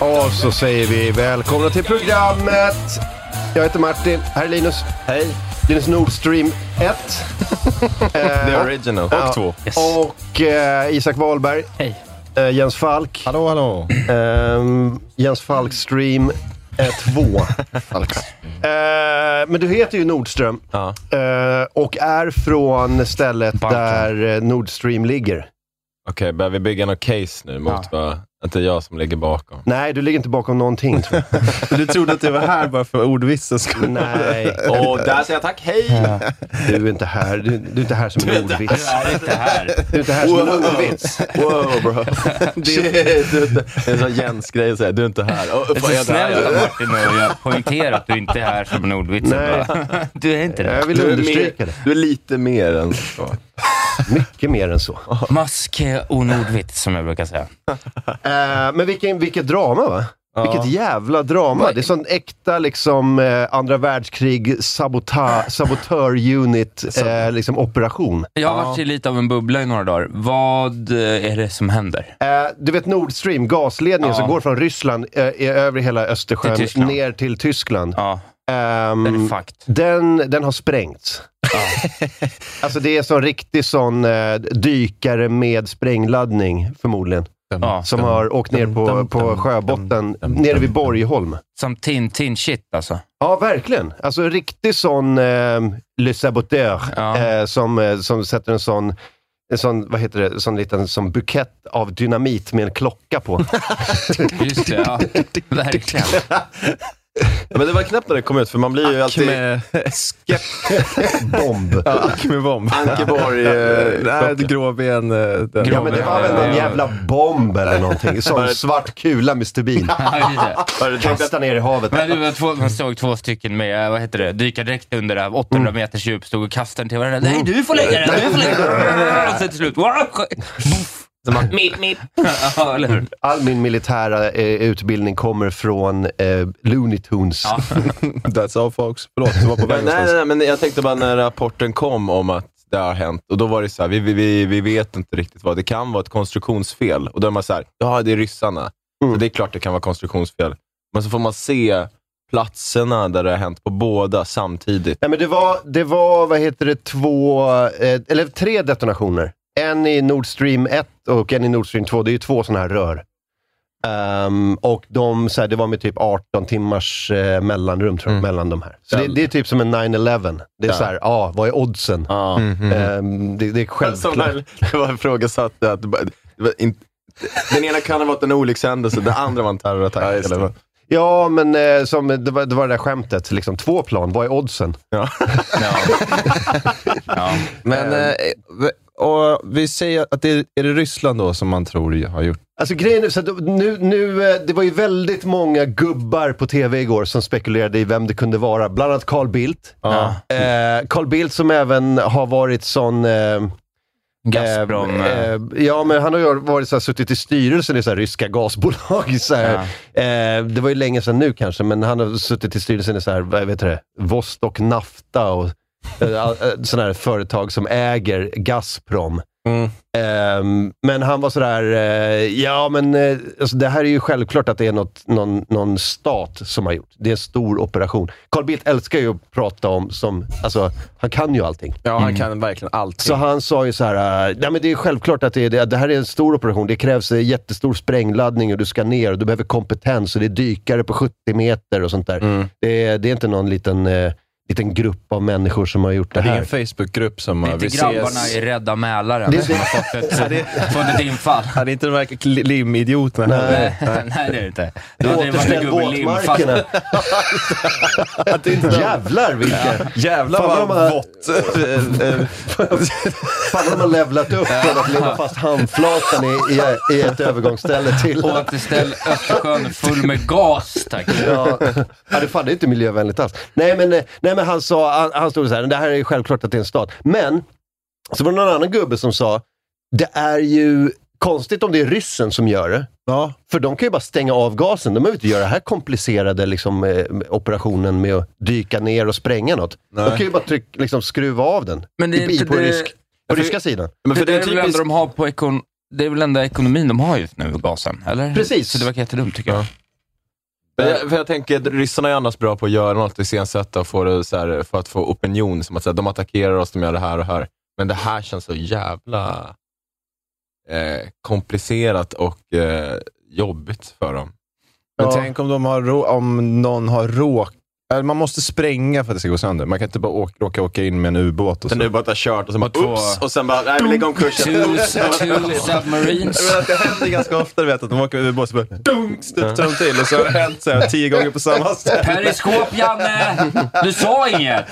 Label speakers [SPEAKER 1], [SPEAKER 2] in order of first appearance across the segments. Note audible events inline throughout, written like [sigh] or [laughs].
[SPEAKER 1] Och så säger vi välkomna till programmet. Jag heter Martin, här är Linus.
[SPEAKER 2] Hej,
[SPEAKER 1] Linus Nordstream 1.
[SPEAKER 2] [laughs] the original. Och två.
[SPEAKER 1] Och eh, Isak Wahlberg.
[SPEAKER 3] Hej.
[SPEAKER 1] Eh, Jens Falk.
[SPEAKER 4] Hallå, hallå.
[SPEAKER 1] Ehm, Jens Falk Stream
[SPEAKER 2] [laughs]
[SPEAKER 1] 2. Eh, men du heter ju Nordström
[SPEAKER 2] Ja.
[SPEAKER 1] eh, och är från stället
[SPEAKER 3] Balkan.
[SPEAKER 1] där eh, Nordstream ligger.
[SPEAKER 2] Okej, börjar vi bygga något case nu mot
[SPEAKER 3] Ja.
[SPEAKER 2] vad... Att det är jag som ligger bakom.
[SPEAKER 1] Nej, du ligger inte bakom någonting tror jag.
[SPEAKER 4] [laughs] Du trodde att jag var här bara för ordvitsens skull?
[SPEAKER 1] Nej,
[SPEAKER 2] Och där säger jag tack, hej!
[SPEAKER 1] du är inte här. Du, du är inte här som en ordvits.
[SPEAKER 3] är inte här.
[SPEAKER 1] Du är inte här som en ordvits.
[SPEAKER 2] Wow [laughs] bro. Shit, du är inte, det är en sån Jens-grej att säga, du är inte här. Och,
[SPEAKER 3] Det är så
[SPEAKER 2] jag
[SPEAKER 3] snällt av
[SPEAKER 2] där?
[SPEAKER 3] Martin och jag poängterar att du inte är här som en ordvits.
[SPEAKER 1] Nej.
[SPEAKER 3] Bara, [laughs] Du är inte det.
[SPEAKER 1] Jag vill
[SPEAKER 2] Du är,
[SPEAKER 1] understryka
[SPEAKER 2] mer,
[SPEAKER 1] det.
[SPEAKER 2] du är lite mer än så.
[SPEAKER 1] Mycket mer än så.
[SPEAKER 3] Maske och nordvits, som jag brukar säga.
[SPEAKER 1] Eh, men vilken, vilket drama va? Vilket jävla drama.
[SPEAKER 3] Vad-
[SPEAKER 1] Det är sån äkta liksom, eh, andra världskrig sabota,
[SPEAKER 4] [laughs]
[SPEAKER 1] sabotör-unit eh, liksom, operation.
[SPEAKER 3] Jag har varit i lite av en bubbla i några dagar. Vad eh, är det som händer?
[SPEAKER 1] Eh, du vet Nord Stream, gasledningen
[SPEAKER 3] Ja.
[SPEAKER 1] som går från Ryssland eh, i- över hela Östersjön
[SPEAKER 3] Till Tyskland.
[SPEAKER 1] ner till Tyskland.
[SPEAKER 3] Ja,
[SPEAKER 1] Ehm,
[SPEAKER 3] det är fakt.
[SPEAKER 1] den, den har sprängts. [laughs] alltså det är sån riktig sån eh, dykare med sprängladdning förmodligen.
[SPEAKER 3] Ja.
[SPEAKER 1] Som har åkt ner på, på sjöbotten, nere vid Borgholm.
[SPEAKER 3] Som Tintin-shit alltså.
[SPEAKER 1] Ja, verkligen. Alltså en riktig sån eh, Le Saboteur
[SPEAKER 3] Ja.
[SPEAKER 1] eh, som, eh, som sätter en sån, en sån, vad heter det, sån liten sån bukett av dynamit med en klocka på.
[SPEAKER 3] Just det,
[SPEAKER 1] [laughs]
[SPEAKER 3] ja. Verkligen.
[SPEAKER 2] Ja, Men det var knappt när det kom ut, för man blir
[SPEAKER 3] [laughs]
[SPEAKER 2] ju alltid...
[SPEAKER 4] Med skepp...
[SPEAKER 1] Bomb.
[SPEAKER 4] Ack med bomb.
[SPEAKER 2] [laughs] Ankeborg... eh,
[SPEAKER 4] Nej, ett gråben. eh, den-
[SPEAKER 3] Grå-
[SPEAKER 1] Ja, men det var väl någon jävla bomb eller någonting. Sån svart kula med stubin.
[SPEAKER 3] Ja, just det.
[SPEAKER 2] var det-
[SPEAKER 1] Kasta ner i havet.
[SPEAKER 3] Men det var två, man såg två stycken med, eh, vad heter det, dykardräkt under det här, 800 meters djup, stod och kastade den till varandra. Nej, du får lägga den! Du får lägga den! Och sen till slut, wow, Boff. Så man, mip, mip. Ja, eller hur?
[SPEAKER 1] All min militära eh, utbildning kommer från eh, Looney Tunes.
[SPEAKER 3] Ja.
[SPEAKER 4] That's all folks. Förlåt, jag var på
[SPEAKER 2] Men, [laughs] nej,
[SPEAKER 4] väg någonstans.
[SPEAKER 2] nej, nej, men jag tänkte bara när rapporten kom om att det har hänt, och då var det så här, vi, vi- vi, vi vet inte riktigt vad, det kan vara ett konstruktionsfel. Och då är man så här, ja det är ryssarna.
[SPEAKER 4] Mm.
[SPEAKER 2] Så det är klart det kan vara konstruktionsfel. Men så får man se platserna där det har hänt på båda samtidigt.
[SPEAKER 1] Nej, men det var, det var, vad heter det, två, eh, eller tre detonationer. En i Nord Stream 1 och en i Nord Stream 2. Det är ju två sådana här rör. Ehm, och de, så här, det var med typ 18 timmars eh, mellanrum tror jag, mellan de här. Så det, det är typ som en 9-11. Det är så här, ja, ah, vad är oddsen?
[SPEAKER 2] Ja.
[SPEAKER 4] Mm-hmm.
[SPEAKER 1] Ehm, det, det är
[SPEAKER 2] Eh, Som
[SPEAKER 1] självklart.
[SPEAKER 2] när det var ifrågasatt att det bara- det var in- den ena kan ha varit en olyckshändelse, den andra var en terrorattack. eller vad?
[SPEAKER 1] Ja, men eh, som, det, var, det var det där skämtet. Liksom, två plan, vad är oddsen?
[SPEAKER 3] Ja. Ja.
[SPEAKER 2] Ehm.
[SPEAKER 4] Men, eh, och vi säger att det är, är det Ryssland då som man tror har gjort
[SPEAKER 1] Alltså grejen är, så att nu, nu, eh, det var ju väldigt många gubbar på tv igår som spekulerade i vem det kunde vara. Bland annat Carl Bildt. Eh, Carl Bildt som även har varit sån... Eh,
[SPEAKER 3] Gazprom.
[SPEAKER 1] eh,
[SPEAKER 3] eh,
[SPEAKER 1] eh, ja, men han har ju varit så här, suttit i styrelsen i så här, ryska gasbolag. Så här. Eh, det var ju länge sedan nu kanske, men han har suttit i styrelsen i så här, vad heter det, Vostok Nafta och eh, all- eh, sådana här företag som äger Gazprom.
[SPEAKER 2] Mm.
[SPEAKER 1] Ehm, men han var sådär, eh, ja men eh, alltså, det här är ju självklart att det är något, någon, någon stat som har gjort. Det är en stor operation. Carl Bildt älskar ju att prata om, som, alltså, han kan ju allting.
[SPEAKER 2] Ja, han kan verkligen allt.
[SPEAKER 1] Mm. Så han sa ju så här, eh, nej men det är självklart att det, är, det det här är en stor operation. Det krävs eh, jättestor sprängladdning och du ska ner och du behöver kompetens och det är dykare på 70 meter och sånt där.
[SPEAKER 2] Mm.
[SPEAKER 1] Det, är, det är inte någon liten, eh, liten grupp av människor som har gjort det
[SPEAKER 4] Det är
[SPEAKER 1] här.
[SPEAKER 4] en Facebookgrupp som
[SPEAKER 3] Det
[SPEAKER 4] har...
[SPEAKER 3] är inte grabbarna i Rädda Mälaren
[SPEAKER 1] Det-
[SPEAKER 3] som har fått ett, fått ett infall.
[SPEAKER 4] Ja, det är inte de här kli- limidioterna heller.
[SPEAKER 3] Nej, nej, det är det inte. Då hade det varit en
[SPEAKER 1] Återställ
[SPEAKER 3] gubbe i limfast.
[SPEAKER 1] våtmarkerna. Jävlar vilka...
[SPEAKER 4] Jävlar
[SPEAKER 1] Fan,
[SPEAKER 4] vad
[SPEAKER 1] vad de har- [laughs]
[SPEAKER 4] vått. Eh, eh,
[SPEAKER 1] Fan de har levlat upp från att leva fast handflatan i, i, i ett övergångsställe till...
[SPEAKER 3] Återställ Östersjön full med gas, tack.
[SPEAKER 1] Ja, ja det, fan, det är inte miljövänligt alls. Nej men, eh, nej, men han sa, han, han stod så här, det här är ju självklart att det är en stat. Men, så var det någon annan gubbe som sa, det är ju konstigt om det är ryssen som gör det.
[SPEAKER 4] Ja,
[SPEAKER 1] För de kan ju bara stänga av gasen. De behöver inte göra den här komplicerade liksom, eh, operationen med att dyka ner och spränga något. De kan ju bara tryck, liksom, skruva av den.
[SPEAKER 3] Men det är
[SPEAKER 1] I, i,
[SPEAKER 3] inte
[SPEAKER 1] på,
[SPEAKER 3] det-
[SPEAKER 1] rysk, på
[SPEAKER 2] för-
[SPEAKER 1] ryska sidan.
[SPEAKER 2] Men för
[SPEAKER 3] det,
[SPEAKER 2] det är
[SPEAKER 3] är väl
[SPEAKER 2] typiskt...
[SPEAKER 3] ändå de har på ekon... Det är väl enda ekonomin de har just nu, gasen? Eller?
[SPEAKER 1] Precis.
[SPEAKER 3] Så det verkar jättedumt tycker jag.
[SPEAKER 4] Eh.
[SPEAKER 2] Men jag, för jag tänker att ryssarna är annars bra på att göra något, iscensätta och få det så här, för att få opinion. Som att så här, de attackerar oss, de gör det här och här. Men det här känns så jävla eh, komplicerat och eh, jobbigt för dem.
[SPEAKER 4] Men
[SPEAKER 1] Ja.
[SPEAKER 4] tänk om, de har rå- om någon har råk... Eller man måste spränga för att det ska gå sönder. Man kan inte bara åka, råka åka in med en ubåt och så.
[SPEAKER 2] Den ubåten har kört och sen
[SPEAKER 3] Och
[SPEAKER 2] bara
[SPEAKER 3] två-
[SPEAKER 2] oops och sen bara, nej vi lägger om
[SPEAKER 4] [laughs]
[SPEAKER 2] kursen.
[SPEAKER 3] Two, two submarines.
[SPEAKER 4] Men att det händer ganska ofta, du vet, att de åker med ubåt och så bara dunk, studsar de till och så har det hänt så här, tio gånger på samma ställe.
[SPEAKER 3] Periskop, Janne! Du sa inget!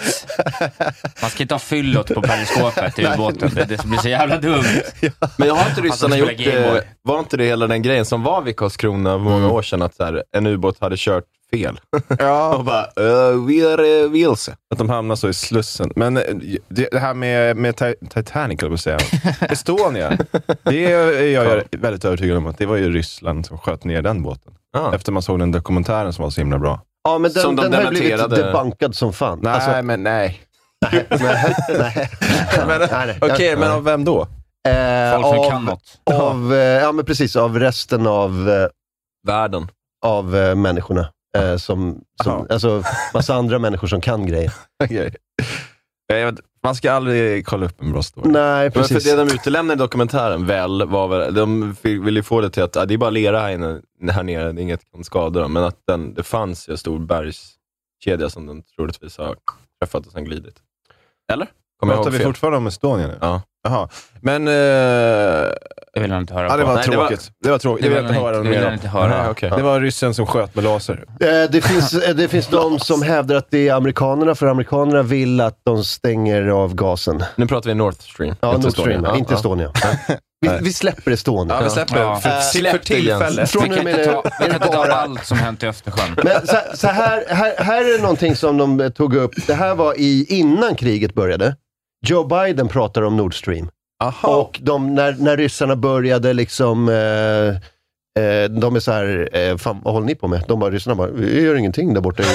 [SPEAKER 3] Man ska inte ha fyllot på periskopet i ubåten. Det, det blir så jävla dumt.
[SPEAKER 2] Men jag har inte ryssarna
[SPEAKER 3] spelar
[SPEAKER 2] gjort
[SPEAKER 3] Gameboy.
[SPEAKER 2] det, var inte det hela den grejen som var vid Karlskrona för
[SPEAKER 4] Mm.
[SPEAKER 2] många år sedan, att så här, en ubåt hade kört fel? [laughs]
[SPEAKER 4] Ja.
[SPEAKER 2] Och bara, eh, vi är eh, vilse.
[SPEAKER 4] Att de hamnar så i Slussen. Men eh, det det här med, med Ti- Titanic, höll jag på att säga.
[SPEAKER 2] [laughs]
[SPEAKER 4] Estonia. Det är är jag är väldigt övertygad om att det var ju Ryssland som sköt ner den båten.
[SPEAKER 2] Ja.
[SPEAKER 4] Efter man såg den dokumentären som var så himla bra.
[SPEAKER 1] Ja, men den,
[SPEAKER 2] Som de
[SPEAKER 1] den har ju blivit
[SPEAKER 2] dementerade.
[SPEAKER 1] debunkad som fan.
[SPEAKER 4] Nej,
[SPEAKER 1] Alltså,
[SPEAKER 4] men nej.
[SPEAKER 1] [laughs] nej, nej. Nej, nej.
[SPEAKER 4] Okej, [laughs] men av vem då?
[SPEAKER 1] Eh,
[SPEAKER 3] Folk som
[SPEAKER 1] av,
[SPEAKER 3] kan något.
[SPEAKER 1] Av, eh, ja, men precis. Av resten av, eh,
[SPEAKER 2] Världen.
[SPEAKER 1] av eh, människorna. Eh, som, som,
[SPEAKER 4] Aha.
[SPEAKER 1] alltså, massa andra människor som kan grejer.
[SPEAKER 4] Okej. Jag vet, Man ska aldrig kolla upp en bra
[SPEAKER 1] [laughs]
[SPEAKER 4] story.
[SPEAKER 1] Nej,
[SPEAKER 2] Men för
[SPEAKER 1] precis.
[SPEAKER 2] det de utelämnade i dokumentären, väl, var väl, de fi- ville ju få det till att ah, det är bara lera här, inne, här nere, det är inget som kan skada dem. Men att den, det fanns ju en stor bergskedja som den troligtvis har träffat och sen glidit. Eller? Kommer jag
[SPEAKER 4] Pratar
[SPEAKER 2] ihåg
[SPEAKER 4] vi
[SPEAKER 2] fel?
[SPEAKER 4] fortfarande om Estonia nu?
[SPEAKER 2] Ja.
[SPEAKER 4] Jaha. Men... Eh,
[SPEAKER 3] Det vill han inte höra
[SPEAKER 4] Ja,
[SPEAKER 3] på.
[SPEAKER 4] det var
[SPEAKER 2] Nej, det var-
[SPEAKER 4] tråkigt. Det var tråkigt.
[SPEAKER 3] Det
[SPEAKER 4] Jag
[SPEAKER 3] vill
[SPEAKER 4] vill inte
[SPEAKER 3] han
[SPEAKER 4] höra
[SPEAKER 3] inte, det vill han
[SPEAKER 4] mer
[SPEAKER 3] inte
[SPEAKER 4] om.
[SPEAKER 2] Nej,
[SPEAKER 3] höra.
[SPEAKER 2] okej.
[SPEAKER 4] Det var ryssen som sköt med laser.
[SPEAKER 1] Eh, det finns, eh, det finns de som hävdar att det är amerikanerna, för amerikanerna vill att de stänger av gasen.
[SPEAKER 2] Nu pratar vi North Stream.
[SPEAKER 1] Ja,
[SPEAKER 2] inte
[SPEAKER 1] Nord Stream.
[SPEAKER 2] Estonia. Ja,
[SPEAKER 1] Inte
[SPEAKER 2] ja.
[SPEAKER 1] Estonia. Vi, vi släpper Estonia.
[SPEAKER 4] släpper
[SPEAKER 3] Ja.
[SPEAKER 4] För,
[SPEAKER 2] Släpp
[SPEAKER 4] för
[SPEAKER 2] det, Jens.
[SPEAKER 4] tillfället.
[SPEAKER 1] Från
[SPEAKER 3] Vi
[SPEAKER 1] och
[SPEAKER 3] kan
[SPEAKER 1] med
[SPEAKER 3] inte
[SPEAKER 1] nu
[SPEAKER 3] ta, vi
[SPEAKER 1] är
[SPEAKER 3] kan
[SPEAKER 1] det
[SPEAKER 3] inte ta
[SPEAKER 1] bara...
[SPEAKER 3] allt som hänt i Östersjön.
[SPEAKER 1] Men så, så här, här, här är det någonting som de eh, tog upp. Det här var i, innan kriget började. Joe Biden pratar om Nord Stream.
[SPEAKER 4] Aha.
[SPEAKER 1] Och de, när, när ryssarna började liksom... Eh, eh, de är så här, eh, fan, vad håller ni på med? De bara, ryssarna bara, vi gör ingenting där borta i eh,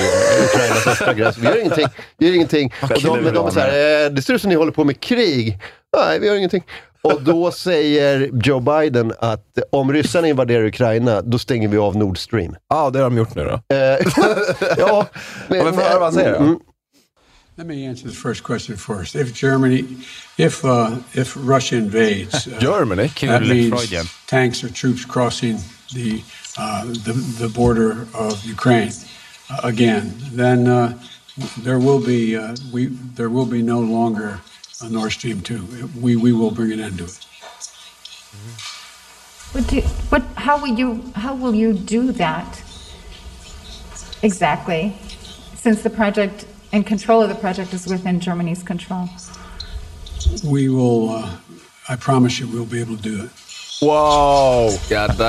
[SPEAKER 1] Ukrainas östra gräns. Vi gör ingenting. Vi gör ingenting. Och de, de är så här, eh, det ser ut som ni håller på med krig. Nej, vi gör ingenting. Och då säger Joe Biden att om ryssarna invaderar Ukraina, då stänger vi av Nord Stream.
[SPEAKER 4] Ja, det har de gjort nu då.
[SPEAKER 1] Eh, [laughs] ja,
[SPEAKER 4] Ja, men får jag höra vad han säger då?
[SPEAKER 1] Mm.
[SPEAKER 5] Let me answer the first question first. If Germany, if uh, if Russia invades, uh,
[SPEAKER 4] Germany?
[SPEAKER 5] that
[SPEAKER 3] Kul,
[SPEAKER 5] means
[SPEAKER 3] Freudian.
[SPEAKER 5] tanks or troops crossing the uh, the, the border of Ukraine uh, again, then uh, there will be uh, we there will be no longer a Nord Stream two. We we will bring an end to it.
[SPEAKER 6] What do, what, how will you, how will you do that? Exactly, since the project and control of the project is within Germany's control.
[SPEAKER 5] We will. Uh, I promise you, we'll be able to do it.
[SPEAKER 4] Wow!
[SPEAKER 2] God damn.
[SPEAKER 1] Det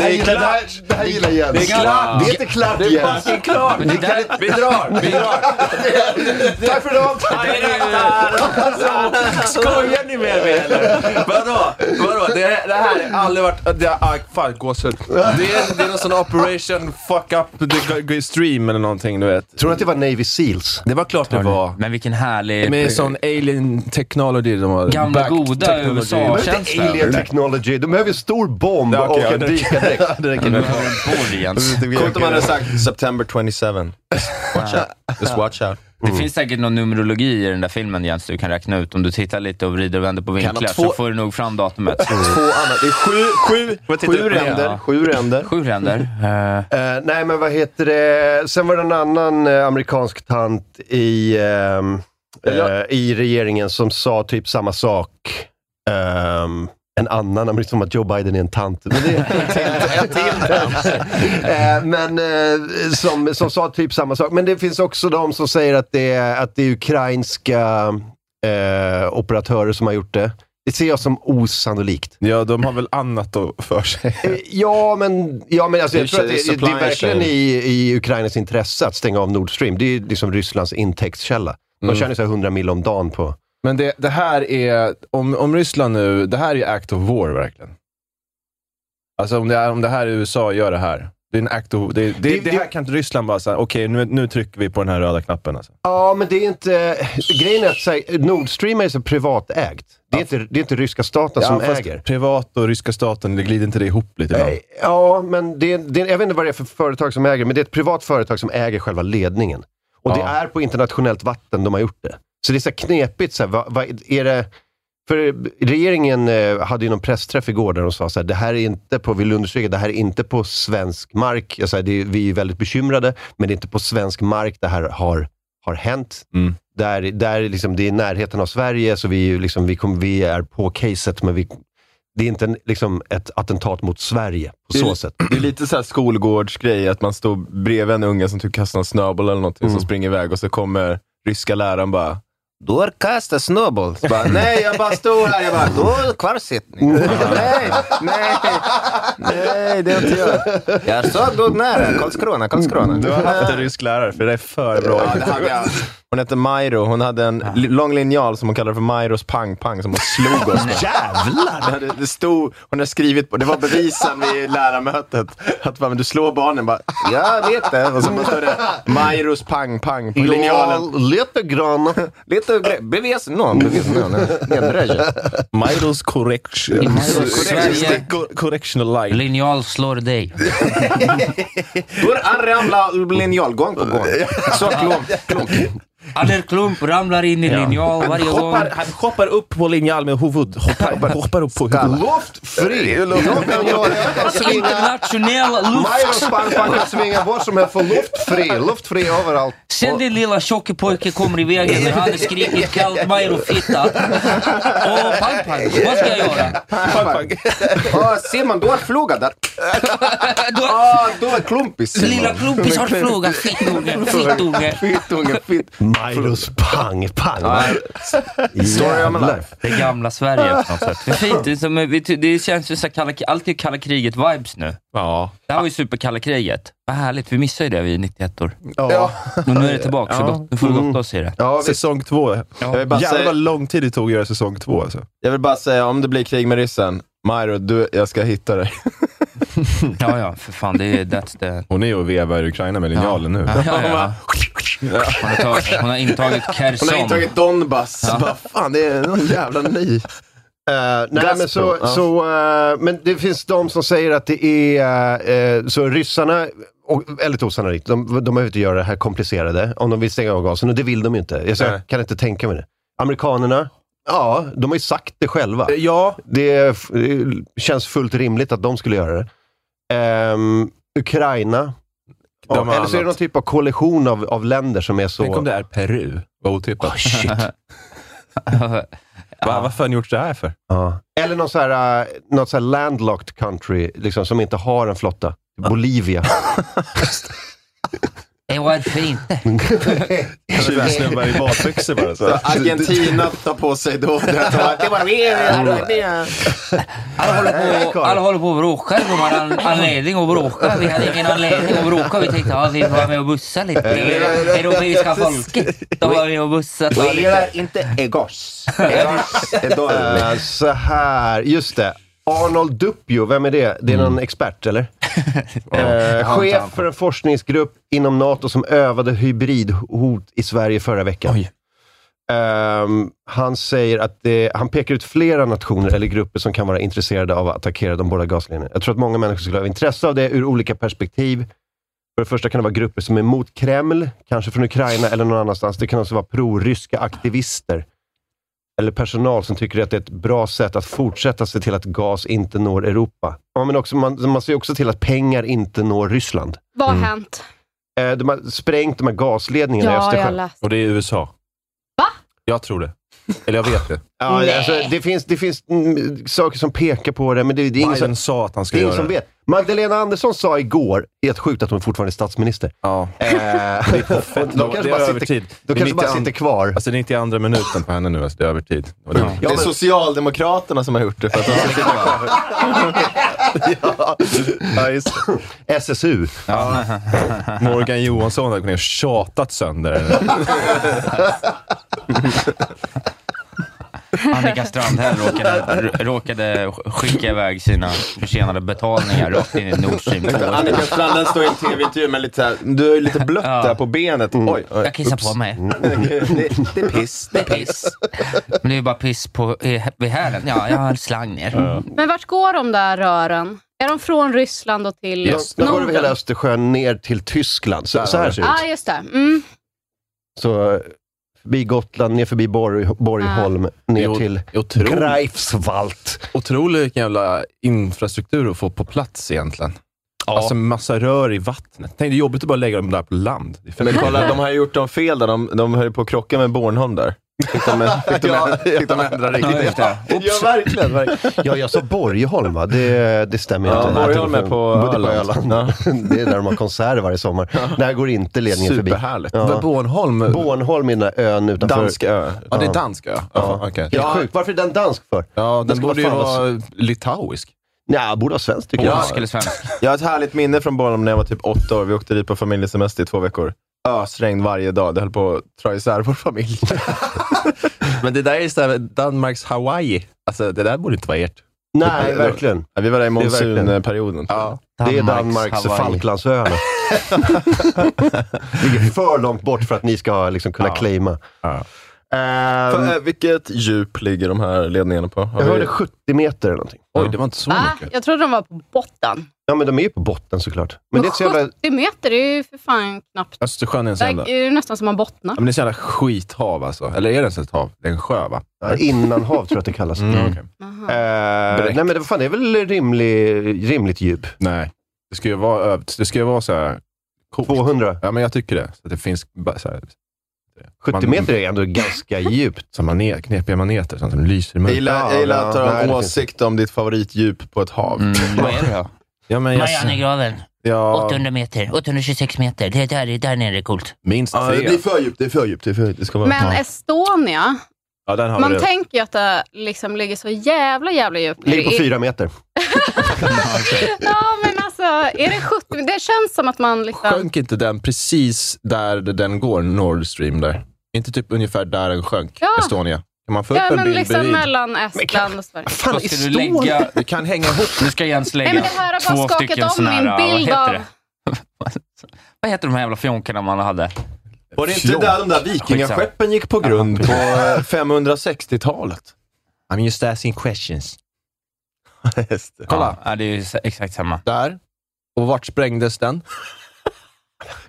[SPEAKER 1] här gillar- det här- det här gillar Jens. Det
[SPEAKER 2] klart.
[SPEAKER 1] är inte klart Jens.
[SPEAKER 2] klart! Vi, kan, vi drar! Vi drar!
[SPEAKER 1] Tack för idag!
[SPEAKER 2] [laughs] Skojar ni med mig eller? Vadå? Vadå? Det, det här har aldrig varit...
[SPEAKER 4] Det är, ah, fan, gåshud. Det är, det är någon sån operation fuck up the g- stream eller någonting, du vet.
[SPEAKER 1] Tror du att det var Navy Seals?
[SPEAKER 4] Det var klart det var.
[SPEAKER 3] Men vilken härlig...
[SPEAKER 4] Med sån alien technology de har.
[SPEAKER 3] Gamla
[SPEAKER 4] Back
[SPEAKER 3] goda
[SPEAKER 4] technology.
[SPEAKER 1] De
[SPEAKER 3] USA.
[SPEAKER 1] behöver inte
[SPEAKER 3] Känslan.
[SPEAKER 1] alien technology. De behöver en stor bomb
[SPEAKER 4] Ja, okej,
[SPEAKER 1] och
[SPEAKER 4] ja,
[SPEAKER 1] en
[SPEAKER 2] [laughs]
[SPEAKER 4] det-
[SPEAKER 1] dykardräkt. Det räcker
[SPEAKER 4] Mm.
[SPEAKER 1] nu.
[SPEAKER 3] Borg, Jens.
[SPEAKER 2] Coolt om man hade sagt September 27. Watch out. Just watch out.
[SPEAKER 3] Det finns säkert någon numerologi i den där filmen Jens, du kan räkna ut. Om du tittar lite och vrider och vänder på
[SPEAKER 2] ha
[SPEAKER 3] vinklar
[SPEAKER 2] två-
[SPEAKER 3] så får du nog fram datumet.
[SPEAKER 2] Två andra. Det är sju, sju, sju ränder. Sju ränder.
[SPEAKER 3] Sju ränder. Eh,
[SPEAKER 1] Eh, nej, men vad heter det? Sen var det en annan eh, amerikansk tant i, ehm, eh, i regeringen som sa typ samma sak. Ehm, en annan, amerikan- som att Joe Biden är en tant. Men, [laughs] det, en till tant. [laughs] Eh, men eh, som, som sa typ samma sak. Men det finns också de som säger att det är, att det är ukrainska eh, operatörer som har gjort det. Det ser jag som osannolikt.
[SPEAKER 4] Ja, de har väl annat då för sig.
[SPEAKER 1] Eh, Ja, men, ja, men alltså, jag tror att det, det, det är verkligen i, i Ukrainas intresse att stänga av Nord Stream. Det är ju liksom Rysslands intäktskälla. De tjänar ju så här 100 mil om dagen på...
[SPEAKER 4] Men det, det här är, om, om Ryssland nu, det här är act of war verkligen. Alltså om det, är, om det här är USA gör det här. Det är en act of, det, det, det,
[SPEAKER 1] det-
[SPEAKER 4] här kan inte Ryssland bara säga, okej nu, nu trycker vi på den här röda knappen. Alltså.
[SPEAKER 1] Ja, men det är inte... Grejen är att så här, Nord Stream är så privatägt. Det är, inte, det är inte ryska staten som
[SPEAKER 4] fast
[SPEAKER 1] äger.
[SPEAKER 4] Privat och ryska staten, det glider inte det ihop lite ibland?
[SPEAKER 1] Eh, Ja, men det, det, jag vet inte vad det är för företag som äger, men det är ett privat företag som äger själva ledningen. Och det
[SPEAKER 4] Ja.
[SPEAKER 1] är på internationellt vatten de har gjort det. Så det är så här knepigt. Så här, vad, vad är det, för regeringen eh, hade ju någon pressträff igår där de sa så här, det här är inte på, vill understryka, det här är inte på svensk mark. Jag säger, det, är- vi är väldigt bekymrade, men det är inte på svensk mark det här har, har hänt.
[SPEAKER 4] Mm.
[SPEAKER 1] Där, där liksom, det är i närheten av Sverige, så vi, är ju liksom, vi, kom, vi är på caset, men vi, det är inte en, liksom, ett attentat mot Sverige på
[SPEAKER 2] Det är-
[SPEAKER 1] så sätt.
[SPEAKER 2] Det är lite så här skolgårdsgrej, att man står bredvid en unge som typ kastar en snöboll eller någonting,
[SPEAKER 4] Mm.
[SPEAKER 2] som springer iväg och så kommer ryska läraren bara du har kastat snöboll. Så Bara, nej, jag bara stod här. Jag bara, du har kvarsittning. nej, nej, nej, det är inte jag. Jag såg du nära. Karlskrona, Karlskrona.
[SPEAKER 4] Du har haft en rysk lärare, för det är för bra.
[SPEAKER 2] Ja, det hade jag. Hon hette Mairo. Hon hade en li- lång linjal som hon kallade för Mairos pang-pang som hon slog oss med. Jävlar! Det, hade, det stod, hon hade skrivit på, det var bevisen vid lärarmötet. Att bara, men du slår barnen bara, jag vet det. Och så bara stod det Mairos pang-pang på linjalen.
[SPEAKER 1] Ja, lite grann.
[SPEAKER 2] Lite gre- bevis någon, bevis någon.
[SPEAKER 4] Mairos correction.
[SPEAKER 3] Mairos Sverige.
[SPEAKER 4] Co- Correctional line.
[SPEAKER 3] Linjal slår dig.
[SPEAKER 2] Då ramlade linjal gång på gång. Så klunk, klunk.
[SPEAKER 3] Aller klump ramlar in i linjal varje gång.
[SPEAKER 4] han hoppar upp på linjal med huvudet. Hoppar, hoppar upp på huvudet.
[SPEAKER 1] Luftfri. Jag kan göra, jag kan svinga.
[SPEAKER 3] Internationell luft.
[SPEAKER 1] Major Spankan kan svinga var som helst för luftfri. Luftfri överallt.
[SPEAKER 3] Sen den lilla tjocke pojken kommer i vägen när han skriker kallt Mairo fitta. Och pang pang, vad ska jag göra?
[SPEAKER 2] Åh, Simon, du har fluga där.
[SPEAKER 3] Då,
[SPEAKER 2] Åh, du är klumpis. Simon.
[SPEAKER 3] lilla klumpis har frågat fittunge,
[SPEAKER 4] [laughs]
[SPEAKER 3] fittunge.
[SPEAKER 2] Fittunge, fitt.
[SPEAKER 1] Majros pang, pang.
[SPEAKER 2] Story of my
[SPEAKER 1] Jävlar.
[SPEAKER 2] life.
[SPEAKER 3] Det gamla Sverige på något sätt. Det, är fint, det, är som, vi ty- det känns ju så här kalla, alltid kalla kriget-vibes nu.
[SPEAKER 4] Ja.
[SPEAKER 3] Det här var ju superkalla kriget. Vad härligt, vi missade ju det vi 91 or Men [laughs] nu är det tillbaka, så gott, nu får vi gotta oss i det.
[SPEAKER 1] Ja, vi,
[SPEAKER 4] Säsong två.
[SPEAKER 2] Jag vill bara
[SPEAKER 4] Jävlar
[SPEAKER 2] säga-
[SPEAKER 4] vad lång tid det tog att göra säsong två alltså.
[SPEAKER 2] Jag vill bara säga, om det blir krig med ryssen, Mairo, du, jag ska hitta dig.
[SPEAKER 3] Ja, ja, för fan. Det är that's the...
[SPEAKER 4] Hon är ju och vevar i Ukraina med linjalen nu.
[SPEAKER 3] Ja, ja, ja. Hon, har tagit, hon har intagit Kherson.
[SPEAKER 2] Hon har
[SPEAKER 3] [laughs]
[SPEAKER 2] intagit Donbass. Bara, fan, det är någon jävla ny.
[SPEAKER 1] eh, nej,
[SPEAKER 2] Gazprom,
[SPEAKER 1] men, så,
[SPEAKER 2] ja.
[SPEAKER 1] så, eh, men det finns de som säger att det är... eh, så ryssarna, och, väldigt osannolikt, de, de behöver inte göra det här komplicerade om de vill stänga av gasen. Och det vill de ju inte. Jag, så,
[SPEAKER 4] Nej.
[SPEAKER 1] jag kan inte tänka mig det. Amerikanerna, ja, de har ju sagt det själva.
[SPEAKER 4] Eh, Ja.
[SPEAKER 1] Det är f- det känns fullt rimligt att de skulle göra det. Ehm, Ukraina.
[SPEAKER 4] De
[SPEAKER 1] Ja,
[SPEAKER 4] har
[SPEAKER 1] eller så är det någon
[SPEAKER 4] annat.
[SPEAKER 1] typ av koalition av, av länder som är så...
[SPEAKER 4] Tänk om det är Peru. Vad otippat.
[SPEAKER 3] [laughs]
[SPEAKER 4] Va, varför har ni gjort så här för?
[SPEAKER 1] Ja. Eller någon så här, eh, något så här landlocked country liksom, som inte har en flotta. Bolivia.
[SPEAKER 3] Eh, Varför inte?
[SPEAKER 4] 20 snubbar i badbyxor bara. Så.
[SPEAKER 2] Argentina tar på sig då [laughs] det. Det var Mm.
[SPEAKER 3] Alla håller på, alla håller på och bråkar. De har an, anledning att bråka. Vi hade ingen anledning att bråka. Vi tänkte att vi får vara med och bussa lite. Det är det europeiska folket. De var med och bussat.
[SPEAKER 2] inte Egos.
[SPEAKER 1] Eh, så här, just det. Arnold Duppio, vem är det? Det är någon expert, eller? Eh, chef för en forskningsgrupp inom NATO som övade hybridhot i Sverige förra veckan.
[SPEAKER 2] Oj.
[SPEAKER 1] Ehm, han säger att det, han pekar ut flera nationer eller grupper som kan vara intresserade av att attackera de båda gaslinjerna. Jag tror att många människor skulle ha intresse av det ur olika perspektiv. För det första kan det vara grupper som är mot Kreml, kanske från Ukraina eller någon annanstans. Det kan också vara proryska aktivister eller personal som tycker att det är ett bra sätt att fortsätta se till att gas inte når Europa. Ja, men också, man, man ser ju också till att pengar inte når Ryssland. Mm.
[SPEAKER 7] Vad har hänt?
[SPEAKER 1] Eh, de har sprängt de här gasledningarna i
[SPEAKER 7] Ja, jag har
[SPEAKER 1] Östersjön.
[SPEAKER 7] läst.
[SPEAKER 4] Och det är USA. Va? Jag tror det. Eller jag vet det.
[SPEAKER 1] Ja, alltså, det finns, det finns mm, saker som pekar på det, men det, det är [laughs] ingen, som,
[SPEAKER 4] Biden sa att han
[SPEAKER 1] det
[SPEAKER 4] skulle
[SPEAKER 1] är
[SPEAKER 4] göra
[SPEAKER 1] ingen som vet. Magdalena Andersson sa igår, helt sjukt att hon fortfarande är statsminister.
[SPEAKER 4] Ja.
[SPEAKER 1] Eh, [laughs]
[SPEAKER 4] [laughs]
[SPEAKER 1] de
[SPEAKER 4] det
[SPEAKER 1] kanske
[SPEAKER 4] är
[SPEAKER 1] bara sitter,
[SPEAKER 4] övertid.
[SPEAKER 1] de
[SPEAKER 4] Det är
[SPEAKER 1] kanske bara
[SPEAKER 4] 92
[SPEAKER 1] sitter kvar.
[SPEAKER 4] Alltså det är 92 minuten på henne nu, alltså, det är övertid. Och det-
[SPEAKER 1] Ja,
[SPEAKER 2] Det är
[SPEAKER 1] men-
[SPEAKER 2] Socialdemokraterna som har gjort det för att de ska sitta kvar.
[SPEAKER 4] Ja, just det.
[SPEAKER 1] [laughs] SSU. [laughs]
[SPEAKER 4] Morgan Johansson hade kunnat tjatat sönder den.
[SPEAKER 3] Annika Strandhäll råkade, råkade skicka iväg sina försenade betalningar rakt in i Nord Stream 2.
[SPEAKER 2] Annika Strandhäll står i en tv-intervju med lite så här, du är ju lite blött
[SPEAKER 3] Ja.
[SPEAKER 2] där på benet.
[SPEAKER 1] Mm.
[SPEAKER 2] Oj, oj.
[SPEAKER 3] Jag kissar på mig.
[SPEAKER 2] Det, Mm. det är piss.
[SPEAKER 3] Det är piss. Men det är ju bara piss på, i, vid hälen. Ja, jag har en slang ner.
[SPEAKER 7] Men vart går de där rören? Är de från Ryssland och till
[SPEAKER 1] De, de går över hela
[SPEAKER 7] Norden?
[SPEAKER 1] Östersjön ner till Tyskland. Så, så här ser det ut.
[SPEAKER 7] Ja, ah, just det. Mm.
[SPEAKER 1] Så eh, förbi Gotland, ner förbi Borg, Borgholm,
[SPEAKER 2] Ah.
[SPEAKER 1] ner
[SPEAKER 4] Jo,
[SPEAKER 1] till
[SPEAKER 4] otroligt.
[SPEAKER 1] Greifswald.
[SPEAKER 4] Otrolig vilken jävla infrastruktur att få på plats egentligen. Alltså massa rör i vattnet. Tänk, det är jobbigt att bara lägga dem där på land. Det är fett-
[SPEAKER 2] Men kolla, de har ju gjort dem fel där. De, de höll ju på att krocka med Bornholm där. Fick de, fick de, fick de ändra riktning.
[SPEAKER 3] det.
[SPEAKER 2] Ja, verkligen. verkligen.
[SPEAKER 1] Ja, jag sa Borgholm va? Det, det stämmer ju
[SPEAKER 2] Ja,
[SPEAKER 1] inte.
[SPEAKER 2] Borgholm är på
[SPEAKER 1] Både
[SPEAKER 2] Öland.
[SPEAKER 1] [laughs] det är där de har konserter varje sommar. Där går inte ledningen förbi.
[SPEAKER 2] Superhärligt.
[SPEAKER 1] Ja.
[SPEAKER 4] Men Bornholm,
[SPEAKER 1] Bornholm är den där ön utanför.
[SPEAKER 2] Dansk ö.
[SPEAKER 4] ja det är dansk ö. Ja, okej.
[SPEAKER 1] Helt sjukt. Varför är den dansk för?
[SPEAKER 4] ja den
[SPEAKER 1] ska
[SPEAKER 4] borde ju
[SPEAKER 1] vara fan
[SPEAKER 4] vara litauisk.
[SPEAKER 1] Nej, borde vara svensk tycker jag.
[SPEAKER 3] Polsk eller svensk?
[SPEAKER 2] Jag har ett härligt minne från Bornholm när jag var typ åtta år. Vi åkte dit på familjesemester i två veckor. Ösregn varje dag. Det höll på att dra isär vår familj.
[SPEAKER 4] Men det där är istället Danmarks Hawaii. Alltså det där borde inte vara ert.
[SPEAKER 1] Nej, verkligen.
[SPEAKER 2] Ja, Vi var där i
[SPEAKER 1] är verkligen-
[SPEAKER 2] monsunperioden. Ja.
[SPEAKER 1] Det är Danmarks
[SPEAKER 3] Hawaii.
[SPEAKER 1] Falklandsöarna. Ligger för långt bort för att ni ska liksom kunna claima. Ehm,
[SPEAKER 4] eh,
[SPEAKER 2] vilket djup ligger de här ledningarna på? Har
[SPEAKER 1] jag
[SPEAKER 2] vi-
[SPEAKER 1] hörde 70 meter eller någonting.
[SPEAKER 4] Oj, det var inte så
[SPEAKER 7] Va?
[SPEAKER 4] mycket.
[SPEAKER 7] Ah, Jag trodde de var på botten.
[SPEAKER 1] Ja, men de är ju på botten såklart. Men det är ett så jävla...
[SPEAKER 7] 70 meter det är ju för fan knappt.
[SPEAKER 4] Östersjön är en
[SPEAKER 7] Det
[SPEAKER 4] sån jävla...
[SPEAKER 7] är ju nästan som man bottnar.
[SPEAKER 4] Ja, men det är ett jävla skithav alltså. Eller är det ens ett hav? Det är en sjö va?
[SPEAKER 1] Innanhav tror jag att det kallas.
[SPEAKER 4] Mm.
[SPEAKER 7] Aha.
[SPEAKER 1] Ehm, nej,
[SPEAKER 4] Bräckt.
[SPEAKER 1] men det, fan, det är väl rimlig, rimligt djup.
[SPEAKER 4] Nej, det ska ju vara övt. Det ska ju vara så här coolt.
[SPEAKER 1] 200.
[SPEAKER 4] Ja, men jag tycker det. Så att det finns ba- så här,
[SPEAKER 1] 70
[SPEAKER 4] Man-
[SPEAKER 1] meter är ändå ganska djupt.
[SPEAKER 4] så här manet, knepiga maneter sånt som lyser i
[SPEAKER 2] Jag
[SPEAKER 4] mörkret.
[SPEAKER 2] gillar, jag gillar att du
[SPEAKER 1] Ja,
[SPEAKER 2] har en
[SPEAKER 1] nej, det finns
[SPEAKER 2] åsikt om ditt favoritdjup på ett hav.
[SPEAKER 7] [laughs]
[SPEAKER 3] Mm, vad är det då?
[SPEAKER 4] Ja, men jag,
[SPEAKER 3] Marianergraven.
[SPEAKER 4] ja,
[SPEAKER 3] 800 meter. 826 meter. Det där, det där nere är det coolt.
[SPEAKER 4] minst
[SPEAKER 2] Ja, det är
[SPEAKER 4] tre.
[SPEAKER 2] för djupt, det är för djupt. Det är för djupt. Det ska vara.
[SPEAKER 7] Men Estonia,
[SPEAKER 4] Ja, den har vi
[SPEAKER 7] man
[SPEAKER 4] redan.
[SPEAKER 7] tänker ju att det liksom ligger så jävla jävla djupt.
[SPEAKER 1] Ligger på
[SPEAKER 7] I-
[SPEAKER 1] 4 meter.
[SPEAKER 7] Ja, men alltså, är det 70? Det känns som att man liksom...
[SPEAKER 4] Sjönk inte den precis där den går, Nord Stream där? Inte typ ungefär där den sjönk,
[SPEAKER 7] Ja.
[SPEAKER 4] Estonia? Kan man få upp
[SPEAKER 7] Ja,
[SPEAKER 4] en
[SPEAKER 7] men
[SPEAKER 4] bild
[SPEAKER 7] liksom
[SPEAKER 4] bredvid?
[SPEAKER 7] mellan Estland och Sverige.
[SPEAKER 3] Vad ska du lägga...
[SPEAKER 4] Det kan hänga ihop.
[SPEAKER 3] Nu ska Jens lägga
[SPEAKER 7] Nej, men det här har bara
[SPEAKER 3] två
[SPEAKER 7] skakat
[SPEAKER 3] stycken
[SPEAKER 7] om
[SPEAKER 3] såna här...
[SPEAKER 7] min bild
[SPEAKER 3] vad heter
[SPEAKER 7] av...
[SPEAKER 3] det? [laughs] vad heter de här jävla fjonkarna man hade?
[SPEAKER 2] Var det inte där de där vikingaskeppen gick på grund på eh, 560-talet?
[SPEAKER 4] I'm just asking questions.
[SPEAKER 3] Kolla.
[SPEAKER 4] Kolla.
[SPEAKER 3] Ja, det är ju s- exakt samma.
[SPEAKER 4] Där. Och vart sprängdes den?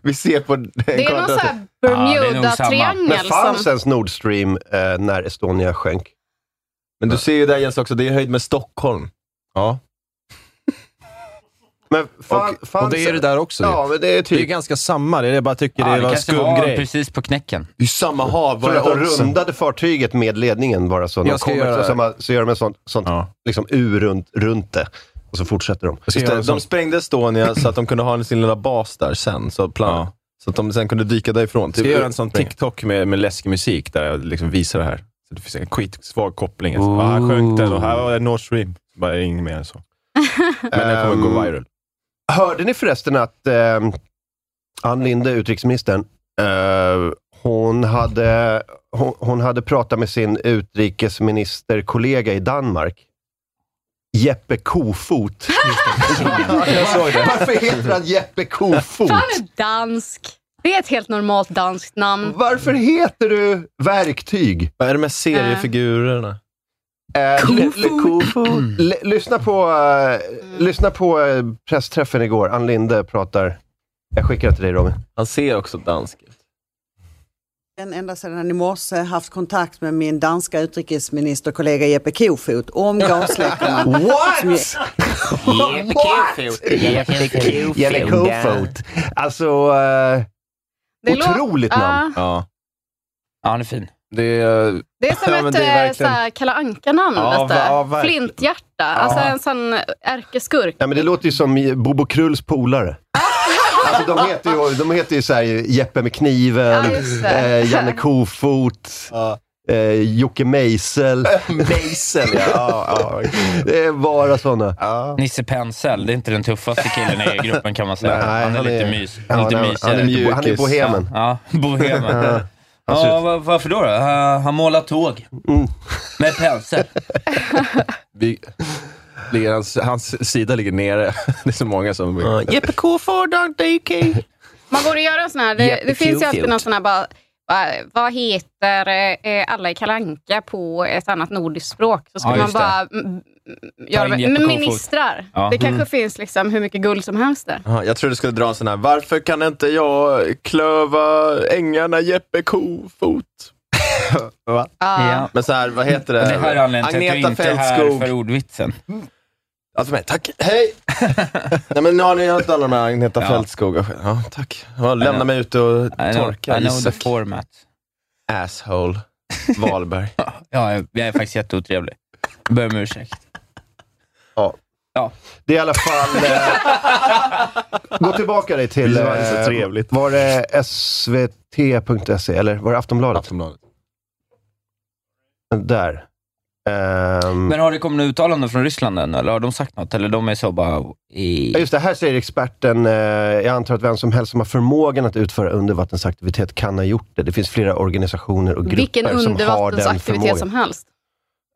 [SPEAKER 2] Vi ser på...
[SPEAKER 7] Det är någon sån här
[SPEAKER 3] Ja, det är nog samma.
[SPEAKER 1] Men
[SPEAKER 7] Bermuda-triangel
[SPEAKER 1] fanns
[SPEAKER 7] som...
[SPEAKER 1] ens Nord Stream eh, när Estonia sjönk?
[SPEAKER 2] Men du ser ju där Jens också, det är höjd med Stockholm.
[SPEAKER 4] Ja.
[SPEAKER 1] Men fan,
[SPEAKER 4] Och,
[SPEAKER 1] fanns
[SPEAKER 4] och det är det där också.
[SPEAKER 1] Ja, men det är
[SPEAKER 4] Det är ju
[SPEAKER 1] typ...
[SPEAKER 4] ganska samma. Det är det jag bara tycker
[SPEAKER 3] Ja,
[SPEAKER 4] det var en
[SPEAKER 3] kanske
[SPEAKER 4] skum
[SPEAKER 3] var
[SPEAKER 4] grej.
[SPEAKER 3] precis på knäcken.
[SPEAKER 2] Det är ju samma hav.
[SPEAKER 1] För
[SPEAKER 2] vad
[SPEAKER 1] att
[SPEAKER 2] är
[SPEAKER 1] de
[SPEAKER 2] oddsen?
[SPEAKER 1] rundade fartyget med ledningen bara så. De
[SPEAKER 4] Jag ska
[SPEAKER 1] kommer,
[SPEAKER 4] göra
[SPEAKER 1] så,
[SPEAKER 4] det.
[SPEAKER 1] så, man, så gör de en sån, sånt
[SPEAKER 4] Ja.
[SPEAKER 1] liksom, U runt, runt det. Och så fortsätter de.
[SPEAKER 4] Jag ska
[SPEAKER 2] Just
[SPEAKER 4] göra
[SPEAKER 2] det,
[SPEAKER 4] en sån-
[SPEAKER 2] de sprängde Estonia så att de kunde ha sin lilla bas där sen. Så plan...
[SPEAKER 4] Ja.
[SPEAKER 2] Så att de sen kunde dyka därifrån.
[SPEAKER 4] Ska jag göra en sån
[SPEAKER 2] Springa.
[SPEAKER 4] TikTok med, med läskig musik där jag liksom visar det här? Så det finns en skitsvag koppling. Alltså. Bara, här sjönk den och här var det Nord Stream. Bara inget mer
[SPEAKER 7] [laughs]
[SPEAKER 4] än så. Men den kommer gå
[SPEAKER 1] Ehm,
[SPEAKER 4] viral.
[SPEAKER 1] Hörde ni förresten att eh, Ann Linde, utrikesministern, eh, hon, hade, hon, hon hade pratat med sin utrikesministerkollega i Danmark, Jeppe [laughs] Kofot.
[SPEAKER 4] Jag såg det.
[SPEAKER 1] Varför heter han Jeppe Kofot?
[SPEAKER 7] Han är dansk. Det är ett helt normalt danskt namn.
[SPEAKER 1] Varför heter du verktyg?
[SPEAKER 2] Vad är det med seriefigurerna?
[SPEAKER 1] Eh, le- le- le- lyssna på, eh, lyssna på eh, pressträffen igår. Ann Linde pratar. Jag skickar det till dig Robin.
[SPEAKER 2] Han ser också dansk ut.
[SPEAKER 8] Den ända sedan i morse haft kontakt med min danska utrikesministerkollega Jeppe Kofot om gasläckorna.
[SPEAKER 1] [laughs] What?
[SPEAKER 3] Jävla kofot.
[SPEAKER 1] Jävla kofot. Alltså, eh,
[SPEAKER 7] Det lå-
[SPEAKER 1] otroligt namn.
[SPEAKER 7] Ja,
[SPEAKER 2] Ja.
[SPEAKER 3] Ja, han är fin.
[SPEAKER 4] Det är,
[SPEAKER 7] det är som
[SPEAKER 4] Ja, men
[SPEAKER 7] ett
[SPEAKER 4] det är
[SPEAKER 7] eh,
[SPEAKER 4] verkligen-
[SPEAKER 7] såhär, Kalle Anka-namn
[SPEAKER 4] Ja,
[SPEAKER 7] nästan.
[SPEAKER 4] va- ja, verkligen.
[SPEAKER 7] Flinthjärta. Alltså en sån ärkeskurk.
[SPEAKER 1] Ja, men det låter ju som Bobo Krulls polare.
[SPEAKER 7] [laughs]
[SPEAKER 1] Alltså, de heter ju, de heter ju så här, Jeppe med kniven,
[SPEAKER 7] Ja, just det.
[SPEAKER 1] eh, Janne Kofot, eh, Jocke Meisel. eh,
[SPEAKER 2] Mason,
[SPEAKER 4] [laughs]
[SPEAKER 2] ja.
[SPEAKER 1] Det är bara sådana.
[SPEAKER 3] Nisse Pensel, det är inte den tuffaste killen i gruppen kan man säga.
[SPEAKER 1] Nej,
[SPEAKER 3] han är
[SPEAKER 1] han
[SPEAKER 3] lite
[SPEAKER 1] är-
[SPEAKER 3] mys.
[SPEAKER 1] Ja,
[SPEAKER 3] lite
[SPEAKER 1] han är-
[SPEAKER 3] mysigare.
[SPEAKER 1] han är lite- han är
[SPEAKER 3] Mjukis.
[SPEAKER 1] bohemen.
[SPEAKER 3] Ja, ja, bohemen.
[SPEAKER 1] [laughs] Ja,
[SPEAKER 3] Ja,
[SPEAKER 1] ser ut-
[SPEAKER 3] va- varför då? då? Eh, han målar tåg.
[SPEAKER 1] Mm.
[SPEAKER 3] Med pensel.
[SPEAKER 1] [laughs]
[SPEAKER 2] Vi, ligger hans, hans sida ligger nere. Det är så många som... Jeppe Kofod, DK.
[SPEAKER 7] Man borde göra en sån här, det, det
[SPEAKER 2] Jättekul
[SPEAKER 7] finns ju alltid
[SPEAKER 2] filt.
[SPEAKER 7] någon sån här bara, bara, vad heter eh, alla i Kalle Anka på ett annat nordiskt språk? Så
[SPEAKER 3] Ja,
[SPEAKER 7] ska man
[SPEAKER 3] just det.
[SPEAKER 7] bara mm, göra
[SPEAKER 3] in
[SPEAKER 7] med,
[SPEAKER 3] Jeppe
[SPEAKER 7] med
[SPEAKER 3] Kofod.
[SPEAKER 7] ministrar.
[SPEAKER 3] Ja. Mm.
[SPEAKER 7] Det kanske finns liksom hur mycket guld som helst där.
[SPEAKER 2] Ja, jag trodde du skulle dra en sån här, varför kan inte jag klöva ängarna Jeppe Kofot?
[SPEAKER 3] Ja.
[SPEAKER 2] Men så här, vad heter
[SPEAKER 3] Det
[SPEAKER 2] det?
[SPEAKER 3] här
[SPEAKER 1] Eh,
[SPEAKER 3] är anledningen till att du inte
[SPEAKER 2] Agneta
[SPEAKER 3] är här
[SPEAKER 2] Fältskog.
[SPEAKER 3] för ordvitsen.
[SPEAKER 2] Alltså, men, tack,
[SPEAKER 3] [laughs]
[SPEAKER 2] hej! Nej men nu har ni hört alla de här Agneta
[SPEAKER 3] Ja.
[SPEAKER 2] Fältskog. Ja, tack. Ja, lämna mig ute och
[SPEAKER 3] I know,
[SPEAKER 2] torka
[SPEAKER 3] I know the
[SPEAKER 2] Isak.
[SPEAKER 3] format. [laughs]
[SPEAKER 2] Asshole. Wahlberg.
[SPEAKER 3] Ja, jag jag är faktiskt jätteotrevlig. Ber om ursäkt.
[SPEAKER 1] Det är i alla fall... Eh, gå tillbaka dig till...
[SPEAKER 4] Det var så
[SPEAKER 1] eh,
[SPEAKER 4] trevligt.
[SPEAKER 1] Var det svt.se E, eller var det Aftonbladet?
[SPEAKER 2] Aftonbladet.
[SPEAKER 1] Där. Ehm,
[SPEAKER 3] Men har det kommit några uttalanden från Ryssland än, eller har de sagt något? Eller de är så bara... I...
[SPEAKER 1] Ja, just det, här säger experten, eh, jag antar att vem som helst som har förmågan att utföra undervattensaktivitet kan ha gjort det. Det finns flera organisationer och grupper
[SPEAKER 7] Vilken
[SPEAKER 1] som har den
[SPEAKER 7] undervattensaktivitet
[SPEAKER 1] förmågan.
[SPEAKER 7] som helst.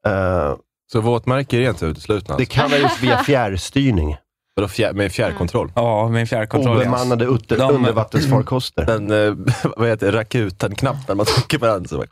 [SPEAKER 1] Eh,
[SPEAKER 4] så våtmarker är inte uteslutna?
[SPEAKER 1] det
[SPEAKER 4] Alltså.
[SPEAKER 1] kan ha gjorts
[SPEAKER 7] [laughs]
[SPEAKER 1] via fjärrstyrning.
[SPEAKER 4] Vadå fjär, med fjärrkontroll?
[SPEAKER 3] Ja, min fjärrkontroll.
[SPEAKER 1] Obemannade utter-
[SPEAKER 3] De-
[SPEAKER 2] [clears throat]
[SPEAKER 1] undervattensfarkoster.
[SPEAKER 2] Den, eh, [laughs] vad heter det, rakutan-knappen, man trycker på den så bara...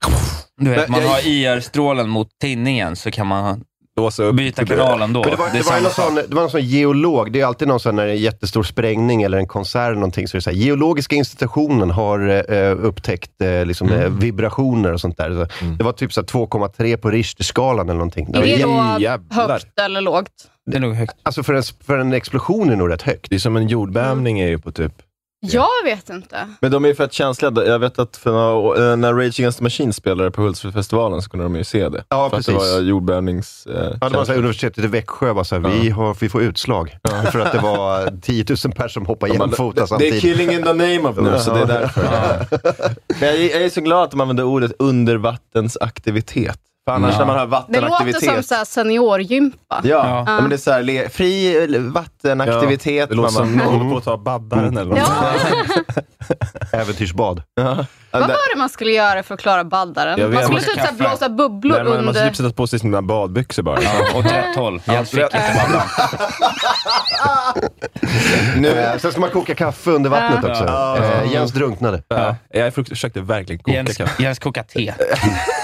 [SPEAKER 3] Du vet, man
[SPEAKER 2] Jag-
[SPEAKER 3] har IR-strålen mot tinningen så kan man
[SPEAKER 2] Låsa upp.
[SPEAKER 3] byta kanalen då.
[SPEAKER 1] Men det, var, det, var ju någon sån, det var någon sån geolog, det är alltid någon sån när det är en jättestor sprängning eller en konsert eller någonting, så är det så här, geologiska institutionen har eh, upptäckt eh, liksom, eh, vibrationer och sånt där. Så Det var typ så här 2,3 på Richterskalan eller någonting.
[SPEAKER 7] Är det då
[SPEAKER 4] jävlar.
[SPEAKER 7] högt eller lågt?
[SPEAKER 3] Det är nog högt.
[SPEAKER 1] Alltså för en, för en explosion är det nog rätt högt.
[SPEAKER 4] Det är som en jordbävning är ju på typ...
[SPEAKER 7] Jag vet
[SPEAKER 1] Mm.
[SPEAKER 7] inte.
[SPEAKER 2] Men de är ju fett känsliga. Jag vet att för några, år- eh, när Rage Against the Machine spelade på Hultsfredsfestivalen så kunde de ju se det.
[SPEAKER 1] Ja,
[SPEAKER 2] för att det var jordbävnings... Eh,
[SPEAKER 1] Ja, det var så
[SPEAKER 2] känsla.
[SPEAKER 1] här, universitetet i Växjö bara så här, vi, har, vi får utslag. [laughs] För att det var 10 000 personer som hoppade
[SPEAKER 2] De bara,
[SPEAKER 1] jämfota
[SPEAKER 2] det, det är
[SPEAKER 1] samtidigt.
[SPEAKER 2] killing in the name of nu, så det är därför. Men jag, är- jag är så glad att de använder ordet undervattensaktivitet. För annars
[SPEAKER 3] Ja.
[SPEAKER 2] när man hör
[SPEAKER 7] Det låter
[SPEAKER 2] vattenaktivitet...
[SPEAKER 7] som så här seniorgympa.
[SPEAKER 2] Ja,
[SPEAKER 3] Ja.
[SPEAKER 2] ja. men det är så här, le, fri vattenaktivitet.
[SPEAKER 4] Det låter
[SPEAKER 2] man
[SPEAKER 4] som
[SPEAKER 1] Mm.
[SPEAKER 2] bara-
[SPEAKER 4] någon håller på att ta baddaren eller något.
[SPEAKER 7] Ja,
[SPEAKER 1] Äventyrsbad.
[SPEAKER 2] Ja,
[SPEAKER 7] vad
[SPEAKER 2] det-
[SPEAKER 7] var det man skulle göra för att klara
[SPEAKER 4] Jag
[SPEAKER 7] baddaren?
[SPEAKER 4] vet
[SPEAKER 7] Man skulle
[SPEAKER 4] inte.
[SPEAKER 7] typ så här
[SPEAKER 3] Kaffe.
[SPEAKER 7] blåsa bubblor
[SPEAKER 4] Nej, man måste
[SPEAKER 7] under...
[SPEAKER 4] typ sätta på sig sina badbyxor bara.
[SPEAKER 3] Ja, åt rätt håll. Jens fick inte babblan.
[SPEAKER 1] Eh, Sen ska man koka kaffe under vattnet också. Eh, Jens drunknade.
[SPEAKER 4] Ja. Jag frukt- försökte verkligen koka
[SPEAKER 3] Jens,
[SPEAKER 4] kaffe.
[SPEAKER 3] Jens kokar te.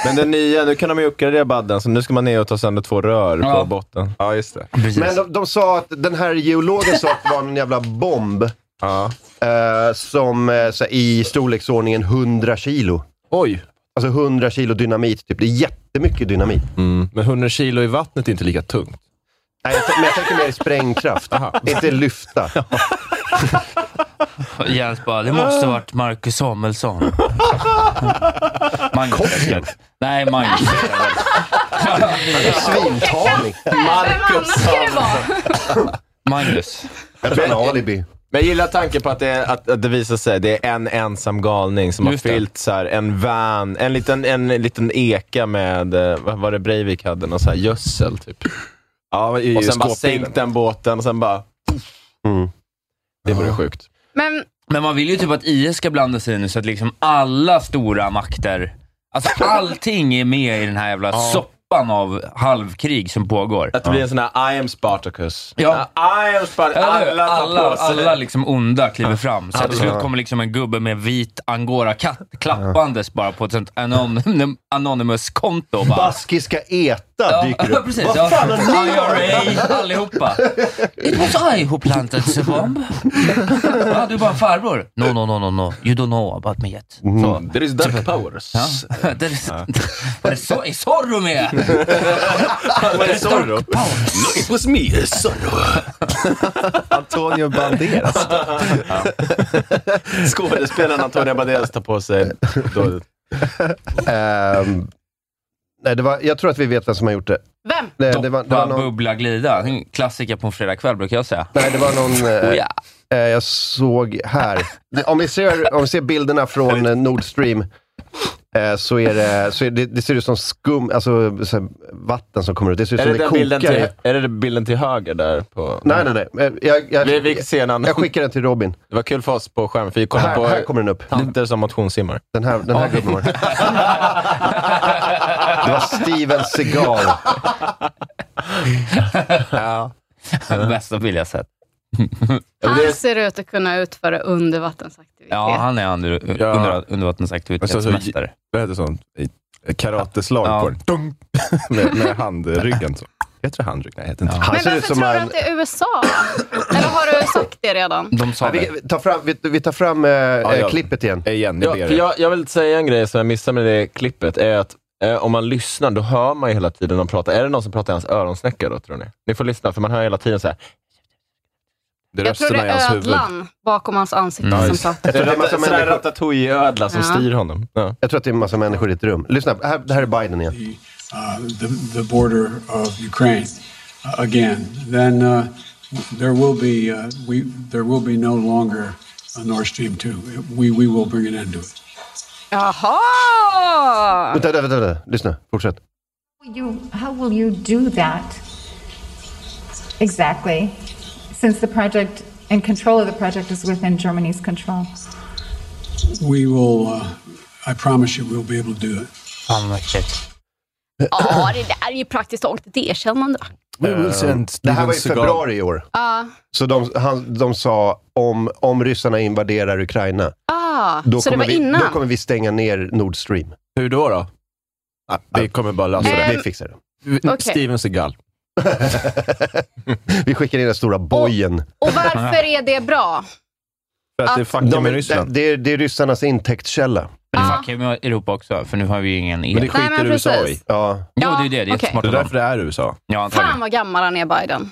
[SPEAKER 2] Men den nya, nu kan de ju uppgradera badden, så nu ska man ner och ta sönder två rör
[SPEAKER 3] Ja.
[SPEAKER 2] på botten.
[SPEAKER 4] Ja, just det.
[SPEAKER 3] Precis.
[SPEAKER 1] Men de, de sa att den här geologen sa att det var en jävla bomb
[SPEAKER 4] Ja.
[SPEAKER 1] eh, som eh, så här, i storleksordningen 100 kilo.
[SPEAKER 4] Oj!
[SPEAKER 1] Alltså 100 kilo dynamit, typ. det är jättemycket dynamit.
[SPEAKER 4] Men 100 kilo i vattnet är inte lika tungt.
[SPEAKER 1] Nej, jag, t- men jag tänker mer sprängkraft, inte lyfta.
[SPEAKER 3] Jens bara, det måste varit Marcus Samuelsson. Magnus. Kocken? Nej, Magnus.
[SPEAKER 1] Svintaning.
[SPEAKER 7] Vem annars skulle det vara?
[SPEAKER 3] Magnus.
[SPEAKER 1] Jag tror han har alibi.
[SPEAKER 2] Men jag gillar tanken på att det, att, att det visar sig det är en ensam galning som
[SPEAKER 3] Just
[SPEAKER 2] har
[SPEAKER 3] det.
[SPEAKER 2] fyllt så här, en van, en liten, en liten eka med, eh, vad var det Breivik hade, någon så här gödsel typ.
[SPEAKER 4] Ja,
[SPEAKER 2] och sen bara
[SPEAKER 4] skåpbilen.
[SPEAKER 2] sänkt den båten och sen bara...
[SPEAKER 3] Mm.
[SPEAKER 2] Det vore sjukt.
[SPEAKER 7] Men
[SPEAKER 3] Men man vill ju typ att IS ska blanda sig i nu så att liksom alla stora makter, alltså allting är med i den här jävla soppan av halvkrig som pågår.
[SPEAKER 2] Att det blir en sån här I am Spartacus.
[SPEAKER 3] Ja.
[SPEAKER 2] I am Spartacus. Alla
[SPEAKER 3] Alla,
[SPEAKER 2] tar
[SPEAKER 3] alla,
[SPEAKER 2] på sig
[SPEAKER 3] alla liksom onda kliver fram. Så att till
[SPEAKER 2] Alla.
[SPEAKER 3] slut kommer liksom en gubbe med vit angorakatt klappandes bara på ett sånt anon- anonymous-konto. och bara-
[SPEAKER 1] Baskiska ETA dyker
[SPEAKER 3] Ja,
[SPEAKER 2] [laughs]
[SPEAKER 1] upp.
[SPEAKER 3] precis.
[SPEAKER 1] Vad
[SPEAKER 3] Ja.
[SPEAKER 1] fan har ni
[SPEAKER 3] IRA, allihopa. It was I who planted the bomb. Ja, du är bara en farbror. No, no, no, no, no. You don't know about me yet.
[SPEAKER 1] Mm.
[SPEAKER 3] Så.
[SPEAKER 2] There is dark powers.
[SPEAKER 3] liksom- Ja. Det är, var det så, är Zorro med?
[SPEAKER 2] Var det Zorro?
[SPEAKER 3] Powers.
[SPEAKER 2] It was me,
[SPEAKER 3] [laughs]
[SPEAKER 2] Zorro.
[SPEAKER 1] Antonio Banderas.
[SPEAKER 2] Skådespelaren Antonio Banderas tar på sig då,
[SPEAKER 1] [laughs] Ehm, nej, det var, jag tror att vi vet vem som har gjort det.
[SPEAKER 7] Vem?
[SPEAKER 1] Det, det, var,
[SPEAKER 3] Doppa,
[SPEAKER 1] det, var, någon,
[SPEAKER 3] bubbla, glida. En klassiker på en fredagkväll brukar jag säga.
[SPEAKER 1] nej, det var någon... eh,
[SPEAKER 3] Oh, ja.
[SPEAKER 1] Eh, jag såg här. Om vi ser, om vi ser bilderna från eh, Nord Stream eh, så är det, så är det, det ser ut som skum, alltså så här, vatten som kommer ut. Det ser ut
[SPEAKER 2] Är
[SPEAKER 1] som
[SPEAKER 2] det,
[SPEAKER 1] det,
[SPEAKER 2] den
[SPEAKER 1] kokar.
[SPEAKER 2] bilden till,
[SPEAKER 1] i-
[SPEAKER 2] är det den bilden till höger där? På,
[SPEAKER 1] Nej, nej, nej. Eh, Jag, jag,
[SPEAKER 2] Vi, vi ser en annan.
[SPEAKER 1] jag skickar den till Robin.
[SPEAKER 2] Det var kul för oss på skärmen, för vi kollade
[SPEAKER 1] Här,
[SPEAKER 2] på
[SPEAKER 1] här kommer den upp.
[SPEAKER 2] tanter
[SPEAKER 1] [laughs]
[SPEAKER 2] som motionssimmar.
[SPEAKER 1] Den här, den här gubben var det. Det var Steven Seagal.
[SPEAKER 3] Bästa bild jag sett.
[SPEAKER 7] Han ser ut att kunna utföra undervattensaktivitet.
[SPEAKER 3] Ja, han är under,
[SPEAKER 4] Ja.
[SPEAKER 3] under,
[SPEAKER 4] Men så- så-
[SPEAKER 3] undervattensaktivitetsmästare.
[SPEAKER 4] Vad heter sånt? I- Karateslag
[SPEAKER 3] Ja.
[SPEAKER 4] på den. Dunk! med, med handryggen. Så. Heter det handrygg? Nej, heter inte.
[SPEAKER 1] Han
[SPEAKER 7] Men
[SPEAKER 1] ser ut
[SPEAKER 7] varför
[SPEAKER 1] som
[SPEAKER 7] tror du
[SPEAKER 1] en...
[SPEAKER 7] att det är USA? Eller har du sagt det redan?
[SPEAKER 3] De sa det.
[SPEAKER 1] Vi, vi tar fram, vi, vi tar fram eh, eh,
[SPEAKER 4] ja.
[SPEAKER 1] klippet igen.
[SPEAKER 4] det. Igen, jag
[SPEAKER 2] Ja,
[SPEAKER 4] ber
[SPEAKER 2] för
[SPEAKER 4] er.
[SPEAKER 2] jag, jag vill säga en grej som jag missade med det klippet, är att eh, om man lyssnar, då hör man ju hela tiden de pratar. Är det någon som pratar i hans öronsnäcka då, tror ni? Ni får lyssna, för man hör hela tiden så här.
[SPEAKER 4] Det är
[SPEAKER 7] Jag tror det
[SPEAKER 4] rösterna i hans
[SPEAKER 7] är
[SPEAKER 4] huvud.
[SPEAKER 7] ödlan bakom hans ansikte
[SPEAKER 3] Mm.
[SPEAKER 7] som pratar.
[SPEAKER 1] Jag tror, det är massa
[SPEAKER 2] Sådär
[SPEAKER 1] människor,
[SPEAKER 2] ratatouille-ödla som
[SPEAKER 7] Ja.
[SPEAKER 2] styr honom. Ja.
[SPEAKER 1] jag tror att det är en massa människor i ett rum. Lyssna, här, det här är Biden igen.
[SPEAKER 5] the, uh, the, the border of Ukraine uh, again, then uh, there will be uh, we there will be no longer a Nord Stream two. We we will bring an end to it.
[SPEAKER 7] Jaha!
[SPEAKER 1] Vänta, vänta, vänta. Lyssna, fortsätt.
[SPEAKER 6] You, how will you do that exactly, since the project and control of the project is within Germany's control?
[SPEAKER 5] We will. Uh, I promise you, we'll be able to do it.
[SPEAKER 3] Fan vad mäktigt.
[SPEAKER 7] Ja, det där är ju praktiskt taget ett erkännande.
[SPEAKER 1] Eh, Det här var i februari i år.
[SPEAKER 7] Ja.
[SPEAKER 1] Så de, han, de sa om, om ryssarna invaderar Ukraina,
[SPEAKER 7] Ah,
[SPEAKER 1] då,
[SPEAKER 7] så det
[SPEAKER 1] kommer
[SPEAKER 7] var
[SPEAKER 1] vi,
[SPEAKER 7] innan?
[SPEAKER 1] då kommer vi stänga ner Nord Stream. Alltså,
[SPEAKER 4] Hur då? då? Ah, vi kommer bara lösa
[SPEAKER 7] Eh,
[SPEAKER 4] det.
[SPEAKER 1] Vi fixar det.
[SPEAKER 7] okej.
[SPEAKER 4] Steven Seagal.
[SPEAKER 1] vi skickar in den stora bojen.
[SPEAKER 7] Och varför är det bra?
[SPEAKER 4] För att det är fucking med
[SPEAKER 1] det,
[SPEAKER 4] Ryssland.
[SPEAKER 1] det, är, det är ryssarnas intäktskälla.
[SPEAKER 3] Men det
[SPEAKER 7] Ja.
[SPEAKER 3] fuckar ju med Europa också, för nu har vi ju ingen el.
[SPEAKER 4] Men det
[SPEAKER 7] Nej,
[SPEAKER 4] skiter
[SPEAKER 7] men
[SPEAKER 4] USA i.
[SPEAKER 7] precis.
[SPEAKER 1] Ja.
[SPEAKER 3] jo, det är ju det. Det är
[SPEAKER 7] okej.
[SPEAKER 3] jättesmart
[SPEAKER 4] Det är
[SPEAKER 3] av dem.
[SPEAKER 4] därför det är USA.
[SPEAKER 3] Ja,
[SPEAKER 7] Fan
[SPEAKER 3] antagligen.
[SPEAKER 7] vad gammal han är, Biden.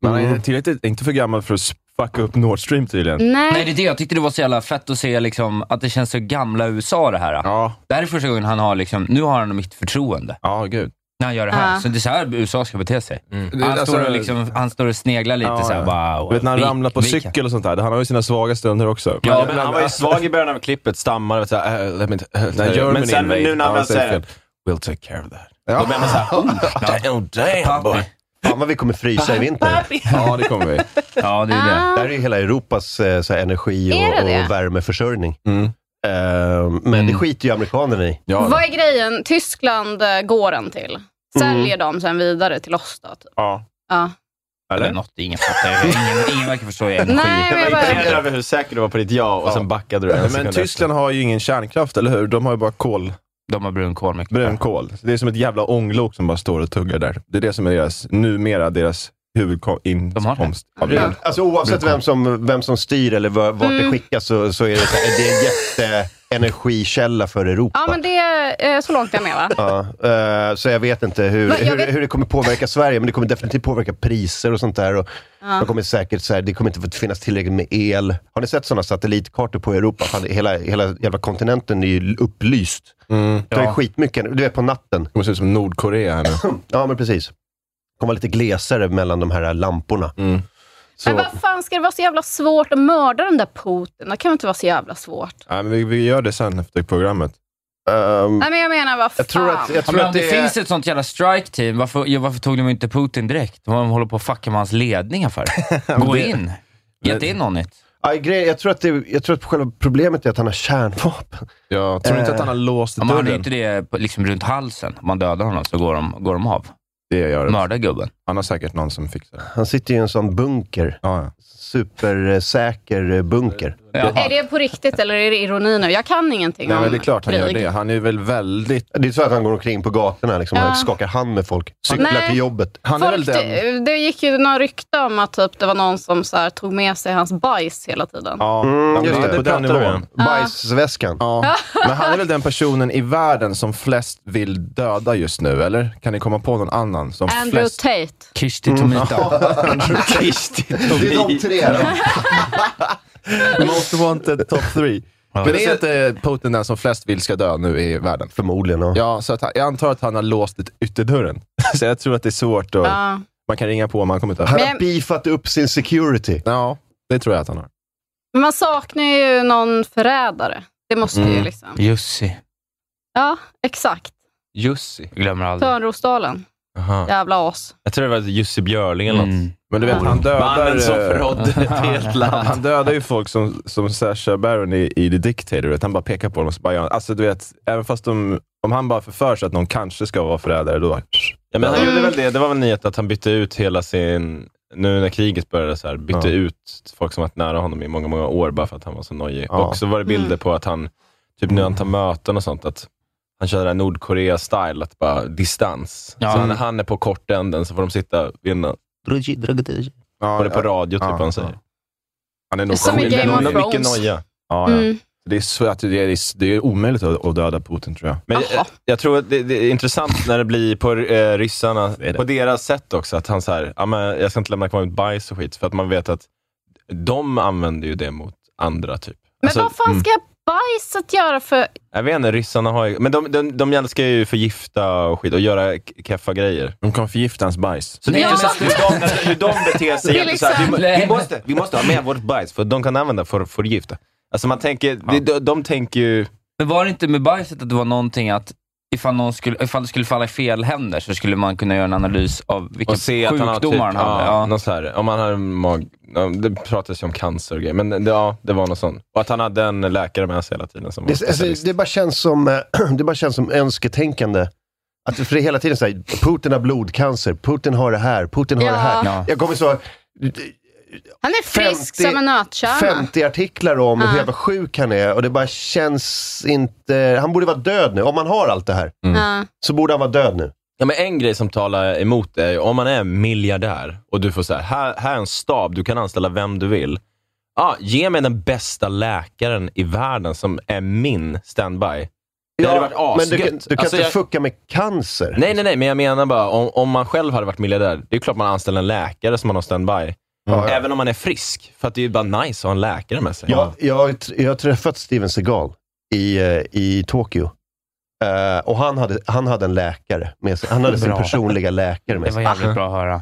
[SPEAKER 4] Men han är tillräckligt, inte för gammal för att fucka upp Nord Stream tydligen.
[SPEAKER 3] Nej,
[SPEAKER 7] Nej,
[SPEAKER 3] det är det. Jag tyckte det var så jävla fett att se liksom, att det känns så gamla USA det här.
[SPEAKER 4] Ja,
[SPEAKER 3] Det här är första gången han har, liksom, nu har han mitt förtroende
[SPEAKER 4] ja gud.
[SPEAKER 3] när han gör det här.
[SPEAKER 7] Ja.
[SPEAKER 3] Så det är så här USA ska bete sig.
[SPEAKER 4] Det-
[SPEAKER 3] Han, står
[SPEAKER 4] alltså-
[SPEAKER 3] och liksom, han står och sneglar lite
[SPEAKER 4] Ja,
[SPEAKER 3] så här,
[SPEAKER 4] ja.
[SPEAKER 3] bara,
[SPEAKER 4] Du vet när han
[SPEAKER 3] vi-
[SPEAKER 4] ramlar på
[SPEAKER 3] vi kan-
[SPEAKER 4] cykel och sånt där. Han har ju sina svaga stunder också.
[SPEAKER 3] Ja,
[SPEAKER 2] men han var ju svag i början av klippet, stammade. Vet, så här, eh, let me, eh,
[SPEAKER 4] När Germany
[SPEAKER 2] men sen
[SPEAKER 4] invade,
[SPEAKER 2] nu när han
[SPEAKER 4] ja,
[SPEAKER 2] väl säger
[SPEAKER 4] säkert.
[SPEAKER 2] det, we'll take care of that.
[SPEAKER 4] Ja.
[SPEAKER 2] Då blir man såhär, oh, damn, damn boy.
[SPEAKER 1] Fan vad vi kommer frysa i vinter.
[SPEAKER 4] Ja, det kommer vi.
[SPEAKER 3] Ja, det är det.
[SPEAKER 1] Det här är ju hela Europas eh, så här, energi och,
[SPEAKER 7] Är det det?
[SPEAKER 1] och värmeförsörjning.
[SPEAKER 4] Mm.
[SPEAKER 1] Eh, men det skiter ju amerikanerna i.
[SPEAKER 4] Ja,
[SPEAKER 7] vad är grejen? Tyskland eh, går den till.
[SPEAKER 1] Mm.
[SPEAKER 7] Säljer de sen vidare till oss då? Typ.
[SPEAKER 4] Ja.
[SPEAKER 7] Ja.
[SPEAKER 3] Eller
[SPEAKER 4] Eller?
[SPEAKER 3] något, ingen fattar. Ingen, ingen verkar [laughs] förstå energi.
[SPEAKER 7] Nej,
[SPEAKER 2] Jag
[SPEAKER 7] men jag
[SPEAKER 2] var
[SPEAKER 7] bara...
[SPEAKER 2] imponerad över hur säker du var på ditt ja och sen backade du en sekund
[SPEAKER 4] Men
[SPEAKER 2] efter.
[SPEAKER 4] Tyskland har ju ingen kärnkraft, eller hur? De har ju bara kol,
[SPEAKER 3] De har brunkol mycket.
[SPEAKER 4] brunkol. Så det är som ett jävla ånglok som bara står och tuggar där. Det är det som är deras, numera deras
[SPEAKER 3] De har det.
[SPEAKER 4] huvudinkomst. av
[SPEAKER 1] Ja,
[SPEAKER 4] el.
[SPEAKER 1] Alltså oavsett vem som, vem som styr eller var- vart
[SPEAKER 7] Mm.
[SPEAKER 1] det skickas så, så är det, så här, det är en jätteenergikälla för Europa.
[SPEAKER 7] Ja, men det är eh, så långt jag är med, va?
[SPEAKER 1] Ja, eh, så jag vet inte hur,
[SPEAKER 7] Men jag
[SPEAKER 1] hur,
[SPEAKER 7] vet-
[SPEAKER 1] hur det kommer påverka Sverige, men det kommer definitivt påverka priser och sånt där. Och de kommer säkert, så här, det kommer inte att finnas tillräckligt med el. Har ni sett sådana satellitkartor på Europa? Fan, hela, hela jävla kontinenten är ju upplyst. Det är
[SPEAKER 3] Ja.
[SPEAKER 1] skitmycket, du är på natten.
[SPEAKER 4] Det måste se ut som
[SPEAKER 1] [clears throat]
[SPEAKER 4] Nordkorea här nu.
[SPEAKER 1] Ja, men precis. Det kommer vara lite glesare mellan de här lamporna.
[SPEAKER 4] Mm.
[SPEAKER 7] Men vad fan ska det vara så jävla svårt att mörda den där Putin? Det kan väl inte vara så jävla svårt?
[SPEAKER 4] Nej, men vi, vi gör det sen efter programmet.
[SPEAKER 1] ehm,
[SPEAKER 7] Nej, men jag menar, vad fan?
[SPEAKER 3] Ja, men om det, finns ett sånt jävla strike-team, varför, ja, varför tog de inte Putin direkt? Vad de håller på att fucka med hans ledningar för? Gå in. Ge inte in någon nytt.
[SPEAKER 1] Ja, grej, jag, tror att det, jag tror att själva problemet är att han har kärnvapen.
[SPEAKER 4] Jag
[SPEAKER 3] tror inte att han har
[SPEAKER 4] låst
[SPEAKER 3] Eh, Om man har inte det på- liksom runt halsen, om man dödar honom så går de, går de av.
[SPEAKER 4] Det gör det.
[SPEAKER 3] Mördar gubben.
[SPEAKER 4] Han har säkert någon som fixar det.
[SPEAKER 1] Han sitter i en sån bunker. Supersäker eh, bunker.
[SPEAKER 7] Är det på riktigt eller är det ironi nu? Jag kan ingenting
[SPEAKER 1] Nej,
[SPEAKER 7] om
[SPEAKER 1] men det är klart han gör
[SPEAKER 7] krig.
[SPEAKER 1] det.
[SPEAKER 4] Han är väl väldigt...
[SPEAKER 1] Det är så att han går omkring på gatorna liksom,
[SPEAKER 7] Ja.
[SPEAKER 1] och skakar hand med folk. Cyklar
[SPEAKER 7] Nej.
[SPEAKER 1] till jobbet.
[SPEAKER 7] Folk, det, det gick ju några rykte om att typ, det var någon som så här, tog med sig hans bajs hela tiden.
[SPEAKER 4] Ja,
[SPEAKER 1] just det.
[SPEAKER 4] på
[SPEAKER 1] Det
[SPEAKER 4] den
[SPEAKER 1] pratar vi
[SPEAKER 4] nivån.
[SPEAKER 1] om. Bajsväskan.
[SPEAKER 4] Ja. Men han är väl den personen i världen som flest vill döda just nu, eller? Kan ni komma på någon annan som
[SPEAKER 7] Andrew
[SPEAKER 4] flest...
[SPEAKER 7] Tate.
[SPEAKER 3] Kishti
[SPEAKER 4] Kristi
[SPEAKER 1] Det är de tre.
[SPEAKER 4] Most wanted top three. Men är inte Putin den som flest vill ska dö nu i världen?
[SPEAKER 1] Förmodligen. Ja.
[SPEAKER 4] Ja, så att han, jag antar att han har låst ut ytterdörren. Så jag tror att det är svårt att...
[SPEAKER 7] Ja.
[SPEAKER 4] Man kan ringa på om man kommer inte
[SPEAKER 1] Han
[SPEAKER 7] Men-
[SPEAKER 1] har beefat upp sin security.
[SPEAKER 4] Ja, det tror jag att han har.
[SPEAKER 7] Men Man saknar ju någon förrädare. Det måste ju
[SPEAKER 4] Mm.
[SPEAKER 7] liksom...
[SPEAKER 3] Jussi.
[SPEAKER 7] Ja, exakt.
[SPEAKER 2] Jussi.
[SPEAKER 3] Jag glömmer aldrig.
[SPEAKER 7] Törnrosdalen.
[SPEAKER 2] Aha.
[SPEAKER 7] Jävla as.
[SPEAKER 2] Jag tror det var Jussi Björling eller något.
[SPEAKER 4] Men du vet, han dödar...
[SPEAKER 2] Mannen som
[SPEAKER 4] eh,
[SPEAKER 2] förrådde ett helt land.
[SPEAKER 4] Han dödar ju folk som, som Sasha Baron i, i The Dictator. Vet, han bara pekar på dem och så bara gör han- Alltså du vet, även fast de, om han bara förför sig att någon kanske ska vara förrädare, då bara...
[SPEAKER 2] Ja, men han gjorde väl det. Det var väl nyhet att han bytte ut hela sin... Nu när kriget började, så här, bytte
[SPEAKER 4] Ja.
[SPEAKER 2] ut folk som varit nära honom i många, många år bara för att han var så nojig.
[SPEAKER 4] Ja.
[SPEAKER 2] Och så var det bilder på att han, typ när han tar möten och sånt, att han kör det här Nordkorea-style, att bara distans.
[SPEAKER 3] Ja.
[SPEAKER 2] Så när han är på kortänden så får de sitta vid en...
[SPEAKER 4] Ja,
[SPEAKER 2] Och det är på radio, typ,
[SPEAKER 4] Ja,
[SPEAKER 2] han säger.
[SPEAKER 4] Han är nog
[SPEAKER 7] Som i
[SPEAKER 4] Ja,
[SPEAKER 7] Game of
[SPEAKER 2] Men Vilken
[SPEAKER 7] Thrones.
[SPEAKER 2] noja.
[SPEAKER 4] ja.
[SPEAKER 7] Mm.
[SPEAKER 4] Det, är så att det, är, det är omöjligt att, att döda Putin, tror jag.
[SPEAKER 2] Men jag, jag tror att det, det är intressant när det blir på eh, ryssarna,
[SPEAKER 4] Det är det.
[SPEAKER 2] på deras sätt också, att han säger ja, men jag ska inte lämna kvar mitt bajs och skit, för att man vet att de använder ju det mot andra. typ.
[SPEAKER 7] Men
[SPEAKER 2] Alltså,
[SPEAKER 7] vad fan ska bajset göra för...
[SPEAKER 2] Jag vet inte, ryssarna har ju... Men de, de, de älskar ju förgifta och skit och göra k- keffa grejer.
[SPEAKER 4] De kommer förgifta hans bajs.
[SPEAKER 2] Så det är
[SPEAKER 7] Ja.
[SPEAKER 2] intressant hur de, hur de beter sig.
[SPEAKER 7] Till
[SPEAKER 2] Till så här, vi, må- vi,
[SPEAKER 3] exempel.
[SPEAKER 2] måste, vi måste ha med vårt bajs, för de kan använda för för förgifta. Alltså man tänker, de, de, de tänker ju...
[SPEAKER 3] Men var det inte med bajset att det var någonting att ifall, någon skulle, ifall det skulle falla i fel händer så skulle man kunna göra en analys av vilka
[SPEAKER 2] Och se att han har typ,
[SPEAKER 3] sjukdomar han hade?
[SPEAKER 2] ja,
[SPEAKER 3] Ja.
[SPEAKER 2] någon så här, om han hade mag... ja, Det pratades ju om cancer och grejer, men det, ja, det var något sånt. Och att han hade en läkare med sig hela tiden som var
[SPEAKER 1] Det, alltså,
[SPEAKER 2] specialist.
[SPEAKER 1] det, bara känns som, [clears throat] eh, det bara känns som önsketänkande. Att, för det är hela tiden så här, Putin har blodcancer, Putin har det här, Putin har
[SPEAKER 7] Ja.
[SPEAKER 1] det här.
[SPEAKER 3] Ja.
[SPEAKER 1] Jag kommer så
[SPEAKER 7] Han är frisk
[SPEAKER 1] 50
[SPEAKER 7] som en nötkärna.
[SPEAKER 1] 50 artiklar om
[SPEAKER 7] Ja.
[SPEAKER 1] hur jävla sjuk han är och det bara känns inte... Han borde vara död nu. Om han har allt det här
[SPEAKER 7] Ja.
[SPEAKER 1] så borde han vara död nu.
[SPEAKER 2] Ja, men en grej som talar emot det är ju om man är miljardär och du får så här, här, här är en stab, du kan anställa vem du vill. Ja, ge mig den bästa läkaren i världen som är min standby. Det hade varit
[SPEAKER 1] men du,
[SPEAKER 2] asgött.
[SPEAKER 1] kan- du kan
[SPEAKER 2] Alltså,
[SPEAKER 1] inte
[SPEAKER 2] jag-
[SPEAKER 1] fucka med cancer.
[SPEAKER 2] Nej, nej, nej, men jag menar bara om, om man själv hade varit miljardär, det är klart man anställer en läkare som man har standby.
[SPEAKER 1] Ja, ja.
[SPEAKER 2] Även om man är frisk, för att det är ju bara nice att ha en läkare med sig.
[SPEAKER 1] Jag, jag, har tr- jag har träffat Steven Seagal i, eh, i Tokyo. Eh, och han hade, han hade en läkare med sig. Han hade sin
[SPEAKER 3] Bra.
[SPEAKER 1] personliga läkare
[SPEAKER 3] Det
[SPEAKER 1] med
[SPEAKER 3] var
[SPEAKER 1] sig.
[SPEAKER 3] jävligt bra att höra.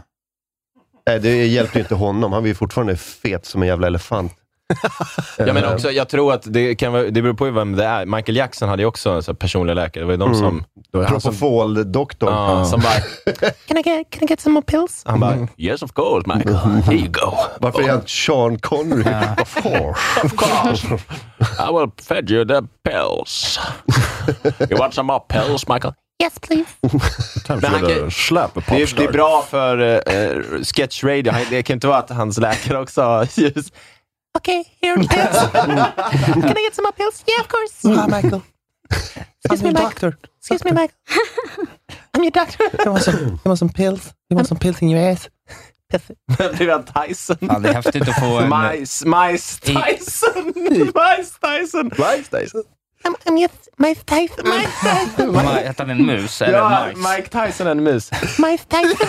[SPEAKER 1] Nej, det hjälpte ju inte honom. Han var ju fortfarande fet som en jävla
[SPEAKER 2] [laughs]
[SPEAKER 1] elefant. Eh,
[SPEAKER 2] Jag menar också, jag tror att det, kan, vara- det beror på vem det är. Michael Jackson hade ju också en sån här personlig läkare. Det var ju de
[SPEAKER 1] Mm.
[SPEAKER 2] som...
[SPEAKER 4] Då är han som,
[SPEAKER 1] Propofol-doktorn.
[SPEAKER 2] Ja, som bara,
[SPEAKER 9] Can I get, can I get some more pills?
[SPEAKER 2] han bara, yes of course Michael,
[SPEAKER 10] Mm.
[SPEAKER 2] here you go.
[SPEAKER 1] Varför är han Sean Connery? Varför?
[SPEAKER 2] Of [laughs] course. I will feed you the [laughs] pills. You want some more pills Michael?
[SPEAKER 9] Yes please.
[SPEAKER 2] Men han kan,
[SPEAKER 4] Släpp på
[SPEAKER 2] det, är, det är bra för uh, sketch radio. Han- Det kan inte vara att hans läkare också har ljus.
[SPEAKER 9] Okay, here are the pills. can I get some more pills? Yeah of course. Hi Michael. Excuse me Michael.
[SPEAKER 10] doctor.
[SPEAKER 9] Excuse me
[SPEAKER 10] [laughs]
[SPEAKER 9] Michael. I'm your doctor.
[SPEAKER 10] You want some? You want some pills? You want some pills in your ass?
[SPEAKER 2] Blir han Tyson?
[SPEAKER 3] Fan, det är häftigt att
[SPEAKER 2] [laughs]
[SPEAKER 3] få en...
[SPEAKER 2] Majs, Majs [laughs] Tyson! Majs Tyson! Majs Tyson?
[SPEAKER 10] I'm, I'm your Mike Tyson. Mike Tyson.
[SPEAKER 3] Ma- Hette han en mus? Eller
[SPEAKER 2] Ja,
[SPEAKER 3] en majs?
[SPEAKER 2] Mike Tyson är en mus.
[SPEAKER 10] Mike Tyson.
[SPEAKER 2] [laughs]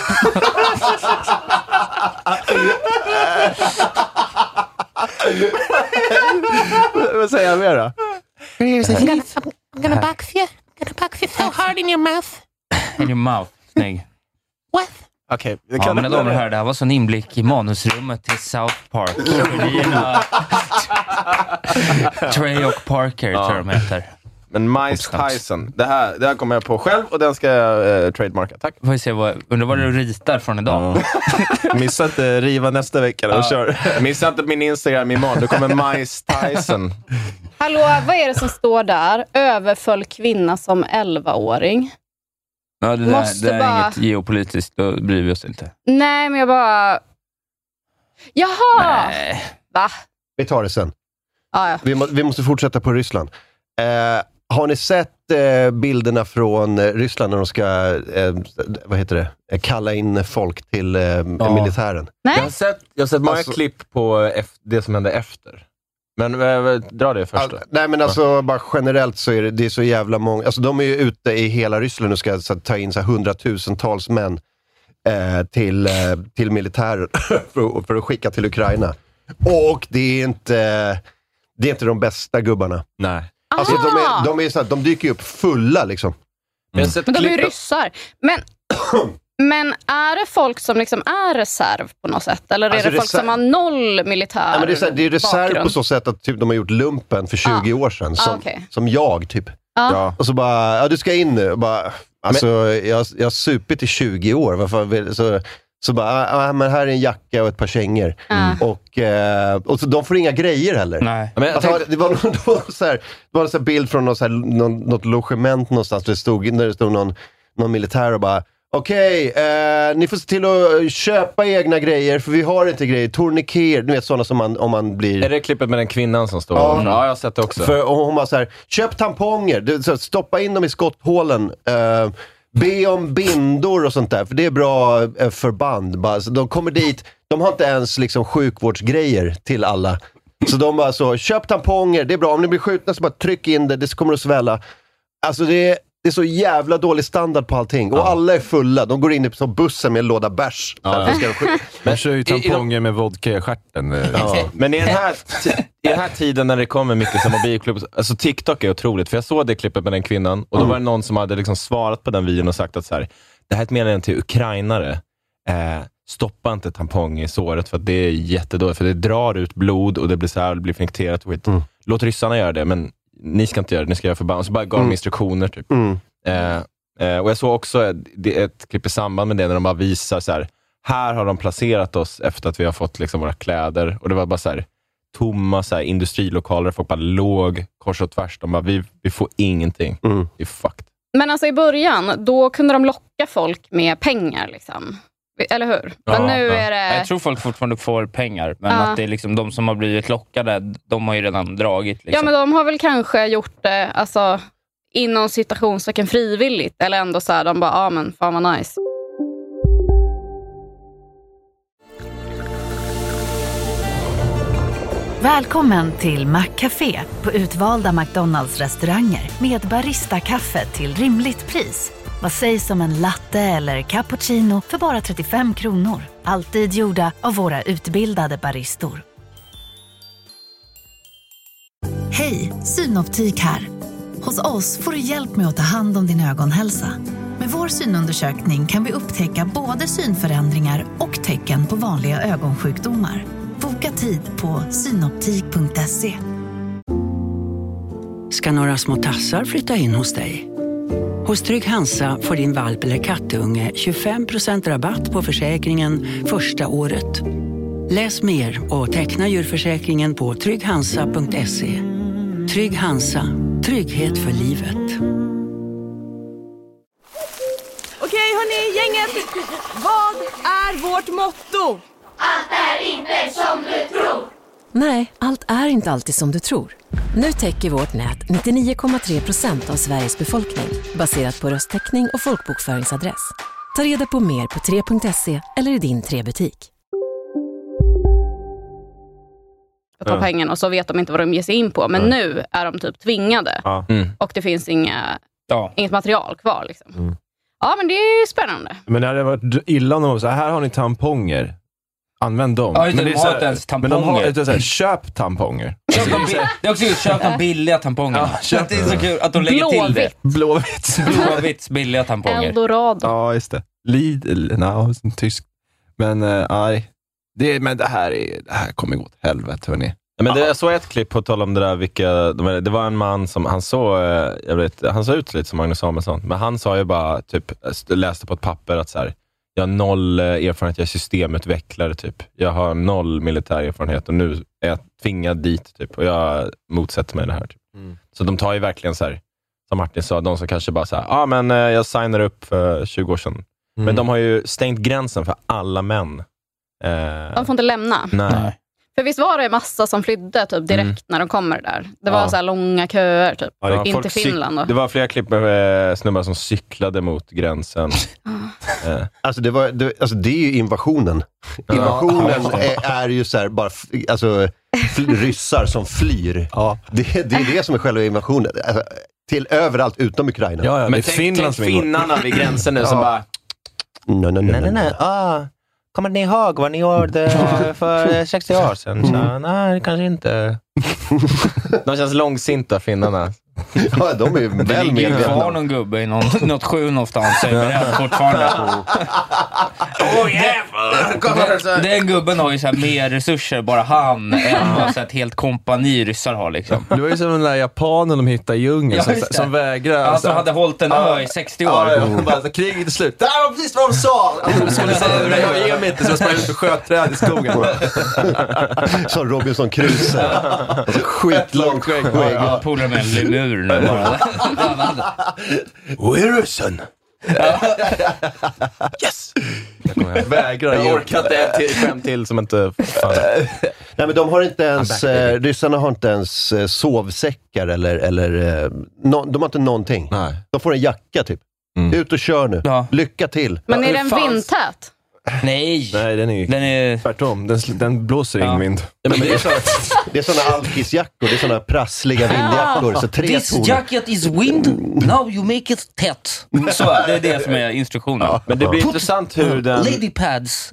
[SPEAKER 2] Vad säger jag mer då?
[SPEAKER 10] I'm gonna, I'm, I'm gonna box you. I'm gonna box you so hard in your mouth.
[SPEAKER 3] In your mouth. Snygg.
[SPEAKER 10] What?
[SPEAKER 3] Okej.
[SPEAKER 11] det
[SPEAKER 3] ja,
[SPEAKER 11] kan
[SPEAKER 3] mina
[SPEAKER 11] det-
[SPEAKER 3] damer och herrar, det här var sån inblick i manusrummet till South
[SPEAKER 2] [laughs]
[SPEAKER 3] Park. Revierna. Trey och Parker tror jag de heter.
[SPEAKER 2] Men Mice Tyson, det här, det här kommer jag på själv och den ska jag eh, trademarka. Tack.
[SPEAKER 3] Får vi se vad, undrar vad du ritar från idag?
[SPEAKER 2] Missa inte riva nästa vecka då. Kör. [laughs] Missa inte min Instagram imorgon. Då kommer [laughs] Mice Tyson.
[SPEAKER 7] Hallå, vad är det som står där? Överföll kvinna som 11-åring.
[SPEAKER 3] Ja, det, där,
[SPEAKER 7] Måste
[SPEAKER 3] det där är
[SPEAKER 7] bara-
[SPEAKER 3] inget geopolitiskt, då bryr vi oss inte.
[SPEAKER 7] Nej, men jag bara... Jaha! Va?
[SPEAKER 1] Vi tar det sen.
[SPEAKER 7] Ja, ja.
[SPEAKER 1] Vi, må, vi måste fortsätta på Ryssland. Eh, har ni sett eh, bilderna från eh, Ryssland när de ska eh, vad heter det? Eh, kalla in folk till eh, militären?
[SPEAKER 2] Jag har sett, jag har sett många
[SPEAKER 1] Alltså-
[SPEAKER 2] klipp på eh, ef- det som hände efter. Men eh, dra det först. då.
[SPEAKER 1] Nej, men alltså bara generellt så är det, det är så jävla många. Alltså, de är ju ute i hela Ryssland och ska så, att ta in så här, hundratusentals män eh, till, eh, till militären [laughs] för, att- för att skicka till Ukraina. Och det är inte, det är inte de bästa gubbarna.
[SPEAKER 2] Nej.
[SPEAKER 1] Alltså, de,
[SPEAKER 7] Aha!
[SPEAKER 1] är, de, är så här, de dyker ju upp fulla liksom.
[SPEAKER 7] Men de är ju ryssar.
[SPEAKER 1] [coughs]
[SPEAKER 7] Men, men är det folk som liksom är reserv på något sätt? Eller är
[SPEAKER 1] Alltså,
[SPEAKER 7] det folk
[SPEAKER 1] reserv-
[SPEAKER 7] som har noll militär
[SPEAKER 1] Nej, men det är, så här, det är reserv
[SPEAKER 7] bakgrund?
[SPEAKER 1] på så sätt att typ, de har gjort lumpen för 20 år sedan, som,
[SPEAKER 7] Ah, okej.
[SPEAKER 1] som jag typ.
[SPEAKER 7] Ja.
[SPEAKER 1] Och så bara, ja du ska in nu. Och Bara, alltså, jag, jag har supit i 20 år, vad fan vill, så, så bara, ah, ah, men här är en jacka och ett par kängor. Och, eh, och så, de får inga grejer heller.
[SPEAKER 3] Nej.
[SPEAKER 2] Men jag
[SPEAKER 1] alltså,
[SPEAKER 2] tänkte-
[SPEAKER 1] det, var, någon- det, var så här, det var en sån här bild från någon, så här, någon, något logement någonstans, där det stod, där det stod någon, någon militär och bara, Okej, eh, ni får se till att köpa egna grejer, för vi har inte grejer. Tourniquet, ni vet sådana som man, om man blir...
[SPEAKER 2] Är det klippet med den kvinnan som står
[SPEAKER 1] Ja.
[SPEAKER 2] ja. ja, jag har sett det också.
[SPEAKER 1] För, och hon var så här, köp tamponger, du, så, här, stoppa in dem i skotthålen. Eh, be om bindor och sånt där, för det är bra eh, förband. Bara, så de kommer dit, de har inte ens liksom, sjukvårdsgrejer till alla. Så de bara så, köp tamponger, det är bra. Om ni blir skjutna så bara tryck in det, det kommer att svälla. Alltså det är, det är så jävla dålig standard på allting. Och alla är fulla, de går in i på bussen med en låda bärs. Så här,
[SPEAKER 4] ja.
[SPEAKER 1] de ska skjuta.
[SPEAKER 4] Man kör ju
[SPEAKER 1] i- i de-
[SPEAKER 4] tamponger med vodka i stjärten. eh.
[SPEAKER 2] Men i den, här, ti- i den här tiden när det kommer mycket som mobilklubb, alltså TikTok är otroligt. För jag såg det klippet med den kvinnan
[SPEAKER 4] Mm.
[SPEAKER 2] och då var det någon som hade liksom svarat på den videon och sagt att så här, det här är ett meddelande till ukrainare. Eh, stoppa inte tampong i såret för att det är jättedåligt, för det drar ut blod och det blir så här, det blir infekterat och skit.
[SPEAKER 4] Mm.
[SPEAKER 2] Låt ryssarna göra det, men ni ska inte göra det, ni ska göra förbannat. Så bara gav de
[SPEAKER 1] Mm.
[SPEAKER 2] instruktioner. Typ.
[SPEAKER 1] Mm.
[SPEAKER 2] Eh, eh, och Jag såg också ett, det- ett klipp i samband med det, när de bara visar så här, här har de placerat oss efter att vi har fått liksom våra kläder. Och Det var bara så här, tomma så här, industrilokaler, folk bara låg kors och tvärs. De bara, vi, vi får ingenting.
[SPEAKER 1] Mm.
[SPEAKER 2] Det är fucked.
[SPEAKER 7] Men alltså i början, då kunde de locka folk med pengar. Liksom. Eller hur? Men nu är det...
[SPEAKER 3] Jag tror folk fortfarande får pengar, men
[SPEAKER 7] Ja.
[SPEAKER 3] att det är liksom de som har blivit lockade, de har ju redan dragit. Liksom.
[SPEAKER 7] Ja, men de har väl kanske gjort det alltså, inom citationstecken frivilligt. Eller ändå så här, de bara, ja ah, men fan vad nice.
[SPEAKER 12] Välkommen till Maccafé på utvalda McDonalds restauranger med Baristakaffe till rimligt pris. Vad sägs om en latte eller cappuccino för bara 35 kronor? Alltid gjorda av våra utbildade baristor. Hej, Synoptik här. Hos oss får du hjälp med att ta hand om din ögonhälsa. Med vår synundersökning kan vi upptäcka både synförändringar och tecken på vanliga ögonsjukdomar. Boka tid på synoptik.se.
[SPEAKER 13] ska några små tassar flytta in hos dig. Hos Trygg Hansa får din valp eller kattunge 25% rabatt på försäkringen första året. Läs mer och teckna djurförsäkringen på trygghansa.se. Trygg Hansa, trygghet för livet.
[SPEAKER 14] Okej hörni, gänget! Vad är vårt motto? Allt är inte som du tror!
[SPEAKER 15] Nej, allt är inte alltid som du tror. Nu täcker vårt nät 99,3 procent av Sveriges befolkning baserat på röstteckning och folkbokföringsadress. Ta reda på mer på 3.se eller i din 3-butik.
[SPEAKER 7] Att ta
[SPEAKER 15] Ja.
[SPEAKER 7] pengarna och så vet de inte vad de ger sig in på. Men
[SPEAKER 15] Nej.
[SPEAKER 7] nu är de typ tvingade. Och det finns inga,
[SPEAKER 4] Ja.
[SPEAKER 7] inget material kvar. Liksom.
[SPEAKER 4] Mm.
[SPEAKER 7] Ja, men det är ju spännande.
[SPEAKER 4] Men det hade varit illa om de var så här, här har ni tamponger. Använd dem.
[SPEAKER 3] Ja, just det,
[SPEAKER 4] men
[SPEAKER 3] de har typ inte ens
[SPEAKER 4] Men de har,
[SPEAKER 3] tamponger.
[SPEAKER 4] det är så här, köp tamponger.
[SPEAKER 3] Köp de bi- Det är också just, köp de billiga tampongerna.
[SPEAKER 4] köp
[SPEAKER 3] det är så kul att de lägger till det.
[SPEAKER 4] Blåvitt.
[SPEAKER 3] Blåvitts billiga tamponger.
[SPEAKER 7] Eldorado.
[SPEAKER 4] Ja, just det. Lidl. Nej, no, tysk. Men eh, nej. Det, men det här, är, det här kommer gå åt helvete, hörni.
[SPEAKER 2] Ja, Men det, jag såg ett klipp, på tal om det där, vilka, de är- det var en man som, han såg, eh, jag vet, han såg ut lite som Magnus Samuelsson, men han sa ju bara, typ, läste på ett papper att så här, jag har noll eh, erfarenhet, jag är systemutvecklare, typ. jag har noll militär erfarenhet och nu är jag tvingad dit typ, och jag motsätter mig det här. Typ. Så de tar ju verkligen, så här, som Martin sa, de som kanske bara så här, ah, men eh, jag signar upp för 20 år sedan.
[SPEAKER 4] Mm.
[SPEAKER 2] Men de har ju stängt gränsen för alla män. Eh,
[SPEAKER 7] De får inte lämna.
[SPEAKER 2] nej.
[SPEAKER 7] För visst var det massa som flydde typ, direkt
[SPEAKER 2] Mm.
[SPEAKER 7] när de kommer där? Det var
[SPEAKER 2] Ja.
[SPEAKER 7] så här långa köer, typ.
[SPEAKER 2] Ja, det var
[SPEAKER 7] in
[SPEAKER 2] folk
[SPEAKER 7] till
[SPEAKER 2] cyk-
[SPEAKER 7] Finland. Då.
[SPEAKER 2] Det var flera klipp med eh, snubbar som cyklade mot gränsen. Eh.
[SPEAKER 1] Alltså det, var, det, alltså det är ju invasionen.
[SPEAKER 2] Ja.
[SPEAKER 1] Invasionen
[SPEAKER 2] Ja.
[SPEAKER 1] är, är ju så här, bara f, alltså, fl, ryssar som flyr. Det, det är det som är själva invasionen. Alltså, till överallt utom Ukraina.
[SPEAKER 4] Ja, ja, Men det är tänk- Finland tänk som ingår.
[SPEAKER 2] finnarna vid gränsen [laughs] nu som bara-
[SPEAKER 1] No, no, no, no,
[SPEAKER 2] Nej, nej,
[SPEAKER 1] no.
[SPEAKER 2] nej. Ah, kommer ni ihåg vad ni gjorde
[SPEAKER 4] [laughs]
[SPEAKER 2] för 60 år sedan? Så,
[SPEAKER 4] Mm.
[SPEAKER 2] nej, kanske inte. De känns långsinta, finnarna.
[SPEAKER 1] Ja, de är
[SPEAKER 3] Det
[SPEAKER 2] väl
[SPEAKER 3] ligger ju kvar någon gubbe i någon, något skjul någonstans och är beredd fortfarande.
[SPEAKER 2] Oh, jävlar!
[SPEAKER 3] Den, den gubben har ju så här mer resurser, bara han, än vad så här ett helt kompani ryssar har. Liksom.
[SPEAKER 4] Det var ju som den där japanen de hittade i djungeln
[SPEAKER 3] Ja,
[SPEAKER 4] som,
[SPEAKER 3] just det.
[SPEAKER 4] som vägrade.
[SPEAKER 3] Han som hade hållit en ö i 60 år.
[SPEAKER 4] Alltså, Ja, ja, hon bara, så, kriget är slut. Det här var precis vad de sa! Att de skulle säga det. Jag ger mig inte, så jag sprang ut och sköt träd i skogen.
[SPEAKER 1] Som Robinson Crusoe. Alltså, skitlångt skägg.
[SPEAKER 3] Ja, Polare med en lemur nu bara.
[SPEAKER 4] Wirrusson.
[SPEAKER 2] Yes!
[SPEAKER 4] Vägrar
[SPEAKER 2] Jag orkar inte ett till- skämt till som inte... Fan.
[SPEAKER 1] Nej, men de har inte ens, eh, ryssarna har inte ens eh, sovsäckar eller, eller eh, nå- de har inte någonting. De får en jacka typ. Ut och kör nu. Lycka till.
[SPEAKER 7] Men är
[SPEAKER 1] hur
[SPEAKER 7] den
[SPEAKER 1] fan-
[SPEAKER 7] vindtät?
[SPEAKER 3] Nej!
[SPEAKER 4] Nej, den är,
[SPEAKER 3] den är...
[SPEAKER 4] tvärtom. Den, sl- den blåser in vind.
[SPEAKER 1] men det är såna- det är sådana alkisjackor, det är sådana prassliga vindjackor. Så tre
[SPEAKER 3] This
[SPEAKER 1] toner.
[SPEAKER 3] jacket is wind, now you make it tätt. Så, det är det som är instruktionen.
[SPEAKER 2] Men det blir intressant hur den...
[SPEAKER 3] Lady pads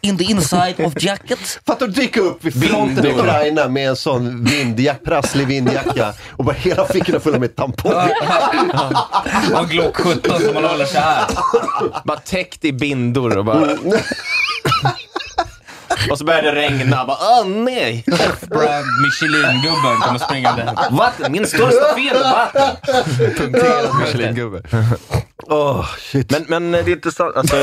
[SPEAKER 3] in the inside of jacket.
[SPEAKER 1] Fattar du dyka upp vid fronten i
[SPEAKER 3] Vindor.
[SPEAKER 1] Ukraina med en sån vindjack, prasslig vindjacka och bara hela fickorna fulla med tamponger.
[SPEAKER 3] Och en Glock 17 som man håller så här.
[SPEAKER 2] Bara täckt i bindor och
[SPEAKER 4] [laughs]
[SPEAKER 2] bara... och så började det regna. Bara, åh
[SPEAKER 4] [laughs]
[SPEAKER 2] nej!
[SPEAKER 3] Brand Michelin-gubben kommer springande.
[SPEAKER 2] Vatten, min största fel är vatten.
[SPEAKER 4] Punkterad Michelin-gubbe.
[SPEAKER 2] men, men det är intressant. Alltså,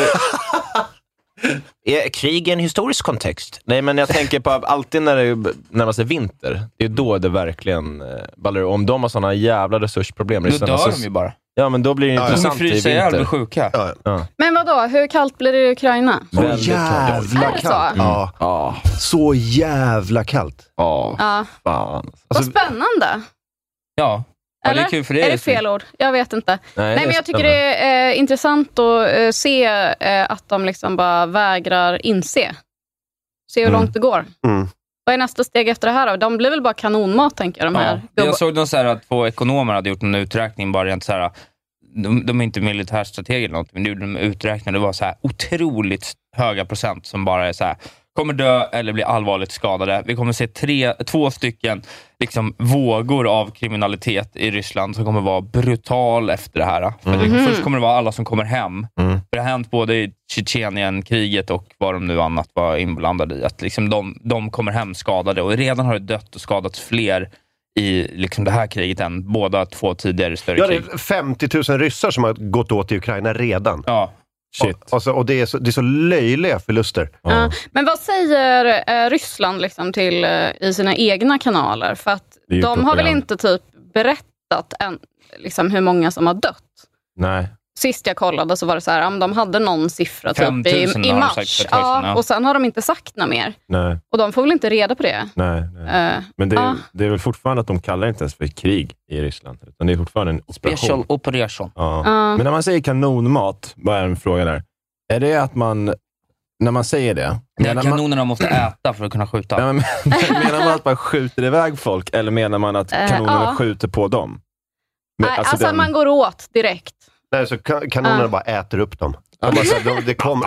[SPEAKER 2] är krig i en historisk kontext? Nej, men jag tänker på att alltid när det närmar sig vinter, det är då det verkligen eh, ballar ur. Om de har sådana jävla resursproblem.
[SPEAKER 3] Då
[SPEAKER 2] ryssarna,
[SPEAKER 4] alltså,
[SPEAKER 3] dör
[SPEAKER 2] så-
[SPEAKER 3] de ju bara.
[SPEAKER 2] Ja, men då blir det
[SPEAKER 3] Ja, ja.
[SPEAKER 2] intressant
[SPEAKER 3] De kommer frysa
[SPEAKER 2] i
[SPEAKER 3] ihjäl,
[SPEAKER 2] vinter.
[SPEAKER 3] bli sjuka.
[SPEAKER 2] Ja.
[SPEAKER 7] Men vadå, hur kallt blir det i Ukraina?
[SPEAKER 2] Väldigt kallt.
[SPEAKER 7] Är det så?
[SPEAKER 1] Ja. Så jävla kallt.
[SPEAKER 2] Ja.
[SPEAKER 7] Ja.
[SPEAKER 2] Fan.
[SPEAKER 7] Vad spännande.
[SPEAKER 3] Ja. Ja, det är kul för dig.
[SPEAKER 7] Är det fel ord? Jag vet inte. Nej,
[SPEAKER 3] det är
[SPEAKER 7] men jag tycker det är eh, intressant att eh, se eh, att de liksom bara vägrar inse. Se hur
[SPEAKER 3] Mm.
[SPEAKER 7] långt det går. Vad är nästa steg efter det här då? De blir väl bara kanonmat, tänker jag. De här.
[SPEAKER 3] Ja,
[SPEAKER 7] gubbar-
[SPEAKER 3] jag såg någon så här att två ekonomer hade gjort en uträkning, bara rent så här, de, de är inte militärstrateger eller något, men nu gjorde de uträkningar. Det var så här otroligt höga procent som bara är så här, kommer dö eller bli allvarligt skadade. Vi kommer se tre, två stycken liksom, vågor av kriminalitet i Ryssland som kommer vara brutal efter det här. För det,
[SPEAKER 2] Mhm.
[SPEAKER 3] Först kommer det vara alla som kommer hem. För det har hänt både i Tjetjenienkriget och vad de nu annat var inblandade i. Att liksom de, de kommer hem skadade och redan har det dött och skadats fler i liksom det här kriget än båda två tidigare större
[SPEAKER 1] Ja, det
[SPEAKER 3] krig.
[SPEAKER 1] är 50 000 ryssar som har gått åt i Ukraina redan.
[SPEAKER 3] Ja.
[SPEAKER 1] Shit. Och, och, så, och det, är så, det är så löjliga förluster.
[SPEAKER 7] Ja. Men vad säger eh, Ryssland liksom till, eh, i sina egna kanaler? För att
[SPEAKER 1] Det är ju
[SPEAKER 7] de har väl
[SPEAKER 1] propaganda.
[SPEAKER 7] inte typ berättat än, liksom hur många som har dött?
[SPEAKER 2] Nej.
[SPEAKER 7] Sist jag kollade så var det så här, ja, men de hade någon siffra typ
[SPEAKER 2] 5 000
[SPEAKER 7] i,
[SPEAKER 2] har
[SPEAKER 7] i
[SPEAKER 2] de
[SPEAKER 7] mars.
[SPEAKER 2] sagt för ett tag sedan,
[SPEAKER 7] ja,
[SPEAKER 2] ja.
[SPEAKER 7] och sen har de inte sagt något mer.
[SPEAKER 4] Nej,
[SPEAKER 7] Och de får väl inte reda på det?
[SPEAKER 4] nej.
[SPEAKER 7] Eh,
[SPEAKER 4] Men det är,
[SPEAKER 3] ah.
[SPEAKER 7] ja.
[SPEAKER 4] det är väl fortfarande att de kallar det inte ens för krig i Ryssland, utan det är fortfarande en operation.
[SPEAKER 3] Special Ah. operation.
[SPEAKER 4] Ja.
[SPEAKER 3] Ja.
[SPEAKER 4] Men när man säger kanonmat, bara en fråga där. Är det att man, när man säger det,
[SPEAKER 3] Där kanonerna måste äta för att kunna skjuta.
[SPEAKER 4] Nej, men,
[SPEAKER 11] [laughs]
[SPEAKER 4] menar man att man skjuter iväg folk eller menar man att
[SPEAKER 7] Eh,
[SPEAKER 4] kanonerna
[SPEAKER 7] ja.
[SPEAKER 4] skjuter på dem? Men
[SPEAKER 7] Nej, alltså, man går åt direkt.
[SPEAKER 1] Nej, så ka- kanonerna
[SPEAKER 7] Ja.
[SPEAKER 1] bara äter upp dem. De,
[SPEAKER 7] [laughs]
[SPEAKER 1] bara så här, de, det kom,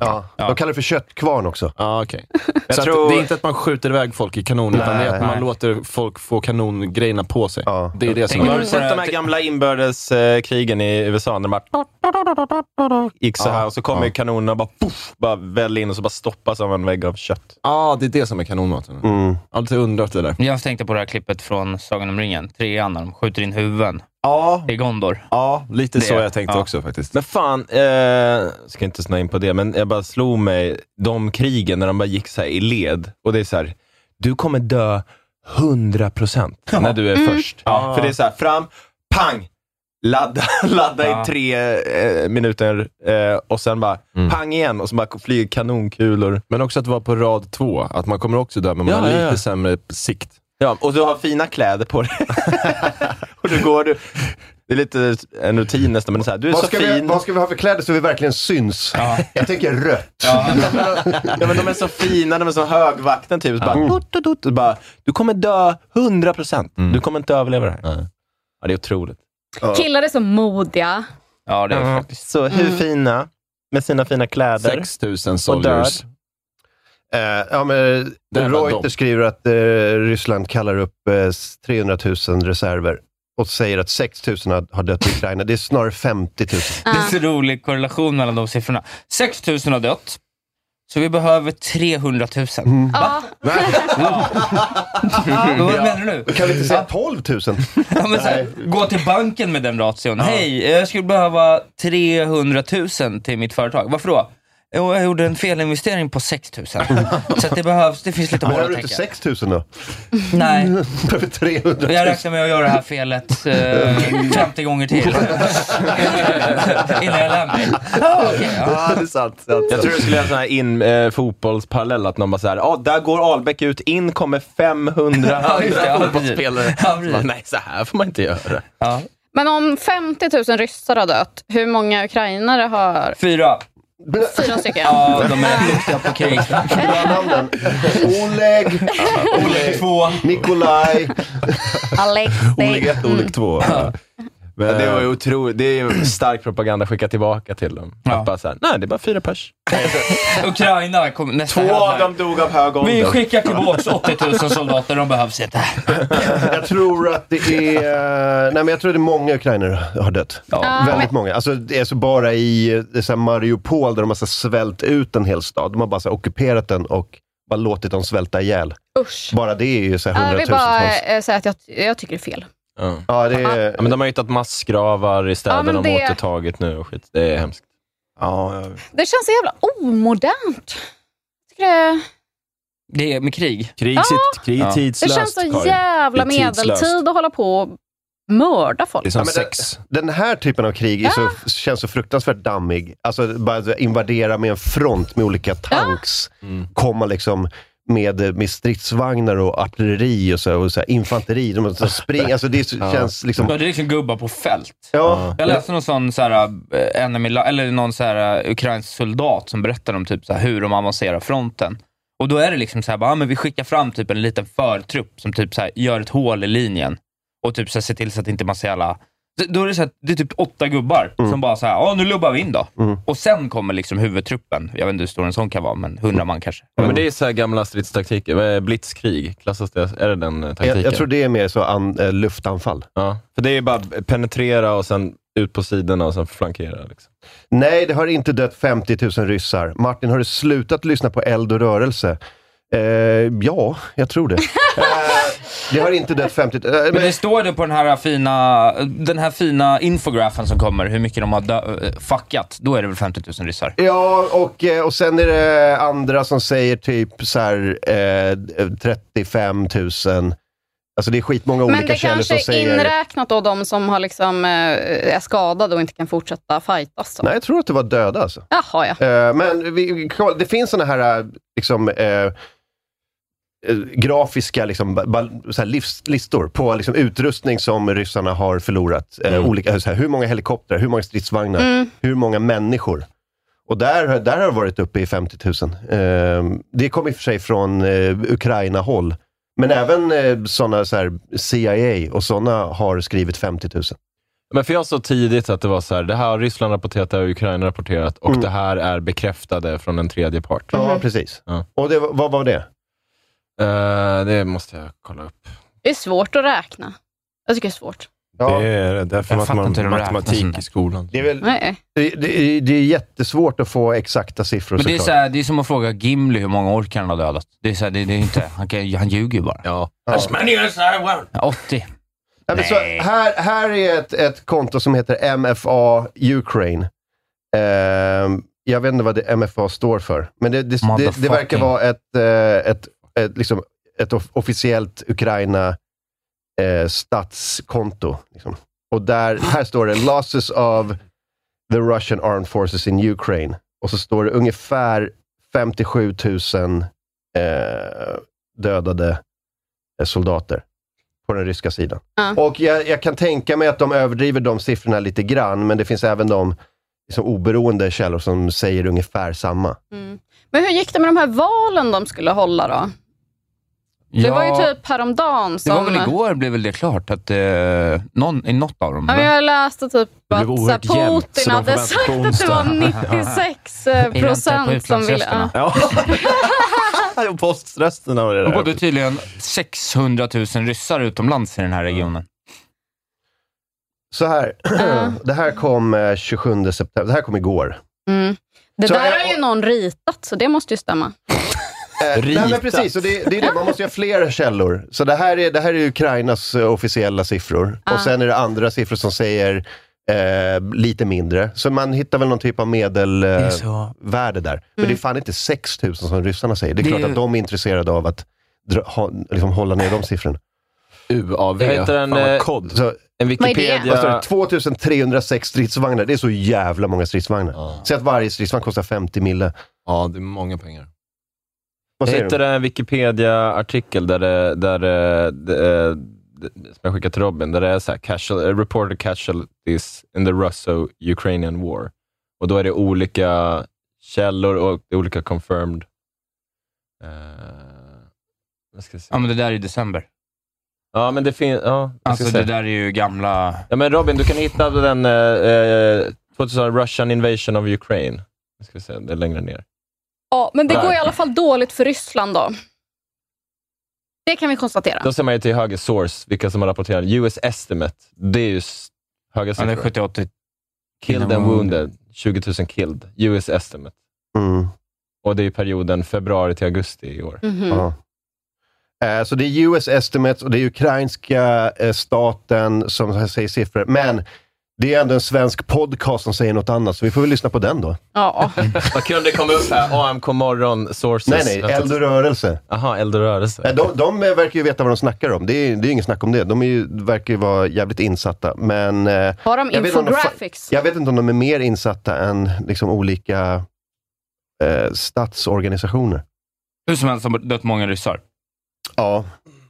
[SPEAKER 1] ja, de kallar det för köttkvarn också.
[SPEAKER 11] Ja, okej.
[SPEAKER 1] Jag
[SPEAKER 11] Så
[SPEAKER 1] tror-
[SPEAKER 11] att det är inte att man skjuter iväg folk i kanoner, utan det är att
[SPEAKER 2] Nej.
[SPEAKER 11] man låter folk få kanongrejerna på sig. Det är det som
[SPEAKER 2] Har du sett de här gamla inbördeskrigen i USA? När de bara gick så
[SPEAKER 11] Ja,
[SPEAKER 2] här och så kommer
[SPEAKER 11] ja.
[SPEAKER 2] kanonerna och bara, puff, bara väller in och så bara stoppas av en vägg av kött.
[SPEAKER 11] Ja, det är det som är kanonmaten.
[SPEAKER 1] Mm.
[SPEAKER 11] Alltid undrat det där.
[SPEAKER 3] Jag tänkte på det här klippet från Sagan om ringen, trean, när de skjuter in huvuden i Gondor.
[SPEAKER 11] Ja, lite
[SPEAKER 2] Det- ja. Men fan, eh, ska inte snöa in på det, men jag bara slog mig de krigen när de bara gick så här i led. Och det är så här, du kommer dö 100 procent när du är
[SPEAKER 11] Mm.
[SPEAKER 2] först.
[SPEAKER 11] Ja.
[SPEAKER 2] För det är så här, fram, pang, ladda, [laughs] ladda i tre eh, minuter eh, och sen bara pang igen och så bara flyger kanonkulor.
[SPEAKER 11] Mm. Men också att vara på rad två, att man kommer också dö, men man
[SPEAKER 2] Ja,
[SPEAKER 11] har
[SPEAKER 2] ja,
[SPEAKER 11] lite
[SPEAKER 2] ja.
[SPEAKER 11] sämre sikt.
[SPEAKER 2] Ja, och du har fina kläder på dig. och då går du. Det är lite en rutin nästan, men det är så här, du är
[SPEAKER 1] Vad
[SPEAKER 2] så
[SPEAKER 1] ska,
[SPEAKER 2] fin.
[SPEAKER 1] vi, vad ska vi ha för kläder så vi verkligen syns? [laughs] Jag tänker rött.
[SPEAKER 2] Ja, men de är så fina, de är så högvakten typ. Så bara, tut, tut, tut, och bara, du kommer dö 100 procent. Du kommer inte överleva det här. Ja, det är otroligt.
[SPEAKER 7] Killar är så modiga.
[SPEAKER 3] Ja,
[SPEAKER 2] det är faktiskt. Så hur
[SPEAKER 7] Mm.
[SPEAKER 2] fina, med sina fina kläder.
[SPEAKER 11] 6 000
[SPEAKER 2] Och död.
[SPEAKER 11] soldiers.
[SPEAKER 1] Eh, ja, men
[SPEAKER 11] Där var
[SPEAKER 1] Reuter
[SPEAKER 11] de.
[SPEAKER 1] skriver att eh, Ryssland kallar upp eh, 300 000 reserver och säger att 6 000 har, har dött i Ukraina. Det är snarare 50 000.
[SPEAKER 3] [laughs] Det är så rolig korrelation mellan de siffrorna. 6 000 har dött, så vi behöver 300 000.
[SPEAKER 1] Mm.
[SPEAKER 3] Va? [laughs]
[SPEAKER 1] [laughs]
[SPEAKER 3] Ja. Vad menar du?
[SPEAKER 1] Kan vi inte säga 12 000?
[SPEAKER 3] Ja, men så här, gå till banken med den ration. Hej, jag skulle behöva 300 000 till mitt företag. Varför då? Jo, jag gjorde en felinvestering på 6 000. Så att det behövs, det finns lite hål
[SPEAKER 1] Behöver
[SPEAKER 3] att
[SPEAKER 1] du inte
[SPEAKER 3] täcka.
[SPEAKER 1] 6 000 då? [laughs]
[SPEAKER 3] Nej.
[SPEAKER 1] Behöver 300 000?
[SPEAKER 3] Jag räknar med att göra det här felet eh, 50 gånger
[SPEAKER 1] [laughs]
[SPEAKER 3] till. Innan jag lämnar. Ja, okej, ja.
[SPEAKER 2] [laughs] det är sant. Jag tror du skulle göra en sån här in, eh, fotbollsparallell, att någon bara såhär, ah, där går Albeck ut, in kommer 500
[SPEAKER 3] Ja, just det, ja,
[SPEAKER 2] andra fotbollsspelare.
[SPEAKER 3] precis. Ja, precis.
[SPEAKER 2] Bara, Nej, så här får man inte göra.
[SPEAKER 3] Ja.
[SPEAKER 7] Men om 50 000 ryssar har dött, hur många ukrainare har...
[SPEAKER 3] Fyra.
[SPEAKER 7] Fyra stycken?
[SPEAKER 3] Ja, de är duktiga på krig.
[SPEAKER 1] Oleg,
[SPEAKER 3] Oleg 2,
[SPEAKER 1] Nikolaj.
[SPEAKER 7] Alexej.
[SPEAKER 2] ett, olik två. Ja. Eh, det var ju otroligt. Det är ju stark propaganda att skicka tillbaka till dem. Att bara så här, nej, det är bara fyra pers.
[SPEAKER 3] Ukraina kom nästa
[SPEAKER 2] Två av
[SPEAKER 3] halvlek.
[SPEAKER 2] dem dog av hög ålder.
[SPEAKER 3] Vi skickar tillbaka 80 000 soldater, de behövs inte.
[SPEAKER 1] Jag tror att det är... eh, Nej, men jag tror att det är många ukrainare har dött.
[SPEAKER 7] Ja.
[SPEAKER 1] Väldigt många. Alltså, det är så bara i eh, det är så här Mariupol, där de har så här svällt ut en hel stad. De har bara så här ockuperat den och bara låtit dem svälta ihjäl.
[SPEAKER 7] Usch.
[SPEAKER 1] Bara det är ju så här
[SPEAKER 7] Jag vill bara
[SPEAKER 1] hundratusentals.
[SPEAKER 7] eh, säga att jag, jag tycker det är fel.
[SPEAKER 2] Ja.
[SPEAKER 1] Ja, det är...
[SPEAKER 2] men de har hittat massgravar i
[SPEAKER 7] Ja,
[SPEAKER 2] städer
[SPEAKER 7] men
[SPEAKER 2] de
[SPEAKER 7] det-
[SPEAKER 2] har återtagit nu och skit. Det är hemskt.
[SPEAKER 11] Ja,
[SPEAKER 7] Det känns så jävla omodernt. Jag tycker det...
[SPEAKER 3] Det är med krig.
[SPEAKER 11] Krig,
[SPEAKER 7] Ja.
[SPEAKER 11] sitt, krig är
[SPEAKER 7] Det
[SPEAKER 11] tidslöst,
[SPEAKER 7] känns så
[SPEAKER 11] Karin.
[SPEAKER 7] jävla
[SPEAKER 11] Det är tidslöst.
[SPEAKER 7] medeltid att hålla på och mörda folk.
[SPEAKER 1] Ja, men den- Den här typen av krig är så, känns så fruktansvärt dammig. Alltså bara så här, invadera med en front med olika tanks.
[SPEAKER 3] Mm.
[SPEAKER 1] Komma liksom med, med stridsvagnar och artilleri och, så, här, och så här, infanteri. De
[SPEAKER 3] [laughs]
[SPEAKER 1] måste springa. Alltså det är så, känns liksom...
[SPEAKER 3] Ja, det är liksom gubbar på fält.
[SPEAKER 1] Ja.
[SPEAKER 3] Jag läste någon sån så här, eh, enemy, li- eller någon så här, eh, ukrainsk soldat som berättade om typ så här, hur de avancerar fronten. Och då är det liksom så här, bara, ah, men vi skickar fram typ en liten förtrupp som typ så här, gör ett hål i linjen och typ så här, ser till så att inte man ser alla... D- Då är det, så här, det är typ åtta gubbar
[SPEAKER 1] Mm.
[SPEAKER 3] som bara så här, ah, nu lubbar vi in då. Och sen kommer liksom huvudtruppen. Jag vet inte hur stor en sån kan vara, men hundra man kanske.
[SPEAKER 2] Ja,
[SPEAKER 1] Mm.
[SPEAKER 2] men det är så här gamla stridstaktiker. Vad är Blitzkrig, klassas det? Är det den eh, taktiken?
[SPEAKER 1] Jag, jag tror det är mer så an, eh, luftanfall.
[SPEAKER 2] Ja, för det är ju bara penetrera och sen ut på sidorna och sen flankera.
[SPEAKER 1] [laughs]
[SPEAKER 2] Liksom.
[SPEAKER 1] Nej, det har inte dött 50 000 ryssar. Martin, har du slutat lyssna på Eld och rörelse? Eh, ja,
[SPEAKER 3] [laughs]
[SPEAKER 1] jag tror det. eh, det har inte dött 50 000. Eh,
[SPEAKER 3] Men det står det på den här fina, den här fina infografen som kommer, hur mycket de har dö- eh, fuckat. Då är det väl 50 000 ryssar.
[SPEAKER 1] Ja, och, eh, och sen är det andra som säger typ så här, eh, 35 000. Alltså det är skitmånga
[SPEAKER 7] Men
[SPEAKER 1] olika
[SPEAKER 7] det
[SPEAKER 1] källor
[SPEAKER 7] kanske
[SPEAKER 1] som
[SPEAKER 7] är
[SPEAKER 1] säger...
[SPEAKER 7] inräknat då de som har liksom, eh, är skadade och inte kan fortsätta fightas. så.
[SPEAKER 1] Nej, jag tror att det var döda alltså.
[SPEAKER 7] Jaha, ja.
[SPEAKER 1] Eh, men vi, vi- kolla, det finns såna här eh, liksom, eh, eh, grafiska liksom, ba- ba- så här livs, listor på liksom, utrustning som ryssarna har förlorat. Eh, olika, så här, hur många helikoptrar, hur många stridsvagnar,
[SPEAKER 7] Mm.
[SPEAKER 1] hur många människor. Och där, där har det varit uppe i 50 000. Eh, det kom i och för sig från eh, Ukraina-håll.
[SPEAKER 7] Mm.
[SPEAKER 1] Men även eh, sådana så här, CIA och sådana har skrivit 50 000.
[SPEAKER 2] Men för jag så tidigt att det var så här, det här har Ryssland rapporterat, det här har Ukraina rapporterat
[SPEAKER 11] Mm.
[SPEAKER 2] och det här är bekräftade från en tredje part.
[SPEAKER 7] Mm-hmm.
[SPEAKER 1] Ja, precis. Och det, vad var det?
[SPEAKER 2] Eh, det måste jag kolla upp.
[SPEAKER 7] Det är svårt att räkna. Jag tycker det är svårt.
[SPEAKER 4] Det är det. Därför
[SPEAKER 2] Jag
[SPEAKER 4] man,
[SPEAKER 2] fattar
[SPEAKER 4] man
[SPEAKER 2] inte hur de räknar
[SPEAKER 4] matematik
[SPEAKER 2] sånt.
[SPEAKER 4] i skolan.
[SPEAKER 1] Det är, väl,
[SPEAKER 7] Nej.
[SPEAKER 1] det, det, det är jättesvårt att få exakta siffror
[SPEAKER 3] Men det är,
[SPEAKER 1] såklart.
[SPEAKER 3] så här, det är som att fråga Gimli hur många orkar han har dödat. Det är så här, det, det är inte, han, kan, han ljuger ju bara.
[SPEAKER 2] Ja.
[SPEAKER 1] As many
[SPEAKER 3] 80.
[SPEAKER 1] Ja, men så här, här är ett, ett konto som heter MFA Ukraine. Ehm, jag vet inte vad det MFA står för, men det, det, det, det verkar
[SPEAKER 4] Motherfucking.
[SPEAKER 1] vara ett, eh, ett, ett, liksom, ett off- officiellt Ukraina eh, statskonto. Liksom. Och där, här står det “Losses of the Russian Armed Forces in Ukraine”. Och så står det ungefär 57 000 eh, dödade eh, soldater på den ryska sidan. Och jag, jag kan tänka mig att de överdriver de siffrorna lite grann, men det finns även de liksom, oberoende källor som säger ungefär samma.
[SPEAKER 7] Mm. Men hur gick det med de här valen de skulle hålla då? Det var ju typ häromdagen
[SPEAKER 3] Det
[SPEAKER 7] som...
[SPEAKER 3] var väl igår blev väl det klart att eh, någon, i något av dem...
[SPEAKER 7] Ja, men jag läste typ
[SPEAKER 3] Det
[SPEAKER 7] att
[SPEAKER 3] blev
[SPEAKER 7] så här,
[SPEAKER 3] oerhört jämnt, så
[SPEAKER 7] Putin
[SPEAKER 3] de
[SPEAKER 7] hade
[SPEAKER 3] förväntas
[SPEAKER 7] sagt
[SPEAKER 3] på
[SPEAKER 7] att det
[SPEAKER 3] onsdag.
[SPEAKER 7] var 96 eh,
[SPEAKER 3] I väntan på
[SPEAKER 7] procent som ville... Ja.
[SPEAKER 3] utlandsrösterna.
[SPEAKER 4] Och poströsterna och det
[SPEAKER 3] Och bodde tydligen 600 000 ryssar utomlands i den här regionen.
[SPEAKER 1] Så här, [clears throat] det här kom eh, 27 september, det här kom igår.
[SPEAKER 7] Mm. Det
[SPEAKER 1] Så
[SPEAKER 7] där
[SPEAKER 1] jag-
[SPEAKER 7] har ju någon ritat, så det måste ju stämma.
[SPEAKER 1] Eh, nej, men
[SPEAKER 7] Ritat.
[SPEAKER 1] precis, och det, det är det. man måste ju ha flera källor. Så det här är, det här är Ukrainas eh, officiella siffror. Och sen är det andra siffror som säger eh, lite mindre. Så man hittar väl någon typ av
[SPEAKER 3] är
[SPEAKER 1] medelvärde
[SPEAKER 3] så.
[SPEAKER 1] värde där. Men
[SPEAKER 7] Mm.
[SPEAKER 1] det är fan inte 6 000 som ryssarna säger. Det är
[SPEAKER 2] Det är
[SPEAKER 1] klart
[SPEAKER 2] ju-
[SPEAKER 1] att de är intresserade av att dra, ha, liksom hålla ner de siffrorna.
[SPEAKER 2] UAV. Det heter en,
[SPEAKER 1] Fan, vad
[SPEAKER 2] eh,
[SPEAKER 1] kod. Så,
[SPEAKER 2] en Wikipedia...
[SPEAKER 1] Vad står det? 2306 stridsvagnar. Det är så jävla många stridsvagnar. Säg att varje stridsvagn kostar 50 mille.
[SPEAKER 2] Ja, det är många pengar.
[SPEAKER 1] Vad
[SPEAKER 2] Jag
[SPEAKER 1] säger du?
[SPEAKER 2] hittade en Wikipedia-artikel där det, där det, det, det, som jag skickade till Robin, där det är så här, casual, reported casualties in the Russo-Ukrainian war. Och då är det olika källor och det är olika confirmed. Eh, jag ska se.
[SPEAKER 3] Ja, men det där är i december.
[SPEAKER 2] Ja, men det finns... Ja, jag
[SPEAKER 3] Alltså,
[SPEAKER 2] ska se.
[SPEAKER 3] det där är ju gamla...
[SPEAKER 2] Ja, men Robin, du kan hitta den eh, eh, 2000 Russian invasion of Ukraine. Jag ska se, det är längre ner.
[SPEAKER 7] Ja, men det
[SPEAKER 2] Där.
[SPEAKER 7] går i alla fall dåligt för Ryssland då. Det kan vi konstatera.
[SPEAKER 2] Då ser man ju till höger source, vilka som har rapporterat. US estimate, det är ju s- höga
[SPEAKER 3] Ja, det är Mm.
[SPEAKER 2] siffror.
[SPEAKER 3] 70-80.
[SPEAKER 2] Killed and wounded, 20 000 killed. US estimate.
[SPEAKER 1] Mm.
[SPEAKER 2] Och det är ju perioden februari till augusti i år.
[SPEAKER 7] Mhm.
[SPEAKER 1] Ja. Eh, Så det är US estimates och det är ukrainska eh, staten som säger siffror. Men det är ändå en svensk podcast som säger något annat, så vi får väl lyssna på den då.
[SPEAKER 7] Ja.
[SPEAKER 2] Vad kul det kom upp här. AMK morgon
[SPEAKER 1] Nej,
[SPEAKER 2] sources.
[SPEAKER 1] nej, Eld och rörelse.
[SPEAKER 2] Jaha, Eld och rörelse.
[SPEAKER 1] Eh, De, de eh, verkar ju veta vad de snackar om. Det är, det är inget snack om det. De är ju, verkar ju vara jävligt insatta. Men, eh,
[SPEAKER 7] Har de
[SPEAKER 1] jag vet inte om de fa-
[SPEAKER 7] infographics?
[SPEAKER 1] Jag vet inte om de är mer insatta än liksom, olika eh, statsorganisationer.
[SPEAKER 3] Hur som helst har dött många ryssar.
[SPEAKER 1] Ja,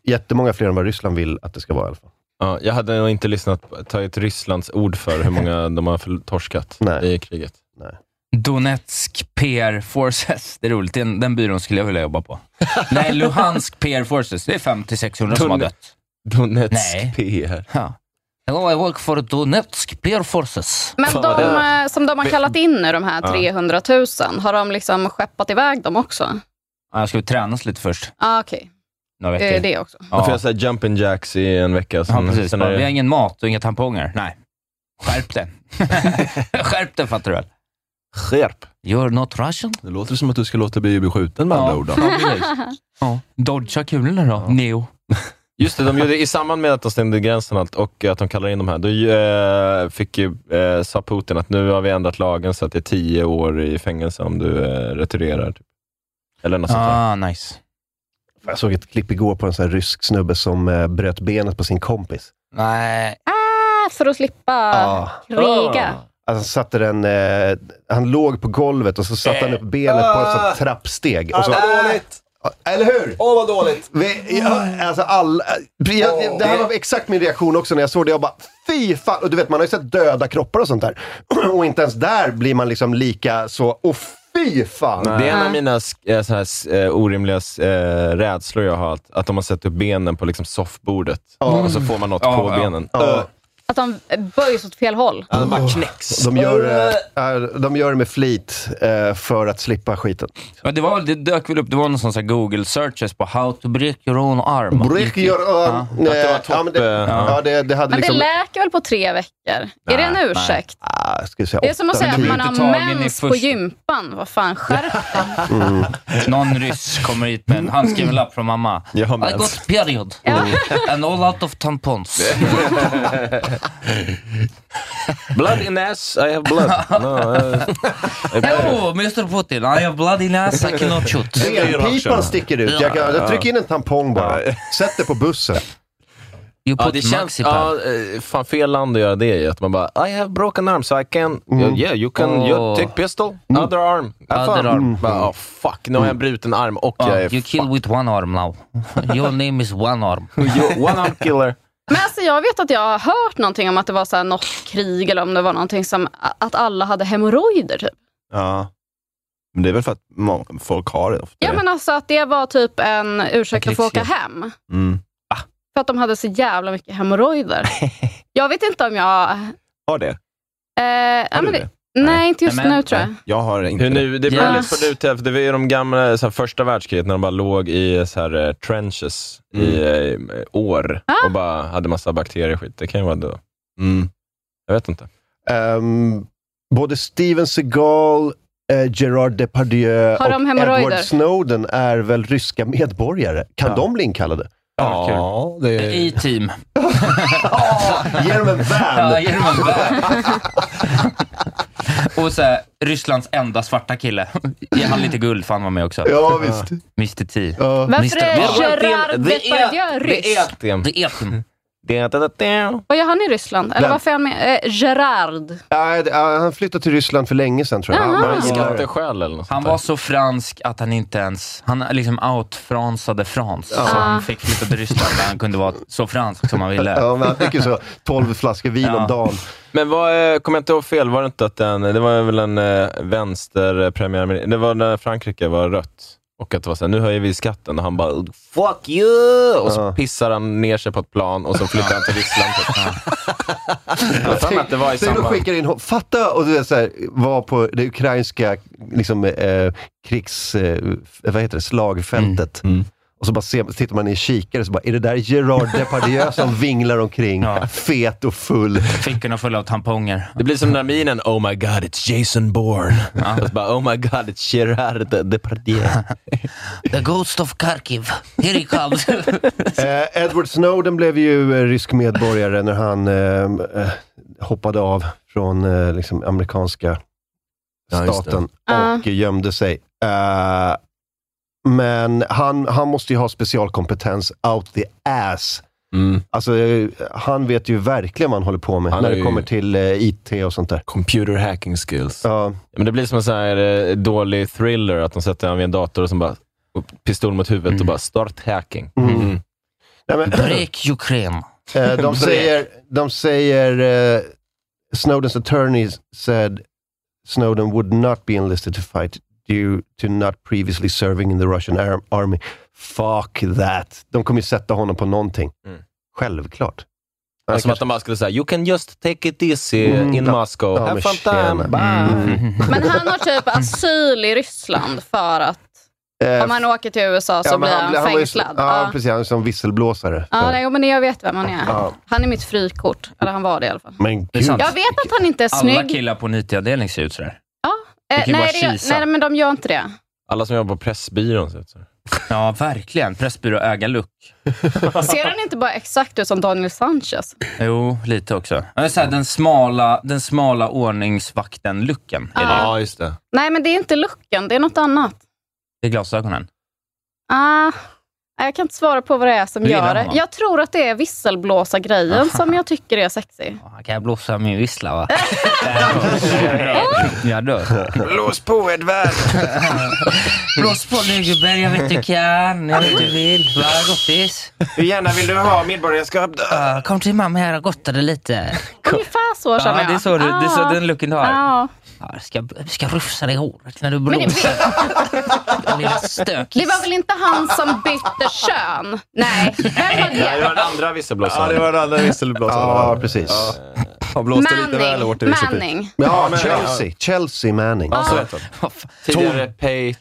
[SPEAKER 1] jättemånga fler än vad Ryssland vill att det ska vara i alla fall.
[SPEAKER 2] Ja, jag hade nog inte lyssnat, på- tagit Rysslands ord för hur många de har förl- torskat i kriget.
[SPEAKER 3] Donetsk PR Forces. Det är roligt. Den, den byrån skulle jag vilja jobba på. Nej, Luhansk PR Forces. Det är 50-600 som har
[SPEAKER 2] Done-
[SPEAKER 3] dött.
[SPEAKER 2] Donetsk
[SPEAKER 3] Nej.
[SPEAKER 2] PR.
[SPEAKER 3] Ja. Hello, I work for Donetsk PR Forces.
[SPEAKER 7] Men de eh, som de har kallat in nu, de här
[SPEAKER 3] Ja.
[SPEAKER 7] 300 000, har de liksom skeppat iväg dem också?
[SPEAKER 3] Ja, jag ska ju tränas lite först.
[SPEAKER 7] Ah, Okej,
[SPEAKER 3] Några
[SPEAKER 7] Eh,
[SPEAKER 3] veckor.
[SPEAKER 7] det också.
[SPEAKER 2] Då får jag säga jumping jacks i en vecka.
[SPEAKER 3] Ja,
[SPEAKER 2] sen-
[SPEAKER 3] precis.
[SPEAKER 2] sen är
[SPEAKER 3] Bara,
[SPEAKER 2] det-
[SPEAKER 3] Vi har ingen mat och inga tamponger. Nej. Skärp dig. Skärp dig, fattar du väl?
[SPEAKER 2] Skärp.
[SPEAKER 3] You're not Russian.
[SPEAKER 4] Det låter som att du ska låta bli beskjuten med andra ord. då.
[SPEAKER 3] Ja. Dodga kulorna då, Neo.
[SPEAKER 2] Just det, de gjorde, i samband med att de stängde gränsen och allt och att de kallade in de här, då eh, fick ju, eh, sa Putin att nu har vi ändrat lagen så att det är tio år i fängelse om du eh, returerar. Typ. Eller något sånt där.
[SPEAKER 3] Ah, nice.
[SPEAKER 1] Jag såg ett klipp igår på en sån här rysk snubbe som eh, bröt benet på sin kompis.
[SPEAKER 3] Nej.
[SPEAKER 7] Ah, för att slippa
[SPEAKER 11] Ah.
[SPEAKER 7] kriga.
[SPEAKER 1] Alltså, han, satte den, eh, han låg på golvet och så satte han upp benet på ett sånt trappsteg. Och så, Ah,
[SPEAKER 4] dåligt!
[SPEAKER 1] Eller hur?
[SPEAKER 4] Åh, vad dåligt!
[SPEAKER 1] Vi, jag, alltså all, jag, jag- det här var exakt min reaktion också när jag såg det. Jag bara, fy fan! Och du vet, man har ju sett döda kroppar och sånt där. [clears throat] Och inte ens där blir man liksom lika så, åh fy fan!
[SPEAKER 2] Det är
[SPEAKER 4] Ah.
[SPEAKER 2] en av mina sk- eh, så här, s- eh, orimliga s- eh, rädslor jag har, att, att de har sett upp benen på liksom soffbordet
[SPEAKER 1] Ja.
[SPEAKER 4] Ah.
[SPEAKER 3] Ah,
[SPEAKER 2] och så får man något
[SPEAKER 1] Ja,
[SPEAKER 2] på
[SPEAKER 1] ja.
[SPEAKER 2] benen.
[SPEAKER 1] Ja.
[SPEAKER 2] Öh.
[SPEAKER 7] Att de eh, böjs åt fel håll.
[SPEAKER 1] De bara knäcks. De gör, eh, de gör det med flit eh, för att slippa skiten.
[SPEAKER 3] Men det, var, väl- det dök väl upp, det var någon sån här google searches på how to break your own arm.
[SPEAKER 1] Break your arm.
[SPEAKER 3] Ja, att det var
[SPEAKER 1] Nej,
[SPEAKER 3] topp.
[SPEAKER 1] eh, ja, men det- ja, det- det hade liksom-
[SPEAKER 7] Men
[SPEAKER 4] liksom-
[SPEAKER 7] det läker väl på tre veckor? är det en
[SPEAKER 1] Nej,
[SPEAKER 7] ursäkt?
[SPEAKER 1] Ah, ska vi säga
[SPEAKER 7] Det är som att
[SPEAKER 1] åtta,
[SPEAKER 7] säga att
[SPEAKER 1] tio.
[SPEAKER 7] man har mens på gympan. Vad fan, skärp
[SPEAKER 3] Någon ryss kommer hit med en handskriven lapp från mamma.
[SPEAKER 2] Jag har
[SPEAKER 3] I
[SPEAKER 2] mens.
[SPEAKER 3] got period. And all out of tampons.
[SPEAKER 2] blood in ass, I have blood. No, I- I-
[SPEAKER 3] oh, Mr Putin, I have blood in ass, I cannot shoot.
[SPEAKER 1] Benpipan sticker ut. Jag, kan, jag trycker in en tampong bara. Sätt det på bussen.
[SPEAKER 2] Ja, det känns, ja, eh, fan fel land att göra Mm. det i. Att man bara, I have broken arm so I can,
[SPEAKER 4] Mm.
[SPEAKER 2] yeah you can, you
[SPEAKER 3] Oh.
[SPEAKER 2] take pistol, other arm. Ja, fan.
[SPEAKER 3] Other arm. Ah.
[SPEAKER 2] Bara, oh, fuck, nu har jag en bruten arm och
[SPEAKER 3] Ja,
[SPEAKER 2] jag är
[SPEAKER 3] Oh, you kill with one arm now. Your name is one
[SPEAKER 2] [laughs]
[SPEAKER 3] arm.
[SPEAKER 2] one arm killer.
[SPEAKER 7] Men alltså, jag vet att jag har hört någonting om att det var så här något krig eller om det var någonting som att alla hade hemorrojder. Typ.
[SPEAKER 4] Ja. Men det är väl för att må- folk har det ofta.
[SPEAKER 7] Ja, men alltså att det var typ en ursäkt att få åka
[SPEAKER 4] krigshjälp.
[SPEAKER 7] hem.
[SPEAKER 4] Mm.
[SPEAKER 7] För att de hade så jävla mycket hemorrojder. jag vet inte om jag... Eh,
[SPEAKER 4] Har det?
[SPEAKER 7] ja,
[SPEAKER 2] du
[SPEAKER 7] men det? Nej, inte just
[SPEAKER 2] Nej, men-
[SPEAKER 7] nu tror jag.
[SPEAKER 4] Jag har inte
[SPEAKER 2] Hur nu, det. är
[SPEAKER 7] Yes.
[SPEAKER 2] möjligt för det för det var ju de gamla, så här, första världskriget, när de bara låg i så här, eh, trenches i eh, år
[SPEAKER 7] Ah.
[SPEAKER 2] och bara hade massa bakterier och skit. Det kan ju vara då. Mm. Jag vet inte.
[SPEAKER 1] Ehm, både Steven Seagal, eh, Gerard Depardieu
[SPEAKER 7] Har de
[SPEAKER 1] och
[SPEAKER 7] hemorrojder?
[SPEAKER 1] Edward Snowden är väl ryska medborgare? Kan de bli inkallade?
[SPEAKER 11] Ja, det är...
[SPEAKER 3] I team.
[SPEAKER 1] Ge dem en van.
[SPEAKER 3] Ja, ge dem en van. [laughs] Och så här, Rysslands enda svarta kille. Ge han lite guld, för han var med också.
[SPEAKER 1] Ja, visst.
[SPEAKER 3] Mr T.
[SPEAKER 7] Varför är
[SPEAKER 3] Mr.
[SPEAKER 7] Gerard
[SPEAKER 3] Det är-
[SPEAKER 7] Depardieu
[SPEAKER 3] Det är
[SPEAKER 7] ryss?
[SPEAKER 3] Etim. Det är Etim.
[SPEAKER 2] Det är
[SPEAKER 7] Vad gör han i Ryssland? Eller
[SPEAKER 1] Vem?
[SPEAKER 7] varför är han med? Eh, Gerard.
[SPEAKER 1] Nej, det- ja, han flyttade till Ryssland för länge sedan tror jag.
[SPEAKER 7] Jaha.
[SPEAKER 1] Han,
[SPEAKER 2] Skatteskäl eller något
[SPEAKER 3] Han var så fransk att han inte ens, han liksom outfransade Frans. Så han fick flytta till Ryssland där han kunde vara så fransk som han ville.
[SPEAKER 1] ja, men han fick ju så 12 flaskor vin om dagen.
[SPEAKER 2] Men vad, eh, kommer jag inte ihåg fel, var det inte att den, det var väl en eh, vänsterpremiärminister, det var när Frankrike var rött och att det var såhär, nu höjer vi skatten och han bara “fuck you” och så pissar han ner sig på ett plan och så flyttar han till Ryssland. typ. Jag har för mig att det var i
[SPEAKER 1] Tänk om de
[SPEAKER 2] samband.
[SPEAKER 1] skickar in, hon- fatta och du vet, så här, var på det ukrainska liksom, eh, krigs, eh, f- vad heter det, slagfältet. Och så bara ser, tittar man i en kikare så bara, är det där Gerard Depardieu som vinglar omkring, fet och full?
[SPEAKER 3] Fickorna fulla av tamponger.
[SPEAKER 2] Det blir som den där minen “Oh my god, it's Jason Bourne”. Och så bara “Oh my god, it's Gerard Depardieu”.
[SPEAKER 3] The Ghost of Kharkiv. Here he [laughs] comes.
[SPEAKER 1] Eh, Edward Snowden blev ju eh, rysk medborgare när han eh, eh, hoppade av från eh, liksom, amerikanska
[SPEAKER 2] Ja, just det.
[SPEAKER 1] staten och gömde sig. Eh, men han, han måste ju ha specialkompetens out the ass.
[SPEAKER 2] Mm,
[SPEAKER 1] Alltså, eh, han vet ju verkligen vad han håller på med
[SPEAKER 2] Han
[SPEAKER 1] när
[SPEAKER 2] är
[SPEAKER 1] det
[SPEAKER 2] ju-
[SPEAKER 1] kommer till eh, IT och sånt där.
[SPEAKER 2] Computer hacking skills.
[SPEAKER 1] Ja.
[SPEAKER 2] Men det blir som en sån här eh, dålig thriller, att de sätter honom vid en dator och som bara och pistol mot huvudet och bara “start hacking”. Mm.
[SPEAKER 1] Nej, men-
[SPEAKER 3] Break Ukraine.
[SPEAKER 1] Eh, de säger, de säger eh, Snowdens attorney said Snowden would not be enlisted to fight due to not previously serving in the Russian ar- army. Fuck that. De kommer ju sätta honom på någonting. Självklart.
[SPEAKER 2] Alltså som att de bara skulle säga “You can just take it easy in Moscow.
[SPEAKER 1] Ja,
[SPEAKER 2] Have
[SPEAKER 1] men
[SPEAKER 2] fun
[SPEAKER 1] tjena.
[SPEAKER 2] time. Bye.
[SPEAKER 3] Mm.
[SPEAKER 7] Men han har typ asyl i Ryssland för att
[SPEAKER 1] Eh,
[SPEAKER 7] om han åker till USA så
[SPEAKER 1] ja, men
[SPEAKER 7] blir han,
[SPEAKER 1] blev- var ju så-
[SPEAKER 7] fängslad.
[SPEAKER 1] Ja,
[SPEAKER 7] Ja.
[SPEAKER 1] precis. Han är som visselblåsare.
[SPEAKER 7] Ja, nej, jo, men jag vet vem han är.
[SPEAKER 1] Ja.
[SPEAKER 7] Han är mitt frikort. Eller han var det i alla fall.
[SPEAKER 1] Men
[SPEAKER 3] Det är sant.
[SPEAKER 7] Jag vet att han inte är
[SPEAKER 3] Alla
[SPEAKER 7] snygg.
[SPEAKER 3] killar på en IT-avdelning ser liksom ut sådär.
[SPEAKER 7] Eh,
[SPEAKER 3] det kan ju
[SPEAKER 7] nej,
[SPEAKER 3] bara
[SPEAKER 7] det gör,
[SPEAKER 3] kisa.
[SPEAKER 7] nej, men de gör inte det.
[SPEAKER 2] Alla som jobbar på Pressbyrån ser ut så.
[SPEAKER 3] Ja, verkligen. Pressbyrå äga look.
[SPEAKER 7] Ser han inte bara exakt ut som Daniel Sanchez?
[SPEAKER 3] Jo, lite också. Men Så här, den, smala, den smala ordningsvakten-looken. är det ju.
[SPEAKER 2] Ja, just det.
[SPEAKER 7] Nej, men det är inte looken. Det är något annat.
[SPEAKER 3] Det är glasögonen.
[SPEAKER 7] Ah, nej, jag kan inte svara på vad det är som
[SPEAKER 3] Du gillar
[SPEAKER 7] gör det.
[SPEAKER 3] honom.
[SPEAKER 7] Jag tror att det är visselblåsa-grejen som jag tycker är sexig.
[SPEAKER 3] Kan jag blåsa min vissla? [laughs] Va? jag dör.
[SPEAKER 2] Blås på Edvard!
[SPEAKER 3] [laughs] Blås på nu gubben, jag vet du kan, jag vet du vill. Va, gottis?
[SPEAKER 2] Hur gärna vill du ha medborgarskap?
[SPEAKER 3] Ja, kom till mamma här och gotta dig lite.
[SPEAKER 7] [laughs] Ungefär så
[SPEAKER 3] Ja,
[SPEAKER 7] känner jag.
[SPEAKER 3] det är så du- det är så den looken du har.
[SPEAKER 7] Ja.
[SPEAKER 3] Ja, ska, ska rufsa dig i håret när du [laughs]
[SPEAKER 7] Men det-
[SPEAKER 3] blåser. Lilla stök.
[SPEAKER 7] Det var väl inte han som bytte efter kön. Nej, vem var
[SPEAKER 4] Nej, det
[SPEAKER 7] det?
[SPEAKER 4] var den andra visselblåsaren.
[SPEAKER 2] Ja, det var den andra visselblåsaren.
[SPEAKER 1] Ja, precis. Ja.
[SPEAKER 2] Han
[SPEAKER 7] blåste lite Manning. väl hårt i visselpipan. Manning.
[SPEAKER 1] Ja,
[SPEAKER 2] men-
[SPEAKER 1] Chelsea. Chelsea Manning.
[SPEAKER 3] Ja, så heter Tidigare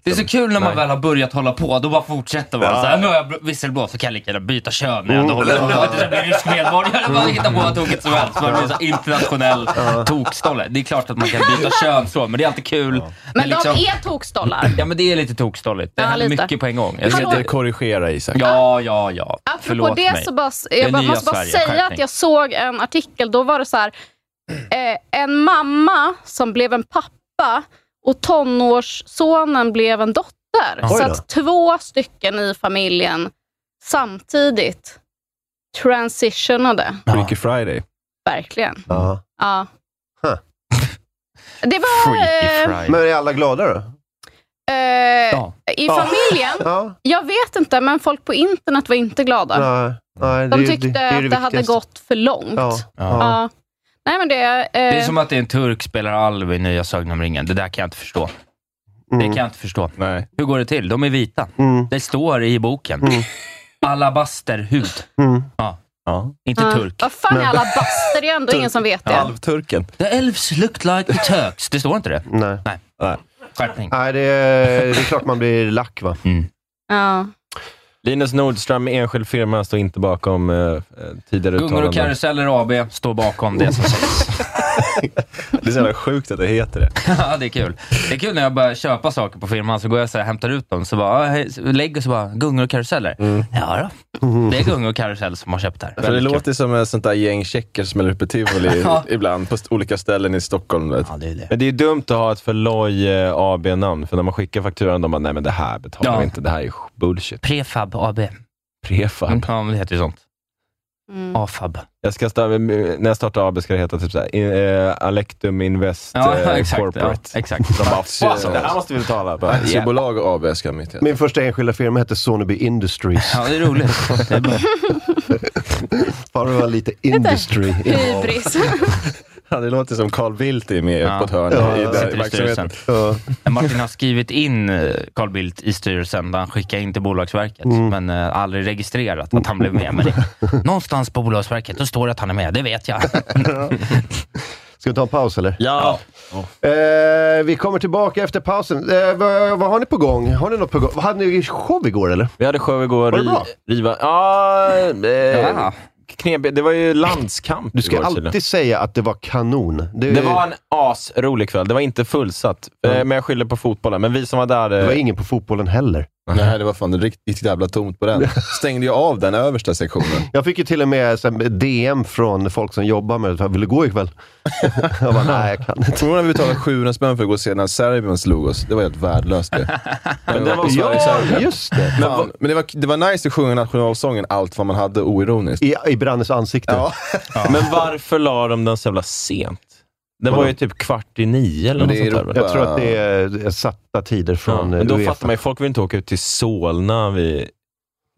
[SPEAKER 3] Det är så kul när man väl har börjat hålla på, då bara fortsätter man.
[SPEAKER 1] Ja.
[SPEAKER 3] Så här, nu har jag visselblåst, så kan jag lika gärna byta kön när jag
[SPEAKER 1] Mm.
[SPEAKER 3] ändå håller
[SPEAKER 1] [laughs]
[SPEAKER 3] på. Jag
[SPEAKER 1] Ja.
[SPEAKER 3] vet inte, jag blir rysk medborgare, bara hittar på vad tokigt som helst. Man blir så här internationell tokstolle. Det är klart att man kan byta kön så, men det är alltid kul.
[SPEAKER 7] Men de
[SPEAKER 2] liksom-
[SPEAKER 7] är tokstollar.
[SPEAKER 3] Ja, men det är lite tokstolligt. Det
[SPEAKER 7] Ja,
[SPEAKER 3] händer
[SPEAKER 7] lite.
[SPEAKER 3] mycket på en gång.
[SPEAKER 7] Jag ska inte
[SPEAKER 3] korrigera Isak. Ja, ja, ja.
[SPEAKER 7] Apropå
[SPEAKER 3] Förlåt
[SPEAKER 7] det
[SPEAKER 3] mig.
[SPEAKER 7] så bara,
[SPEAKER 3] Det är
[SPEAKER 7] jag bara,
[SPEAKER 3] nya
[SPEAKER 7] måste bara
[SPEAKER 3] Sverige,
[SPEAKER 7] säga
[SPEAKER 3] skärpning.
[SPEAKER 7] att jag såg en artikel, då var det så här, eh, en mamma som blev en pappa och tonårssonen blev en dotter.
[SPEAKER 16] Oj
[SPEAKER 7] så
[SPEAKER 16] då.
[SPEAKER 7] att två stycken i familjen samtidigt transitionade,
[SPEAKER 2] Freaky Friday.
[SPEAKER 7] verkligen.
[SPEAKER 1] Ja.
[SPEAKER 7] Ja.
[SPEAKER 1] Huh.
[SPEAKER 7] Det var... eh,
[SPEAKER 1] Men är alla glada då?
[SPEAKER 7] eh, I
[SPEAKER 1] Ja.
[SPEAKER 7] familjen?
[SPEAKER 1] Ja.
[SPEAKER 7] Jag vet inte, men folk på internet var inte glada.
[SPEAKER 1] Nej, nej,
[SPEAKER 7] De
[SPEAKER 1] är ju-
[SPEAKER 7] tyckte
[SPEAKER 1] är
[SPEAKER 7] att det hade
[SPEAKER 1] viktigaste.
[SPEAKER 7] gått för långt.
[SPEAKER 1] Ja.
[SPEAKER 3] Ja.
[SPEAKER 7] Ja. Nej, men det, eh,
[SPEAKER 3] Det är som att det är en turk spelar Alvin i Nya Sagan om ringen. Det där kan jag inte förstå.
[SPEAKER 1] Mm,
[SPEAKER 3] Det kan jag inte förstå. Hur går det till? De är vita. Det står i boken. Alabasterhud.
[SPEAKER 1] mm,
[SPEAKER 3] Ja. Inte
[SPEAKER 7] ja.
[SPEAKER 3] turk.
[SPEAKER 7] Vad fan är alla baster? Det är ändå ingen som vet det.
[SPEAKER 3] Alvturken. The elves looked like the turks. Det står inte det?
[SPEAKER 1] Nej.
[SPEAKER 3] Nej. Skärpning.
[SPEAKER 1] Nej, det är, det är klart man blir lack va?
[SPEAKER 3] Mm.
[SPEAKER 7] Ja.
[SPEAKER 4] Linus Nordström, enskild firma, står inte bakom eh, eh, tidigare
[SPEAKER 3] Gungor och
[SPEAKER 4] uttalanden.
[SPEAKER 3] karuseller AB står bakom det [laughs] som sägs.
[SPEAKER 4] Det är så jävla sjukt att det heter
[SPEAKER 2] Alltså,
[SPEAKER 4] det.
[SPEAKER 3] ja, det är kul. Det är kul när jag börjar köpa saker på firman, så går jag så här, hämtar ut dem, så bara, "Ah, hej", så lägger så bara, gungor och karuseller. Ja då. Det är gungor och karusell som har köpt här.
[SPEAKER 2] För det
[SPEAKER 3] Väldigt kul.
[SPEAKER 2] låter som ett sånt där gäng tjecker som smäller upp i tivoli
[SPEAKER 3] [laughs] Ja.
[SPEAKER 2] ibland på st- olika ställen i Stockholm. vet.
[SPEAKER 4] Men det är dumt att ha ett för loj eh, AB-namn, för när man skickar fakturan, de bara, nej men det här betalar
[SPEAKER 3] Ja.
[SPEAKER 4] vi inte, det här är sh- bullshit.
[SPEAKER 3] Prefab AB.
[SPEAKER 4] Prefab.
[SPEAKER 3] Ja, men det heter ju sånt. AFAB.
[SPEAKER 4] Jag ska starta, när jag startar AB ska det heta typ såhär, in, eh, Alectum Invest
[SPEAKER 3] Ja, [laughs]
[SPEAKER 4] eh,
[SPEAKER 3] exakt,
[SPEAKER 4] Corporate.
[SPEAKER 3] ja, exakt.
[SPEAKER 4] De bara,
[SPEAKER 2] Aktie-
[SPEAKER 4] "Fan, det här måste vi betala. Bara, yeah.
[SPEAKER 2] Aktiebolag AB ska mitt heta.
[SPEAKER 1] Min första enskilda firma hette Soneby Industries.
[SPEAKER 3] [laughs] Ja, det är roligt.
[SPEAKER 1] Bara det var lite industry.
[SPEAKER 7] Hybris. [laughs]
[SPEAKER 2] Ja, det låter som Carl Bildt är med på ett hörn
[SPEAKER 3] Ja,
[SPEAKER 2] i
[SPEAKER 3] ja,
[SPEAKER 2] där
[SPEAKER 3] sitter i
[SPEAKER 2] verksamheten.
[SPEAKER 3] styrelsen. Martin har skrivit in eh, Carl Bildt i styrelsen, där han skickade in till Bolagsverket, men eh, aldrig registrerat att han blev med. Men det, någonstans på Bolagsverket, då står det att han är med. Det vet jag.
[SPEAKER 1] Ska vi ta en paus eller?
[SPEAKER 3] Ja.
[SPEAKER 1] Eh, vi kommer tillbaka efter pausen. Eh, vad, vad har ni på gång? Har ni något på gång? Hade ni show igår eller?
[SPEAKER 4] Vi hade show igår.
[SPEAKER 1] Var det bra?
[SPEAKER 4] Riva. Ja, eh,
[SPEAKER 1] Ja.
[SPEAKER 4] knepig- Det var ju landskamp
[SPEAKER 1] Du ska
[SPEAKER 4] igår,
[SPEAKER 1] alltid
[SPEAKER 4] tydligen.
[SPEAKER 1] säga att det var kanon. Det,
[SPEAKER 4] Det var en asrolig kväll. Det var inte fullsatt, eh, men jag skyller på fotbollen. Men vi som var där... eh,
[SPEAKER 1] det var ingen på fotbollen heller.
[SPEAKER 2] Nej, det var fan riktigt jävla tomt på
[SPEAKER 4] [laughs]
[SPEAKER 2] den. Stängde jag av den översta sektionen.
[SPEAKER 1] Jag fick ju till och med så här, DM från folk som jobbar med det. Jag ville gå ikväll. [laughs] jag bara, nej jag kan inte.
[SPEAKER 2] Kommer du ihåg när vi betalade 700 spänn för att gå och se när Serbien slog oss? Det var helt värdelöst [laughs] det.
[SPEAKER 4] Men den var
[SPEAKER 2] Sverige-
[SPEAKER 4] också-
[SPEAKER 2] Serbien.
[SPEAKER 1] just det.
[SPEAKER 2] Men, va- men det, var, det var nice att sjunga nationalsången allt vad man hade oironiskt.
[SPEAKER 1] I, i Brannes ansikte.
[SPEAKER 2] Ja.
[SPEAKER 4] Men varför la de den så jävla sent? Den var ju typ kvart i nio eller
[SPEAKER 1] Men
[SPEAKER 4] något
[SPEAKER 1] det är
[SPEAKER 4] sånt där.
[SPEAKER 1] Europa- Jag tror att det är satta tider från
[SPEAKER 4] Ja,
[SPEAKER 1] eh,
[SPEAKER 4] men då
[SPEAKER 1] Uefa.
[SPEAKER 4] fattar man ju, folk vill inte åka ut till Solna vid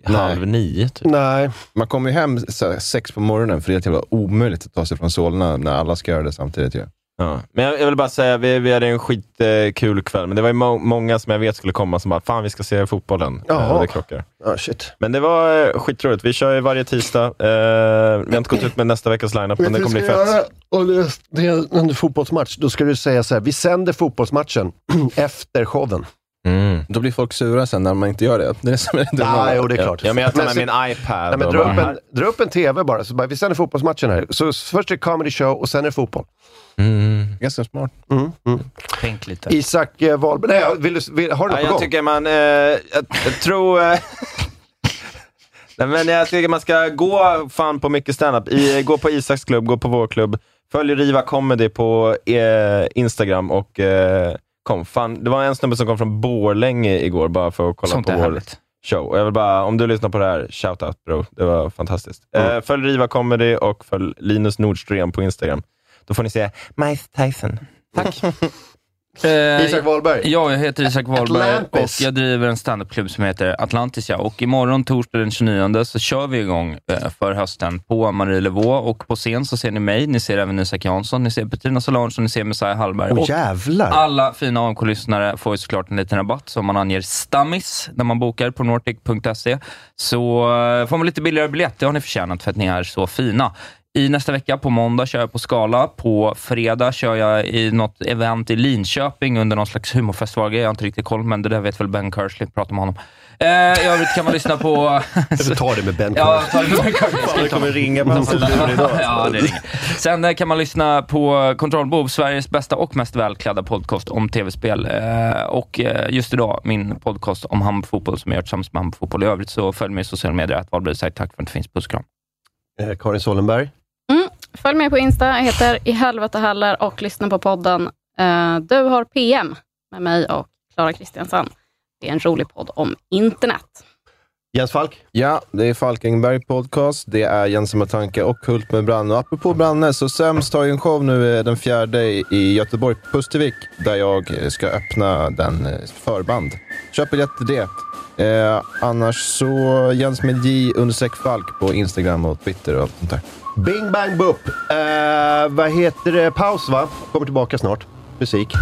[SPEAKER 4] halv nio. Typ.
[SPEAKER 1] Nej.
[SPEAKER 2] Man kommer ju hem så här, sex på morgonen för det är helt jävla omöjligt att ta sig från Solna när alla ska göra det samtidigt. Ju.
[SPEAKER 4] Ja. Men jag, jag vill bara säga, vi, vi hade en skitkul eh, kul kväll, men det var ju må- många som jag vet skulle komma som bara, fan vi ska se fotbollen.
[SPEAKER 1] Jaha.
[SPEAKER 4] Eh, det krockar.
[SPEAKER 1] Ja, shit.
[SPEAKER 4] Men det var eh, skitroligt. Vi kör ju varje tisdag. Eh, vi har inte gått ut med nästa veckas lineup, men det kommer bli fett.
[SPEAKER 1] Om det, det är en fotbollsmatch, då ska du säga så här, vi sänder fotbollsmatchen [clears throat] efter showen.
[SPEAKER 4] Mm.
[SPEAKER 2] Då blir folk sura sen när man inte gör det. Det är det som är det dumma.
[SPEAKER 1] Ja, jo, det är klart.
[SPEAKER 4] Ja, men jag tar med
[SPEAKER 1] så-
[SPEAKER 4] min iPad
[SPEAKER 1] Nej, men
[SPEAKER 4] och
[SPEAKER 1] dra,
[SPEAKER 4] bara-
[SPEAKER 1] upp en, dra upp en TV bara, så bara, vi sänder fotbollsmatchen här. Så först är det comedy show och sen är det fotboll.
[SPEAKER 2] Ganska smart.
[SPEAKER 1] Mm, mm.
[SPEAKER 3] Tänk lite.
[SPEAKER 1] Isak eh, Wahlberg, nej, vill du, vill, har du något
[SPEAKER 4] Ja,
[SPEAKER 1] på
[SPEAKER 4] jag
[SPEAKER 1] gång?
[SPEAKER 4] tycker man, eh, jag, jag tror... Eh, [laughs] Nej, men jag tycker man ska gå fan på mycket standup. I, gå på Isaks klubb, gå på vår klubb. Följ Riva Comedy på eh, Instagram och eh, kom. Fan, det var en snubbe som kom från Borlänge igår bara för att kolla
[SPEAKER 3] Sånt
[SPEAKER 4] på
[SPEAKER 3] är
[SPEAKER 4] vår
[SPEAKER 3] härligt.
[SPEAKER 4] show. Och jag vill bara, om du lyssnar på det här, shout out bro. Det var fantastiskt.
[SPEAKER 1] Mm.
[SPEAKER 4] Eh, följ Riva Comedy och följ Linus Nordström på Instagram. Då får ni se Mike Tyson. Tack.
[SPEAKER 3] Eh,
[SPEAKER 1] Isak Wahlberg.
[SPEAKER 3] Ja, jag heter Isak Wahlberg
[SPEAKER 1] Atlantis.
[SPEAKER 3] och jag driver en standupklubb som heter Atlantis. Ja. Och imorgon, torsdag den 29, så kör vi igång eh, för hösten på Marielevå och på scen så ser ni mig, ni ser även Isak Jansson, ni ser Petrina Solange och ni ser Messiah Hallberg.
[SPEAKER 1] Åh,
[SPEAKER 3] Och
[SPEAKER 1] jävlar.
[SPEAKER 3] Alla fina AMK-lyssnare får ju såklart en liten rabatt som man anger stammis när man bokar på nortic.se. Så eh, får man lite billigare biljett, det har ni förtjänat för att ni är så fina. I nästa vecka, på måndag, kör jag på Skala. På fredag kör jag i något event i Linköping under någon slags humorfestival. Jag har inte riktigt koll, men det där vet väl Ben Kersley. Prata med honom. Eh, I övrigt kan man lyssna på... [laughs]
[SPEAKER 1] Ta det med Ben
[SPEAKER 3] Ja,
[SPEAKER 1] Carson.
[SPEAKER 3] ta det med Ben Carson. Jag ska
[SPEAKER 1] Det
[SPEAKER 3] ta
[SPEAKER 1] kommer
[SPEAKER 3] honom.
[SPEAKER 1] ringa på hans telefon idag.
[SPEAKER 3] ja, det ringer. Sen eh, kan man lyssna på Kontrollbov, Sveriges bästa och mest välklädda podcast om tv-spel. Eh, Och eh, just idag, min podcast om handbollsfotboll som jag gör tillsammans med handbollsfotboll. I övrigt så följ mig i sociala medier, att Wahlberg säger tack för att det finns. Puss och kram.
[SPEAKER 1] Eh, Karin Sollenberg.
[SPEAKER 7] Mm. Följ mig på Insta, jag heter i helvete hallar och lyssna på podden eh, Du har PM med mig och Klara Kristiansson. Det är en rolig podd om internet.
[SPEAKER 1] Jens Falk?
[SPEAKER 4] Ja, det är Falkenberg Podcast. Det är Jens med tanke och Hult med Branne. Och apropå Branne, så Sämst har ju en show nu eh, den fjärde i- i Göteborg, på Pustervik, där jag eh, ska öppna den eh, förband. Köp biljett till det. Eh, annars så Jens med J understreck Falk på Instagram och Twitter och allt sånt där.
[SPEAKER 1] Bing bang boop. Eh, vad heter det? Paus va? Kommer tillbaka snart. Musik.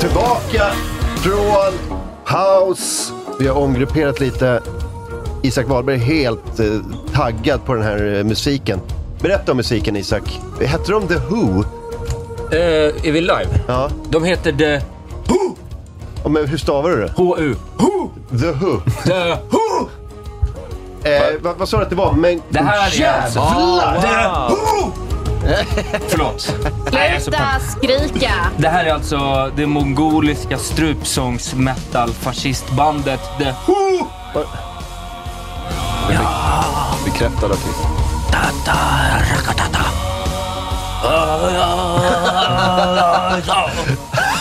[SPEAKER 1] Tillbaka från house. Vi har omgrupperat lite. Isak Wahlberg är helt eh, taggad på den här eh, musiken. Berätta om musiken Isak. Hette de The Who?
[SPEAKER 3] Eh, är vi live?
[SPEAKER 1] Ja.
[SPEAKER 3] De heter The
[SPEAKER 1] Who! Ja, men hur stavar du det?
[SPEAKER 3] H-U.
[SPEAKER 1] Who! The Who.
[SPEAKER 3] The
[SPEAKER 1] Who! Eh, vad, vad sa du att det var? Men
[SPEAKER 3] Det här är alltså-
[SPEAKER 1] jävlar!
[SPEAKER 3] Ah,
[SPEAKER 1] The
[SPEAKER 3] wow.
[SPEAKER 1] Who!
[SPEAKER 3] [laughs] Förlåt. Nej, jag är så pepp.
[SPEAKER 7] Sluta skrika!
[SPEAKER 3] Det här är alltså det mongoliska strupsångs metal fascistbandet The Who!
[SPEAKER 4] Bekräftad artist.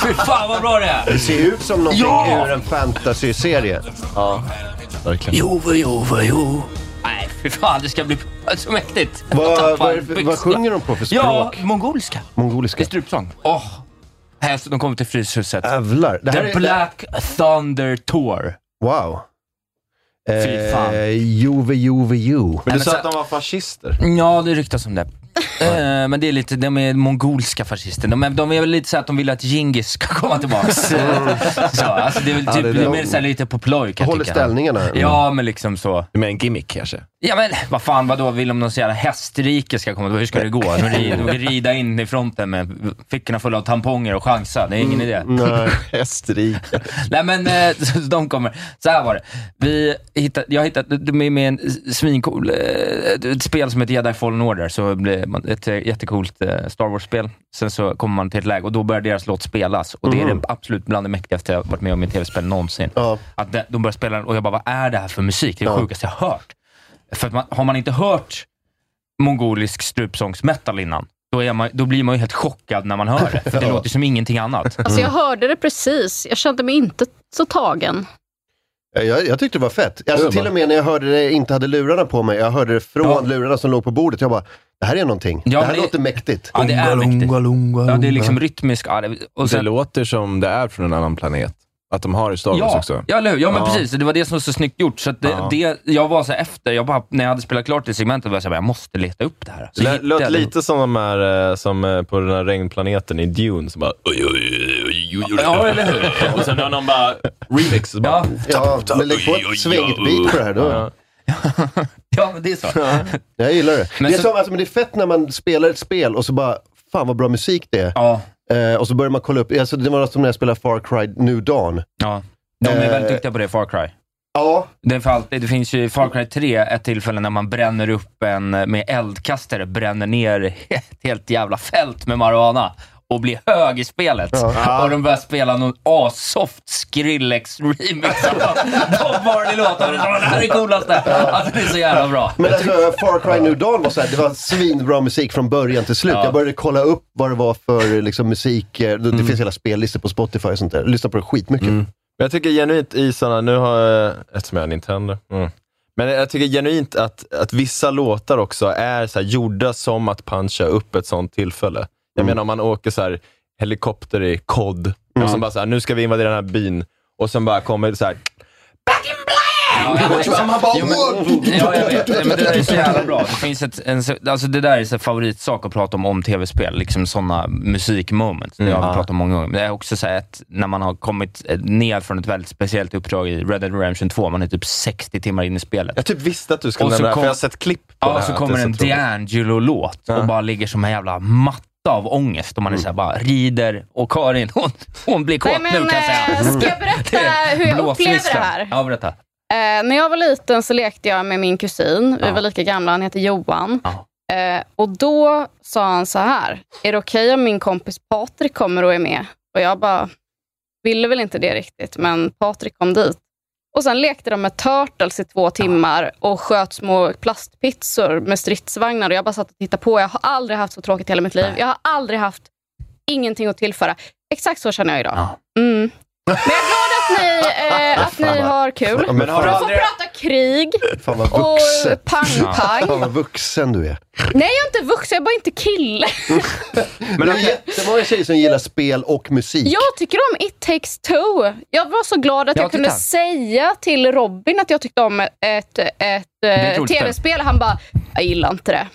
[SPEAKER 3] Fy fan vad bra det är!
[SPEAKER 1] Det ser ut som någonting
[SPEAKER 3] Ja!
[SPEAKER 1] ur en fantasy-serie. Ja, verkligen.
[SPEAKER 3] jo. Nej, fy fan det ska bli så mäktigt. Jag
[SPEAKER 1] Vad,
[SPEAKER 3] tappar
[SPEAKER 1] vad,
[SPEAKER 3] byxorna.
[SPEAKER 1] vad sjunger de på för
[SPEAKER 3] Ja,
[SPEAKER 1] språk?
[SPEAKER 3] mongoliska.
[SPEAKER 1] Mongoliska.
[SPEAKER 3] Det är strupsång. Åh! Här, så de kommer till Fryshuset.
[SPEAKER 1] Jävlar. Det Äh, här
[SPEAKER 3] The
[SPEAKER 1] är-
[SPEAKER 3] Black Thunder Tour.
[SPEAKER 1] Wow. Eh,
[SPEAKER 3] Fy fan.
[SPEAKER 1] Jove, jove, jo.
[SPEAKER 3] Men du sa att de
[SPEAKER 4] var fascister.
[SPEAKER 3] Ja, det ryktas om det. Eh, Men det är lite, de är mongolska fascister. De är, de är väl lite så att de vill att Djingis ska komma tillbaka.
[SPEAKER 1] [laughs]
[SPEAKER 3] så, alltså det är väl
[SPEAKER 1] Mm. Ja,
[SPEAKER 3] typ,
[SPEAKER 1] det är
[SPEAKER 3] det är
[SPEAKER 1] de-
[SPEAKER 3] mer så här lite på ploj kan jag
[SPEAKER 1] Håller
[SPEAKER 3] tycka.
[SPEAKER 1] ställningarna.
[SPEAKER 3] Ja, men liksom så.
[SPEAKER 4] Med en gimmick kanske?
[SPEAKER 3] Ja men vad fan, vadå, vill de någon så jävla hästrike ska komma? Hur ska det gå? De vill- de vill rida in i fronten med fickorna fulla av tamponger och chansa. Det är
[SPEAKER 1] Mm.
[SPEAKER 3] ingen idé. [laughs]
[SPEAKER 4] Nej, Österrike.
[SPEAKER 3] Nej men eh, [laughs] så de kommer. Så här var det. Vi hittade, jag hittade de är med en svincool, eh, ett spel som heter Jedi Fallen Order. Så blir man- ett eh, jättecoolt eh, Star Wars-spel. Sen så kommer man till ett läge och då börjar deras låt spelas. Och det är
[SPEAKER 1] Mhm.
[SPEAKER 3] det absolut bland det mäktigaste jag varit med om i ett tv-spel någonsin. Att de, de börjar spela den och jag bara, vad är det här för musik? Det är det
[SPEAKER 1] Ja.
[SPEAKER 3] sjukaste jag har hört. För att man, har man inte hört mongolisk strupsångsmetal innan, då, är man, då blir man ju helt chockad när man hör det. För det
[SPEAKER 1] [laughs] Ja.
[SPEAKER 3] låter som ingenting annat.
[SPEAKER 7] Alltså jag hörde det precis. Jag kände mig inte så tagen.
[SPEAKER 1] Eh, Jag, jag tyckte det var fett. Alltså, till och med när jag hörde det, inte hade lurarna på mig. Jag hörde det från lurarna som låg på bordet. Jag bara, det här är någonting.
[SPEAKER 3] Ja,
[SPEAKER 1] det här
[SPEAKER 3] men det-
[SPEAKER 1] låter mäktigt.
[SPEAKER 3] Ja, det är mäktigt. Ja, det är liksom rytmisk. Ja, det, och sen,
[SPEAKER 4] det låter som det är från en annan planet. Att de har i Star Wars
[SPEAKER 3] ja,
[SPEAKER 4] också.
[SPEAKER 3] ja, eller hur? Ja, men precis. Det var det som var så snyggt gjort. Så att det,
[SPEAKER 4] Ja.
[SPEAKER 3] det, jag var så här efter, jag bara, när jag hade spelat klart det segmentet, var jag så här, jag måste leta upp det här. Så
[SPEAKER 2] Lät,
[SPEAKER 3] hittade
[SPEAKER 2] lät
[SPEAKER 3] jag det.
[SPEAKER 2] lite som de här eh, som eh, på den här regnplaneten i Dune som bara... Oj, oj, oj, oj, oj.
[SPEAKER 3] Ja, eller hur?
[SPEAKER 2] [laughs] Och sen har någon bara remix. och Bara,
[SPEAKER 1] Ja, men lägg på ett svängigt
[SPEAKER 3] uh.
[SPEAKER 1] beat på det här då.
[SPEAKER 2] Ja.
[SPEAKER 3] Ja, men det är så.
[SPEAKER 1] Jag gillar det.
[SPEAKER 3] Men
[SPEAKER 1] det, är
[SPEAKER 3] så-
[SPEAKER 1] som, alltså, men det är fett när man spelar ett spel och så bara, fan vad bra musik det är. Eh, och så börjar man kolla upp, alltså, det var som när jag spelade Far Cry New Dawn.
[SPEAKER 3] Ja, de är
[SPEAKER 1] Eh,
[SPEAKER 3] väldigt duktiga på det, Far Cry.
[SPEAKER 1] Ja.
[SPEAKER 3] Det, är för alltid, det finns ju i Far Cry 3 ett tillfälle när man bränner upp en med eldkastare, bränner ner ett helt jävla fält med marijuana. och blir hög i spelet.
[SPEAKER 1] Ja.
[SPEAKER 3] Och de börjar spela någon assoft Skrillex-remix [laughs] av Bob Marley-låt. Och de bara, Det här är coolaste! Alltså det är så jävla bra.
[SPEAKER 1] Men alltså,
[SPEAKER 3] [laughs]
[SPEAKER 1] Far Cry New Dawn var så här, det var svinbra musik från början till slut. Jag började kolla upp vad det var för liksom, musik. eh, Det, det
[SPEAKER 3] Mm.
[SPEAKER 1] finns hela spellistor på Spotify och sånt där. Lyssna på det skitmycket.
[SPEAKER 2] Men jag tycker genuint i sådana, nu har jag, eftersom jag har Nintendo. Mm. Men jag tycker genuint att, att vissa låtar också är så här, gjorda som att puncha upp ett sånt tillfälle. Jag
[SPEAKER 7] Mm.
[SPEAKER 2] menar om man åker så här, helikopter i kod och
[SPEAKER 1] Mm.
[SPEAKER 2] sen bara så här, nu ska vi invadera den här byn och sen bara kommer det så här.
[SPEAKER 3] Man bara, "Wow!" Ja, jag vet. Nej, men det där är så jävla bra. Det, finns ett, en, alltså det där är så här favoritsak att prata om om tv-spel, liksom sådana musikmoments. Det har vi
[SPEAKER 2] Mm.
[SPEAKER 3] pratat om många gånger. Men det är också så här att när man har kommit eh, ner från ett väldigt speciellt uppdrag i Red Dead Redemption 2, man är typ 60 timmar in i spelet.
[SPEAKER 2] Jag typ visste att du skulle nämna det här, för jag har sett klipp på
[SPEAKER 3] ja,
[SPEAKER 2] det här,
[SPEAKER 3] så
[SPEAKER 2] att
[SPEAKER 3] kommer
[SPEAKER 2] det är
[SPEAKER 3] en
[SPEAKER 2] så otroligt.
[SPEAKER 3] D'Angelo-låt och bara ligger som en jävla matta av ångest och man är såhär bara rider och Karin, hon, hon blir kåt
[SPEAKER 7] Nej, men,
[SPEAKER 3] nu kan jag säga.
[SPEAKER 7] eh, ska jag berätta hur jag upplever det
[SPEAKER 3] Blåsfriskan.
[SPEAKER 7] här?
[SPEAKER 3] Ja, berätta.
[SPEAKER 7] Eh, när jag var liten så lekte jag med min kusin. Vi var lika gamla. Han heter Johan. Eh, och då sa han så här. Är det okej om min kompis Patrik kommer och är med? Och jag bara ville väl inte det riktigt, men Patrik kom dit. Och sen lekte de med Turtles i två timmar och sköt små plastpizzor med stridsvagnar. Och jag bara satt och tittade på. Jag har aldrig haft så tråkigt i hela mitt liv. Jag har aldrig haft ingenting att tillföra. Exakt så känner jag idag. Mm. Men jag är glad att ni, eh, att ni har kul.
[SPEAKER 1] Ja, men har du
[SPEAKER 7] Vi får
[SPEAKER 1] aldrig-
[SPEAKER 7] prata krig.
[SPEAKER 1] Fan vad
[SPEAKER 7] Och
[SPEAKER 1] vuxen.
[SPEAKER 7] pang-pang.
[SPEAKER 1] Fan vad vuxen du är.
[SPEAKER 7] Nej, jag är inte vuxen. Jag är bara inte kille.
[SPEAKER 1] Men det är jättemånga tjejer som gillar spel och musik.
[SPEAKER 7] Jag tycker om It takes two. Jag var så glad att
[SPEAKER 1] Ja,
[SPEAKER 7] jag kunde
[SPEAKER 1] titta.
[SPEAKER 7] säga till Robin att jag tyckte om ett, ett,
[SPEAKER 1] är ett
[SPEAKER 7] eh,
[SPEAKER 1] roligt
[SPEAKER 7] tv-spel. Han bara, jag gillar inte det.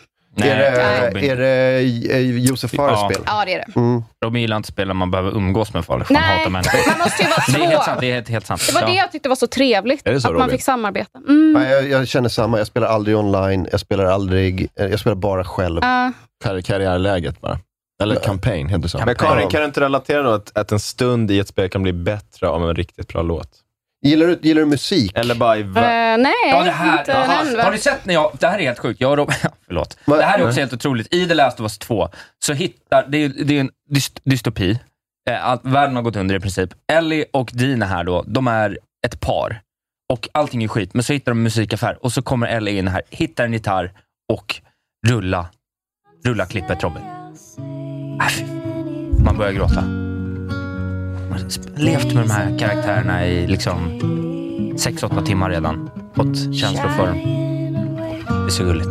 [SPEAKER 1] är, det,
[SPEAKER 3] Robin.
[SPEAKER 1] är det eh, Josef Fares spel? Mm.
[SPEAKER 7] Ja, det är det.
[SPEAKER 3] De gillar inte spel när man behöver umgås med folk. för Man
[SPEAKER 7] Nej,
[SPEAKER 3] hatar
[SPEAKER 7] [laughs]
[SPEAKER 3] människor.
[SPEAKER 7] man måste ju vara
[SPEAKER 3] Det är helt
[SPEAKER 7] två.
[SPEAKER 3] sant. Det är helt, helt sant.
[SPEAKER 7] Det var det jag tyckte var så trevligt.
[SPEAKER 1] Är det så,
[SPEAKER 7] att man
[SPEAKER 1] Robin?
[SPEAKER 7] fick samarbeta. Mm.
[SPEAKER 1] Nej, jag, jag känner samma. Jag spelar aldrig online. Jag spelar aldrig... eh, Jag spelar bara själv.
[SPEAKER 7] Ah.
[SPEAKER 4] Kar- karriärläget bara. Eller campaign, heter det så.
[SPEAKER 2] Men Karin, kan du inte relatera då att, att en stund i ett spel kan bli bättre av en riktigt bra låt?
[SPEAKER 1] Gillar du, gillar du musik?
[SPEAKER 2] Eller bara i... va-
[SPEAKER 4] Äh.
[SPEAKER 7] Eh, nej,
[SPEAKER 3] Ja, det här,
[SPEAKER 7] inte
[SPEAKER 3] aha,
[SPEAKER 7] nämnvärt.
[SPEAKER 3] har du sett när jag... Det här är helt sjukt. Jag och [laughs] Robin, förlåt. Det här är också
[SPEAKER 2] Nej.
[SPEAKER 3] helt otroligt. I The Last of Us 2 så hittar... Det är, det är en dyst, dystopi. Eh, Allt, världen har gått under i princip. Ellie och Dina här då, de är ett par. Och allting är skit, men så hittar de en musikaffär och så kommer Ellie in här, hittar en gitarr och rulla, rulla klippet Robin. Äh, fy. Man börjar gråta. Man har sp- levt med de här karaktärerna i liksom 6-8 timmar redan. Fått känslor för dem. Det är så gulligt.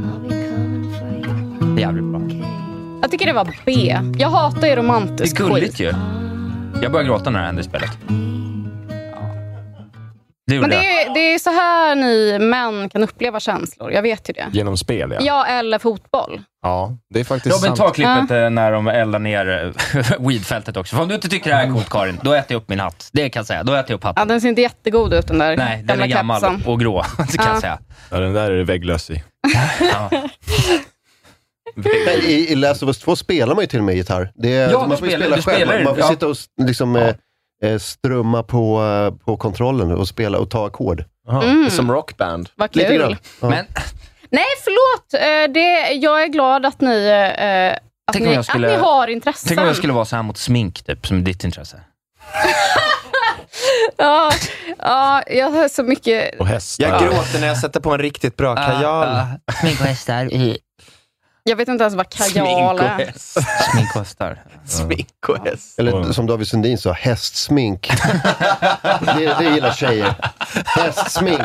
[SPEAKER 3] Det är jävligt bra.
[SPEAKER 7] Jag tycker det var B. Jag hatar ju
[SPEAKER 3] Det är
[SPEAKER 7] romantisk
[SPEAKER 3] gulligt ju. Jag börjar gråta när det händer i spelet. Ja. Det gjorde
[SPEAKER 7] Men det
[SPEAKER 3] jag.
[SPEAKER 7] är, det är så här ni män kan uppleva känslor. Jag vet ju det.
[SPEAKER 4] Genom spel, ja.
[SPEAKER 7] Ja, eller fotboll.
[SPEAKER 4] Ja, det är faktiskt
[SPEAKER 3] Robin, ta
[SPEAKER 4] sant.
[SPEAKER 3] klippet eh, när de eldar ner eh, [laughs] weedfältet också. För om du inte tycker det här är coolt, Karin, då äter jag upp min hatt. Det kan jag säga. Då äter jag upp hatten.
[SPEAKER 7] Ja, den ser inte jättegod ut den
[SPEAKER 3] [laughs]
[SPEAKER 7] där
[SPEAKER 3] Nej, den är gammal
[SPEAKER 7] kepsen.
[SPEAKER 3] och grå. [laughs] Det kan
[SPEAKER 7] Ja.
[SPEAKER 3] jag säga.
[SPEAKER 2] Ja, den där är det vägglös i.
[SPEAKER 1] Nej, I, I Last of Us 2 spelar man ju till och med gitarr. Det är,
[SPEAKER 3] Ja,
[SPEAKER 1] man
[SPEAKER 3] du
[SPEAKER 1] får ju
[SPEAKER 3] spelar-
[SPEAKER 1] spela
[SPEAKER 3] du
[SPEAKER 1] själv.
[SPEAKER 3] spelar ju,
[SPEAKER 1] man får
[SPEAKER 3] ja.
[SPEAKER 1] sitta och s- liksom, eh, eh, strumma på, eh, på kontrollen och spela och ta ackord.
[SPEAKER 7] Mm. Som
[SPEAKER 2] rockband.
[SPEAKER 7] Vad kul.
[SPEAKER 3] Men,
[SPEAKER 7] Nej, förlåt. Eh, Det, jag är glad att ni, eh, att
[SPEAKER 3] Tänk om
[SPEAKER 7] ni,
[SPEAKER 3] jag skulle-
[SPEAKER 7] att ni har intressen.
[SPEAKER 3] tänk om jag skulle vara så här mot smink, typ, som ditt intresse.
[SPEAKER 7] ja, ja, jag har så mycket...
[SPEAKER 4] Och hästar.
[SPEAKER 2] Jag gråter när jag sätter på en riktigt bra
[SPEAKER 4] Äh,
[SPEAKER 2] kajal.
[SPEAKER 3] smink och hästar.
[SPEAKER 7] Jag vet inte ens vad kajal är.
[SPEAKER 3] Smink och hästar.
[SPEAKER 2] Smink och
[SPEAKER 4] [laughs]
[SPEAKER 2] häst.
[SPEAKER 1] Eller som David Sundin sa, hästsmink. det, det gillar tjejer. Hästsmink.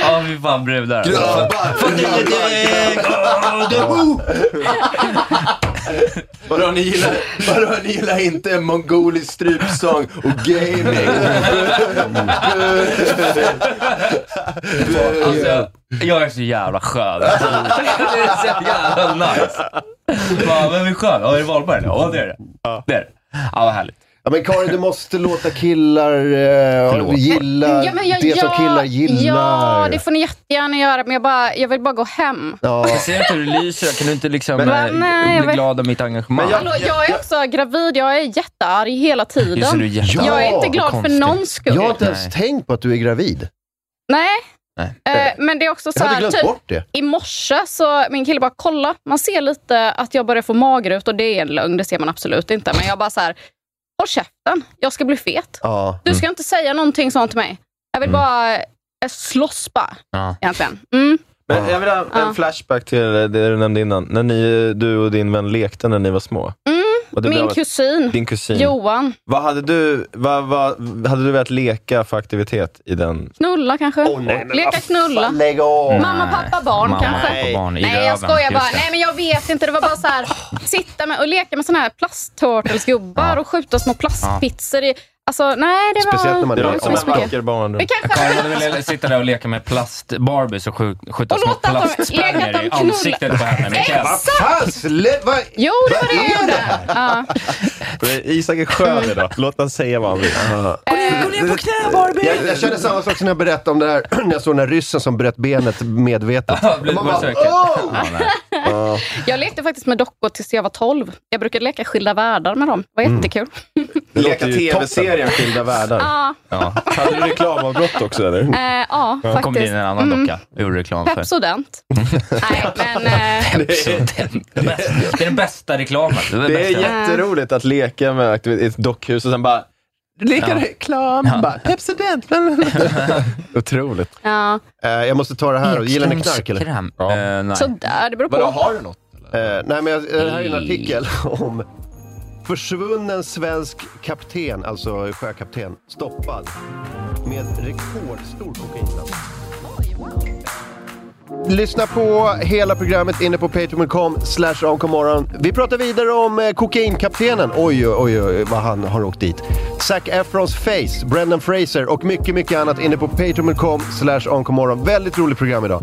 [SPEAKER 3] Ja, vi fan brudar. alltså.
[SPEAKER 2] Vadå, ni gillar, vadå, ni gillar inte en mongolisk strypsång och gaming?
[SPEAKER 3] Alltså, jag är så jävla skön. Alltså, det är så jävla nice. Bara, vem är skön? Ja, är det Wahlberg? eller? Ja, det är det. Det är det. Ja, vad härligt.
[SPEAKER 1] Ja, men Karin, du måste låta killar eh, gilla
[SPEAKER 7] Ja, men jag-
[SPEAKER 1] det som
[SPEAKER 7] ja,
[SPEAKER 1] killar gillar.
[SPEAKER 7] Ja, det får ni jättegärna göra, men jag, bara, jag vill bara gå hem.
[SPEAKER 1] Ja.
[SPEAKER 3] Jag ser inte hur du lyser. Jag kan du inte liksom
[SPEAKER 7] Men-
[SPEAKER 3] eh,
[SPEAKER 7] Nej, jag
[SPEAKER 3] bli
[SPEAKER 7] vet-
[SPEAKER 3] glad av mitt engagemang?
[SPEAKER 7] Hallå, jag är också gravid, jag är jättearg hela tiden.
[SPEAKER 3] Just det, du är jättearg.
[SPEAKER 7] jag är inte
[SPEAKER 3] Ja,
[SPEAKER 7] glad för
[SPEAKER 3] konstigt.
[SPEAKER 7] någon skull.
[SPEAKER 1] Jag har inte ens tänkt på att du är gravid.
[SPEAKER 7] Nej,
[SPEAKER 3] Nej.
[SPEAKER 4] Eh, men det är också så
[SPEAKER 1] Jag hade
[SPEAKER 4] här,
[SPEAKER 1] glömt
[SPEAKER 4] typ,
[SPEAKER 1] bort det.
[SPEAKER 4] i morse så min kille bara kolla, man ser lite att jag börjar få magrut och det är en lögn, det ser man absolut inte. Men jag bara så här, håll käften, jag ska bli fet.
[SPEAKER 1] Ja.
[SPEAKER 4] Du ska inte säga någonting sånt till mig. Jag vill bara eh, slåss bara,
[SPEAKER 2] Ja.
[SPEAKER 4] egentligen. Mm.
[SPEAKER 2] Men jag vill ha
[SPEAKER 4] Ja.
[SPEAKER 2] en flashback till det du nämnde innan. När ni, du och din vän lekte när ni var små. Och det
[SPEAKER 4] Mm, Min
[SPEAKER 2] blev att-
[SPEAKER 4] kusin,
[SPEAKER 2] Din kusin.
[SPEAKER 4] Johan,
[SPEAKER 2] Vad hade du, vad, vad hade du velat leka för aktivitet i den?
[SPEAKER 4] knulla kanske? Leka knulla.
[SPEAKER 1] Lägg av.
[SPEAKER 4] Mamma, pappa, barn
[SPEAKER 2] Mamma,
[SPEAKER 4] kanske?
[SPEAKER 2] pappa, barn i
[SPEAKER 4] Nej, jag
[SPEAKER 2] röven.
[SPEAKER 4] skojar bara.
[SPEAKER 2] Just det.
[SPEAKER 4] Nej, men jag vet inte. Det var bara så här, sitta med och leka med såna här plasttårtelsgubbar och skjuta små plastpizzor i... Alltså, nej, det var... det var inte så mycket.
[SPEAKER 2] barn.
[SPEAKER 4] Vi kanske-
[SPEAKER 3] Karin hade velat sitta där och leka med plast-Barbies och skjut- skjuta små
[SPEAKER 4] låta dem- leka att
[SPEAKER 3] plastspänger
[SPEAKER 4] de
[SPEAKER 3] i
[SPEAKER 4] knullar.
[SPEAKER 3] ansiktet på henne. med kniv.
[SPEAKER 4] Exakt! Jo, det var det jag gjorde. Ja.
[SPEAKER 2] Isak är [laughs] skön idag. Låt han säga vad han vill.
[SPEAKER 1] Jag, jag kände samma sak som när jag berättade om det här, [clears throat] när jag såg den här ryssen som bröt benet medvetet.
[SPEAKER 3] blir-
[SPEAKER 1] Man
[SPEAKER 3] var
[SPEAKER 1] bara,
[SPEAKER 3] säker.
[SPEAKER 1] "Åh!"
[SPEAKER 3] Ja, nej.
[SPEAKER 1] Ja.
[SPEAKER 4] Jag lekte faktiskt med dockor tills jag var 12. Jag brukade leka skilda världar med dem. Det var
[SPEAKER 2] Mm.
[SPEAKER 4] jättekul.
[SPEAKER 2] Leka tv-serien Skilda världar.
[SPEAKER 4] Ja.
[SPEAKER 2] Hade du reklamavbrott också eller?
[SPEAKER 4] Eh, ja,
[SPEAKER 2] Ja,
[SPEAKER 4] faktiskt.
[SPEAKER 2] kom det in en annan
[SPEAKER 4] Mm.
[SPEAKER 2] docka?
[SPEAKER 3] Jag gjorde reklam för. [laughs]
[SPEAKER 1] [laughs]
[SPEAKER 4] Pepsodent. nej, men... Eh,
[SPEAKER 3] Pepsodent. Det är bäst- det är den bästa reklamen. är den
[SPEAKER 2] Det är
[SPEAKER 3] bästa.
[SPEAKER 2] jätteroligt att leka med aktivitet i ett dockhus och sen bara Leka
[SPEAKER 1] Ja.
[SPEAKER 2] reklam,
[SPEAKER 1] Ja.
[SPEAKER 2] bara Pepsodent. Otroligt.
[SPEAKER 4] ja.
[SPEAKER 1] Eh, jag måste ta det här och gillar ni knark eller?
[SPEAKER 2] Ja.
[SPEAKER 3] Eh,
[SPEAKER 4] Sådär, det beror på.
[SPEAKER 2] något?
[SPEAKER 1] Eh, nej, men jag, det här är en artikel [laughs] om försvunnen svensk kapten, alltså sjökapten, stoppad med rekordstor kokainlast. Lyssna på hela programmet inne på patreon.com slash onkomorron. Vi pratar vidare om eh, kokainkaptenen. Oj, oj, oj, vad han har åkt dit. Zac Efrons Face, Brendan Fraser och mycket, mycket annat inne på patreon.com slash onkomorron. Väldigt roligt program idag.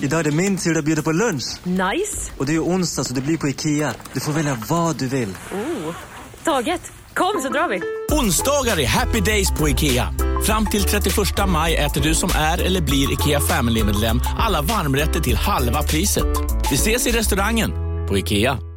[SPEAKER 17] Idag är det min tur att bjuda på lunch. Nice. Och det är ju onsdag så det blir på Ikea. Du får välja vad du vill.
[SPEAKER 18] Oh. Taget. Kom så drar vi.
[SPEAKER 5] Onsdagar är happy days på IKEA. Fram till 31 maj äter du som är eller blir IKEA Family-medlem alla varmrätter till halva priset. Vi ses i restaurangen på IKEA.